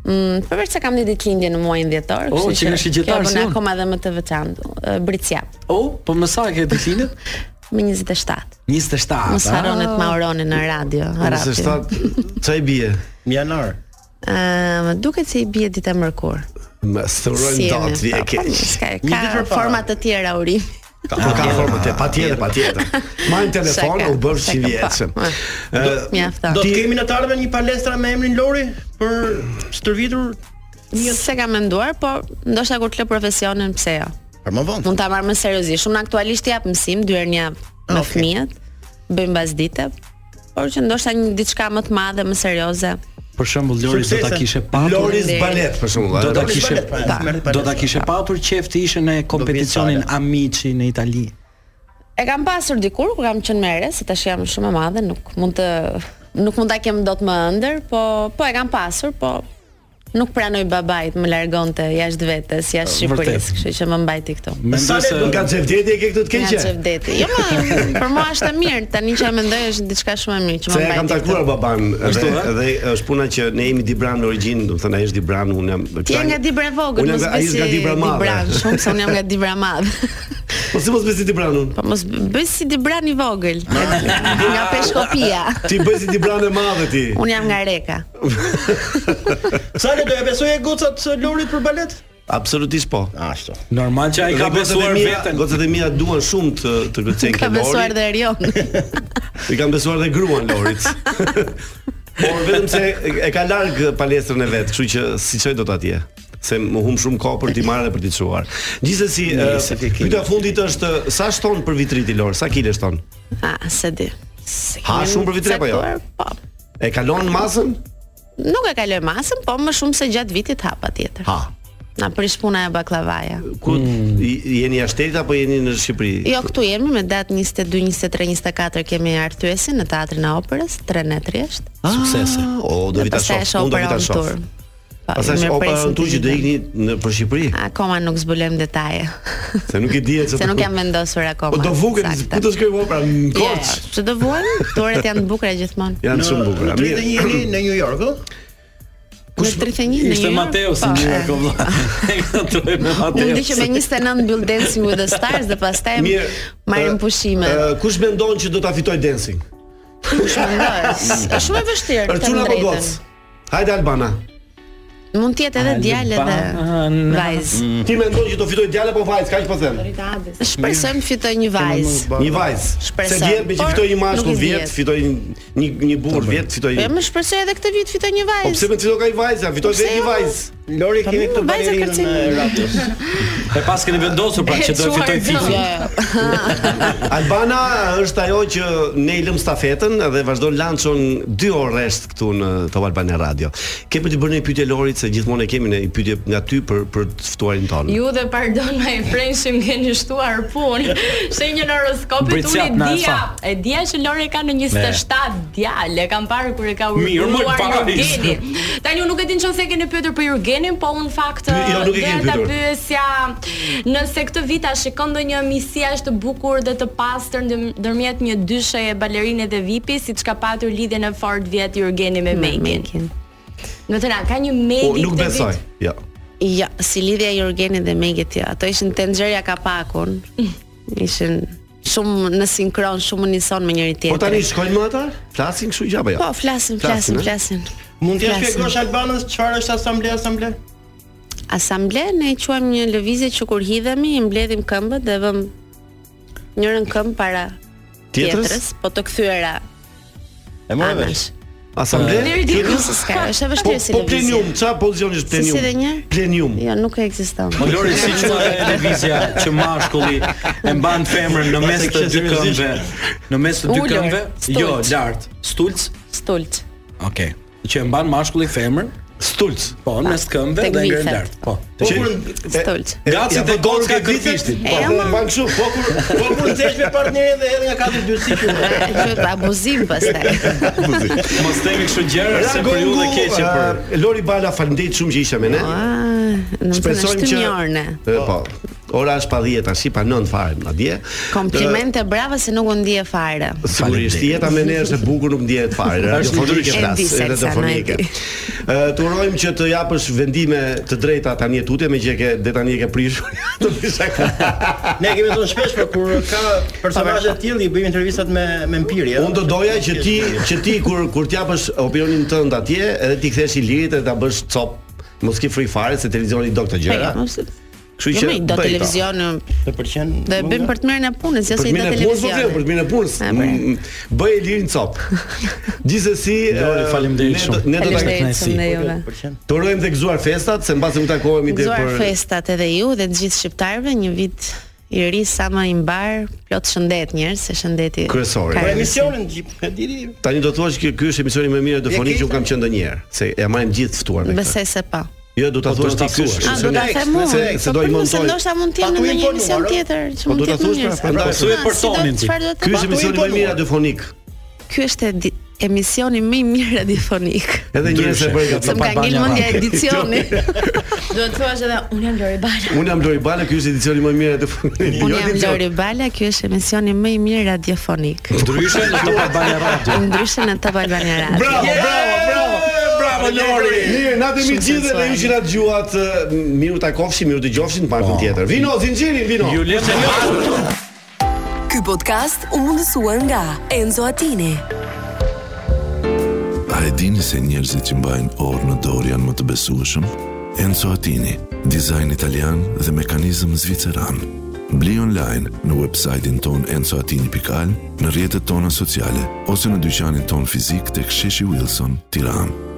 Speaker 14: Mm, përveç se kam një ditë lindje në muajin dhjetor,
Speaker 9: O,
Speaker 14: kështu
Speaker 9: që ke shi gjetar
Speaker 14: kjo
Speaker 9: si
Speaker 14: bën
Speaker 9: unë.
Speaker 14: akoma edhe më të veçantë. Britsjap
Speaker 8: Oh,
Speaker 9: O, po më sa ke ditëlindjen?
Speaker 14: me 27.
Speaker 9: 27.
Speaker 14: Mos harroni të ma uroni në radio,
Speaker 8: Nëse
Speaker 14: harapi.
Speaker 8: shtat çaj bie.
Speaker 11: Në janar.
Speaker 14: Ëm, duket se i bie ditë e mërkur.
Speaker 8: Më thurojnë
Speaker 14: Si
Speaker 8: datë
Speaker 14: jemi,
Speaker 8: vje
Speaker 14: pa,
Speaker 8: e keq.
Speaker 14: pa, s'ka- Ka forma të tjera urim.
Speaker 8: Ka po ka formë të patjetër patjetër. Marrin telefon
Speaker 14: Ah, Shaka,
Speaker 8: u bën
Speaker 14: shaka,
Speaker 8: 100 vjeçëm.
Speaker 14: pa. Ah.
Speaker 8: Ë,
Speaker 14: Mjafton.
Speaker 11: Do të kemi në të ardhmen një palestra me emrin Lori për stërvitur
Speaker 14: Një se kam menduar, por ndoshta kur të lë profesionin, pse jo?
Speaker 11: Për më vonë.
Speaker 14: Mund ta marr më seriozisht. Unë aktualisht jap mësim dy herë në javë me fëmijët, bëjmë mbas dite, por që ndoshta një diçka më të madhe, më serioze.
Speaker 9: Për shembull Lori do ta
Speaker 14: Suksese.
Speaker 9: kishe patur
Speaker 14: Loris Balet, për
Speaker 8: shembull, a?
Speaker 9: Do ta
Speaker 8: Loris
Speaker 9: kishe
Speaker 8: Balet, pra, merret
Speaker 9: do ta kishe patur qef të ishe në kompeticionin Amici në Itali.
Speaker 14: E kam pasur dikur kur kam qenë mere, se tash jam shumë e madhe, nuk mund të nuk mund ta kem dot më ëndër, po po e kam pasur, po nuk pranoi babait, më largonte jashtë vetes, jashtë Shqipërisë,
Speaker 8: Vërtet.
Speaker 14: kështu që më mbajti këtu.
Speaker 8: Mendoj se nga xhevdeti e ke këtë të
Speaker 14: Nga
Speaker 8: keqe.
Speaker 14: Xhevdeti. Jo, ma, për mua është e mirë. Tani që e mendoj është diçka shumë e mirë që më
Speaker 8: Se e
Speaker 14: mbajti.
Speaker 8: kam takuar
Speaker 14: këtu.
Speaker 8: baban Ashtu
Speaker 9: Ashtu, ha?
Speaker 8: Dhe është puna që ne jemi Dibran në origjinë, do të thënë ai është Dibran, unë jam
Speaker 14: Ti je nga Dibra e vogël,
Speaker 8: Unë jam
Speaker 14: mos
Speaker 8: nga- ai
Speaker 14: besi.
Speaker 8: është nga Dibra e madhe.
Speaker 14: Dibran, shumë se unë jam nga Dibra e madhe.
Speaker 8: Po si mos bëj si Tiranun?
Speaker 14: Po mos bëj si Tiranë i vogël. nga Peshkopia.
Speaker 8: Ti bëj si Tiranë e madhe ti.
Speaker 14: Un jam nga Reka.
Speaker 11: Sa le do ja besoj e gocat e Lorit për balet?
Speaker 8: Absolutisht po.
Speaker 11: Ashtu.
Speaker 9: Normal që ai ka
Speaker 8: Dhe gocat e
Speaker 9: besuar
Speaker 8: mia-
Speaker 9: veten.
Speaker 8: Gocat e mia duan shumë të të gocen
Speaker 14: Ka besuar dhe Erion.
Speaker 8: I kanë besuar dhe gruan Lorit. Por vetëm se e- e ka larg palestrën e vet, kështu që si çoj do të atje se më hum shumë kohë për t'i marrë dhe për t'i çuar. Gjithsesi,
Speaker 11: Nice,
Speaker 8: ë, pyetja e fundit është ë, sa shton për vitriti Lor, sa kile shton?
Speaker 14: Ah, se di. Se
Speaker 8: Ha
Speaker 14: kemi
Speaker 8: shumë për vitrin apo jo?
Speaker 14: caktuar, Po.
Speaker 8: E kalon masën?
Speaker 14: Nuk e kaloj masën, po më shumë se gjatë vitit hapa tjetër.
Speaker 8: Ha. Mm.
Speaker 14: Na prish puna e baklavaja.
Speaker 8: Ku i- jeni jashtë apo jeni në Shqipëri?
Speaker 14: Jo, këtu jemi me datë 22, 23, 24 kemi artyesin në Teatrin e Operës, 3 në Tresht.
Speaker 8: Ah, Suksese. O, do
Speaker 14: Dhe
Speaker 8: vi ta
Speaker 14: pastaj është
Speaker 8: shoh. Unë do vi
Speaker 14: opera
Speaker 8: ta
Speaker 14: on
Speaker 8: shoh.
Speaker 14: tour. Po,
Speaker 8: Pastaj
Speaker 14: mirë
Speaker 8: është opera
Speaker 14: presim
Speaker 8: në Turqi
Speaker 14: të
Speaker 8: do
Speaker 14: gjitha.
Speaker 8: ikni në për Shqipëri,
Speaker 14: Akoma nuk zbulojmë detaje,
Speaker 8: se nuk e dihet se
Speaker 14: se nuk jam vendosur akoma. Jo.
Speaker 8: Po do vuket, ku do shkoj opera në Korç?
Speaker 14: Korç. Ço do vuan? Turet janë të bukura gjithmonë.
Speaker 8: Janë shumë bukura.
Speaker 11: Në 31 jeni në New York, ëh?
Speaker 14: Kush 31 në New
Speaker 9: Ishte
Speaker 14: York?
Speaker 9: Mateo si
Speaker 14: Po,
Speaker 9: një
Speaker 14: e.
Speaker 9: vlla. E kontroj me Mateo.
Speaker 14: Unë di që me 29 mbyll Dancing with the Stars dhe pastaj
Speaker 8: Mirë,
Speaker 14: marrim
Speaker 8: ë,
Speaker 14: pushime.
Speaker 8: Ë, kush mendon që do ta fitoj dancing?
Speaker 14: Kush mendon? Është shumë e vështirë. të
Speaker 8: Erçuna
Speaker 14: më
Speaker 8: apo
Speaker 9: po
Speaker 14: drejtën.
Speaker 8: goc? Hajde Albana.
Speaker 14: Mund të jetë edhe djalë edhe vajzë.
Speaker 8: Ti mendon që do fitoj djalë apo vajzë? Kaq po them.
Speaker 14: Shpresojmë të fitoj një vajzë.
Speaker 8: Një vajzë. Se
Speaker 14: Shpresoj.
Speaker 8: vjet me që
Speaker 14: Por
Speaker 8: fitoj një
Speaker 14: nuk
Speaker 8: mashkull
Speaker 14: i
Speaker 8: vjet,
Speaker 14: zgjedh.
Speaker 8: fitoj një një burr vjet, fitoj.
Speaker 14: Po më shpresoj edhe këtë vit fitoj një
Speaker 8: Po pse
Speaker 14: vajzë.
Speaker 8: më fitoj ka një vajzë? Fitoj
Speaker 14: Po pse
Speaker 8: vetë një
Speaker 14: jo?
Speaker 8: vajzë.
Speaker 11: Lori kemi
Speaker 14: Po,
Speaker 11: këtu
Speaker 14: vajza
Speaker 11: balerinën e
Speaker 14: kërcimi.
Speaker 11: Raptors.
Speaker 9: E pas keni vendosur pra që do të fitoj Fifi.
Speaker 8: Albana është ajo që ne i lëm stafetën dhe vazhdon lançon 2 orë rresht këtu në Top Albana Radio. Ke për të bërë një pyetje Lorit se gjithmonë e kemi në një pyetje nga ty për për të ftuarin tonë.
Speaker 17: Ju dhe pardon na e preshim keni shtuar punë. Shenjën horoskopit unë
Speaker 8: Britësjat
Speaker 17: e
Speaker 8: na e
Speaker 17: dia,
Speaker 8: tha.
Speaker 17: e dia që Lori ka në 27 djalë, e kam parë kur e ka
Speaker 9: Mirë, më
Speaker 17: urdhëruar
Speaker 9: pajis.
Speaker 17: Jurgenin. Tani unë nuk e di nëse e keni pyetur për Jurgenin, po unë fakt
Speaker 8: Jo, nuk e
Speaker 17: doja
Speaker 8: kemi
Speaker 17: ta
Speaker 8: pyetur.
Speaker 17: pyesja nëse këtë vit a shikon ndonjë misi aq të bukur dhe të pastër ndër- ndërmjet një dyshe e balerinit dhe vipi, siç ka patur lidhjen e fort vjet Jurgeni me Mekin. Në të na, ka një Megi
Speaker 8: Po nuk
Speaker 17: këtë
Speaker 8: besoj.
Speaker 17: vit.
Speaker 8: Jo.
Speaker 14: Jo, si lidhja e Jurgenit dhe Megit, jo. Ato ishin tenxherja kapakun. Ishin shumë në sinkron, shumë në nison me njëri
Speaker 8: Po
Speaker 14: tjetrin.
Speaker 8: tani shkojnë më ata? Flasin kështu gjë apo jo?
Speaker 14: Po, flasin, flasin,
Speaker 8: eh?
Speaker 14: flasin.
Speaker 11: Mund t'ja
Speaker 14: Flasim.
Speaker 11: shpjegosh Albanës çfarë është asamble asamble?
Speaker 14: Asamble ne e quajmë një lëvizje që kur hidhemi i mbledhim këmbët dhe vëm njërën këmbë para
Speaker 8: Tjetrës?
Speaker 14: po të kthyera.
Speaker 11: E
Speaker 14: morë
Speaker 8: vesh. Asamble?
Speaker 14: Deri diku se Po, s'ka, është e vështirë
Speaker 8: Po-
Speaker 14: si
Speaker 8: Po
Speaker 14: lëvizje.
Speaker 8: plenium, çfarë pozicion është
Speaker 14: Se
Speaker 8: plenium?
Speaker 14: si dhe një?
Speaker 8: Plenium.
Speaker 14: Jo, nuk e ekziston.
Speaker 9: Po Lori si që e televizia që mashkulli e mban femrën në mes të dy këmbëve. Në mes të dy
Speaker 14: Ulur,
Speaker 9: këmbëve, jo
Speaker 14: stulc.
Speaker 9: lart, stulc.
Speaker 14: Stulç.
Speaker 9: Okej. Që e mban mashkulli femrën
Speaker 8: stulc.
Speaker 9: Po, në mes të këmbëve
Speaker 14: tek
Speaker 9: dhe ngren
Speaker 14: bicep.
Speaker 9: lart. Po.
Speaker 8: Po kur
Speaker 14: Stolç.
Speaker 9: Gaci dhe
Speaker 8: po,
Speaker 9: gocka kërfishtin.
Speaker 14: E, ama-
Speaker 8: Ban kështu, po kur
Speaker 11: Po kur nxesh me partnerin dhe hedh nga katër dy si
Speaker 14: Është abuzim pastaj.
Speaker 9: Mos themi kështu gjëra se për ju
Speaker 8: Ragongu,
Speaker 9: dhe keqe për.
Speaker 8: eh, Lori Bala, faleminderit shumë që ishe me ne.
Speaker 14: Në më thënë është një orë ne.
Speaker 8: Eh, Po. Ora është pa 10 tash, pa 9 fare atje.
Speaker 14: Komplimente brava se nuk u ndje fare.
Speaker 8: Eh, Sigurisht jeta me ne është e bukur, nuk ndihet fare.
Speaker 9: Është
Speaker 8: Radiofonike
Speaker 9: ndryshe.
Speaker 8: flas,
Speaker 14: E di,
Speaker 8: edhe
Speaker 14: Selsa,
Speaker 8: telefonike.
Speaker 14: na e
Speaker 8: Ë, të urojmë që të japësh vendime të drejta tani e tutje, me që e ke dhe tani e ke prishur. Do të isha
Speaker 11: Ne kemi thënë shpesh për kur ka personazhe të tillë i bëjmë intervistat me me Empiri, ëh.
Speaker 8: Unë do doja që ti që ti kur kur të japësh opinionin tënd atje, edhe ti kthesh i lirit edhe ta bësh cop. Mos ke frikë fare se televizioni do këtë gjëra. Kështu
Speaker 14: Jo,
Speaker 8: që
Speaker 14: me i do
Speaker 8: bëj ta.
Speaker 14: televizioni.
Speaker 11: Të pëlqen.
Speaker 14: Do e bëjmë për të mirën e punës, jo
Speaker 8: Për
Speaker 14: se i do
Speaker 8: mirën e punës, po them, për
Speaker 14: televizioni.
Speaker 8: mirën e punës.
Speaker 14: E, pra.
Speaker 8: M- m- Bëj i lirin cop. Gjithsesi,
Speaker 9: Lori,
Speaker 8: e,
Speaker 9: faleminderit
Speaker 8: Ehm, ne do-
Speaker 9: shumë.
Speaker 8: Ne do ta
Speaker 14: Faleminderit shumë dhe juve.
Speaker 8: Të urojmë dhe gëzuar festat, se mbas nuk takohemi deri
Speaker 14: Gëzuar
Speaker 8: për
Speaker 14: festat edhe ju dhe të gjithë shqiptarëve, një vit i ri sa më i mbar, plot shëndet njerëz, se shëndeti
Speaker 8: Kryesori.
Speaker 14: ka
Speaker 11: Për
Speaker 14: rëndësi.
Speaker 11: emisionin gjip, e diri.
Speaker 8: Pra, Tani do të thuash që ky është emisioni më i mirë radiofonik që
Speaker 11: keq,
Speaker 8: un kam qenë ndonjëherë, se ja marrim gjithë ftuar me këtë.
Speaker 14: Besoj se po.
Speaker 8: Jo, do ta
Speaker 9: Po, do
Speaker 8: thuash
Speaker 9: ta
Speaker 8: ti ky.
Speaker 9: thuash.
Speaker 14: A do Ah, ta them unë?
Speaker 8: Se se do i
Speaker 14: mund
Speaker 8: montoj.
Speaker 14: po, ndoshta mund të jem
Speaker 11: Pa,
Speaker 14: në
Speaker 11: ku
Speaker 14: një
Speaker 11: informuar,
Speaker 14: emision
Speaker 11: ë?
Speaker 14: tjetër, që
Speaker 8: Po
Speaker 14: mund
Speaker 8: do
Speaker 14: të
Speaker 8: ta
Speaker 14: jetë më
Speaker 8: thuash
Speaker 14: mirë.
Speaker 8: pra, prandaj.
Speaker 9: Pasuje për tonin ti.
Speaker 14: Çfarë do
Speaker 8: Ky
Speaker 14: të
Speaker 8: është
Speaker 14: bëj?
Speaker 8: emisioni më i mirë radiofonik.
Speaker 14: Ky është edi- emisioni më i mirë radiofonik.
Speaker 8: Edhe njerëz e bëjnë gati.
Speaker 14: Se më ka ngel mendja edicioni.
Speaker 9: Jo,
Speaker 17: Duhet thuash edhe unë jam Lori Bala.
Speaker 8: Unë jam Lori Bala, ky është edicioni më i mirë radiofonik.
Speaker 9: Jo,
Speaker 14: Unë jam
Speaker 8: edicion.
Speaker 14: Lori Bala, ky është emisioni më i mirë radiofonik.
Speaker 9: Ndryshe në Top Albania Radio.
Speaker 14: Ndryshe në Top Albania Radio.
Speaker 8: Bravo, bravo, bravo. Bravo. po Lori. Mirë, na të mi gjithë dhe ju që na dëgjuat, eh, miru ta kofshim, miru të gjofshim të martën tjetër. Vino zinxhirin, vino. Ju le të
Speaker 1: Ky podcast u mundësua nga Enzo Attini.
Speaker 2: A e dini se njerëzit që mbajnë orë në dorë janë më të besueshëm? Enzo Attini, dizajn italian dhe mekanizëm zviceran. Bli online në website-in ton enzoatini.al, në rjetët tona sociale, ose në dyqanin ton fizik të ksheshi Wilson, tiranë.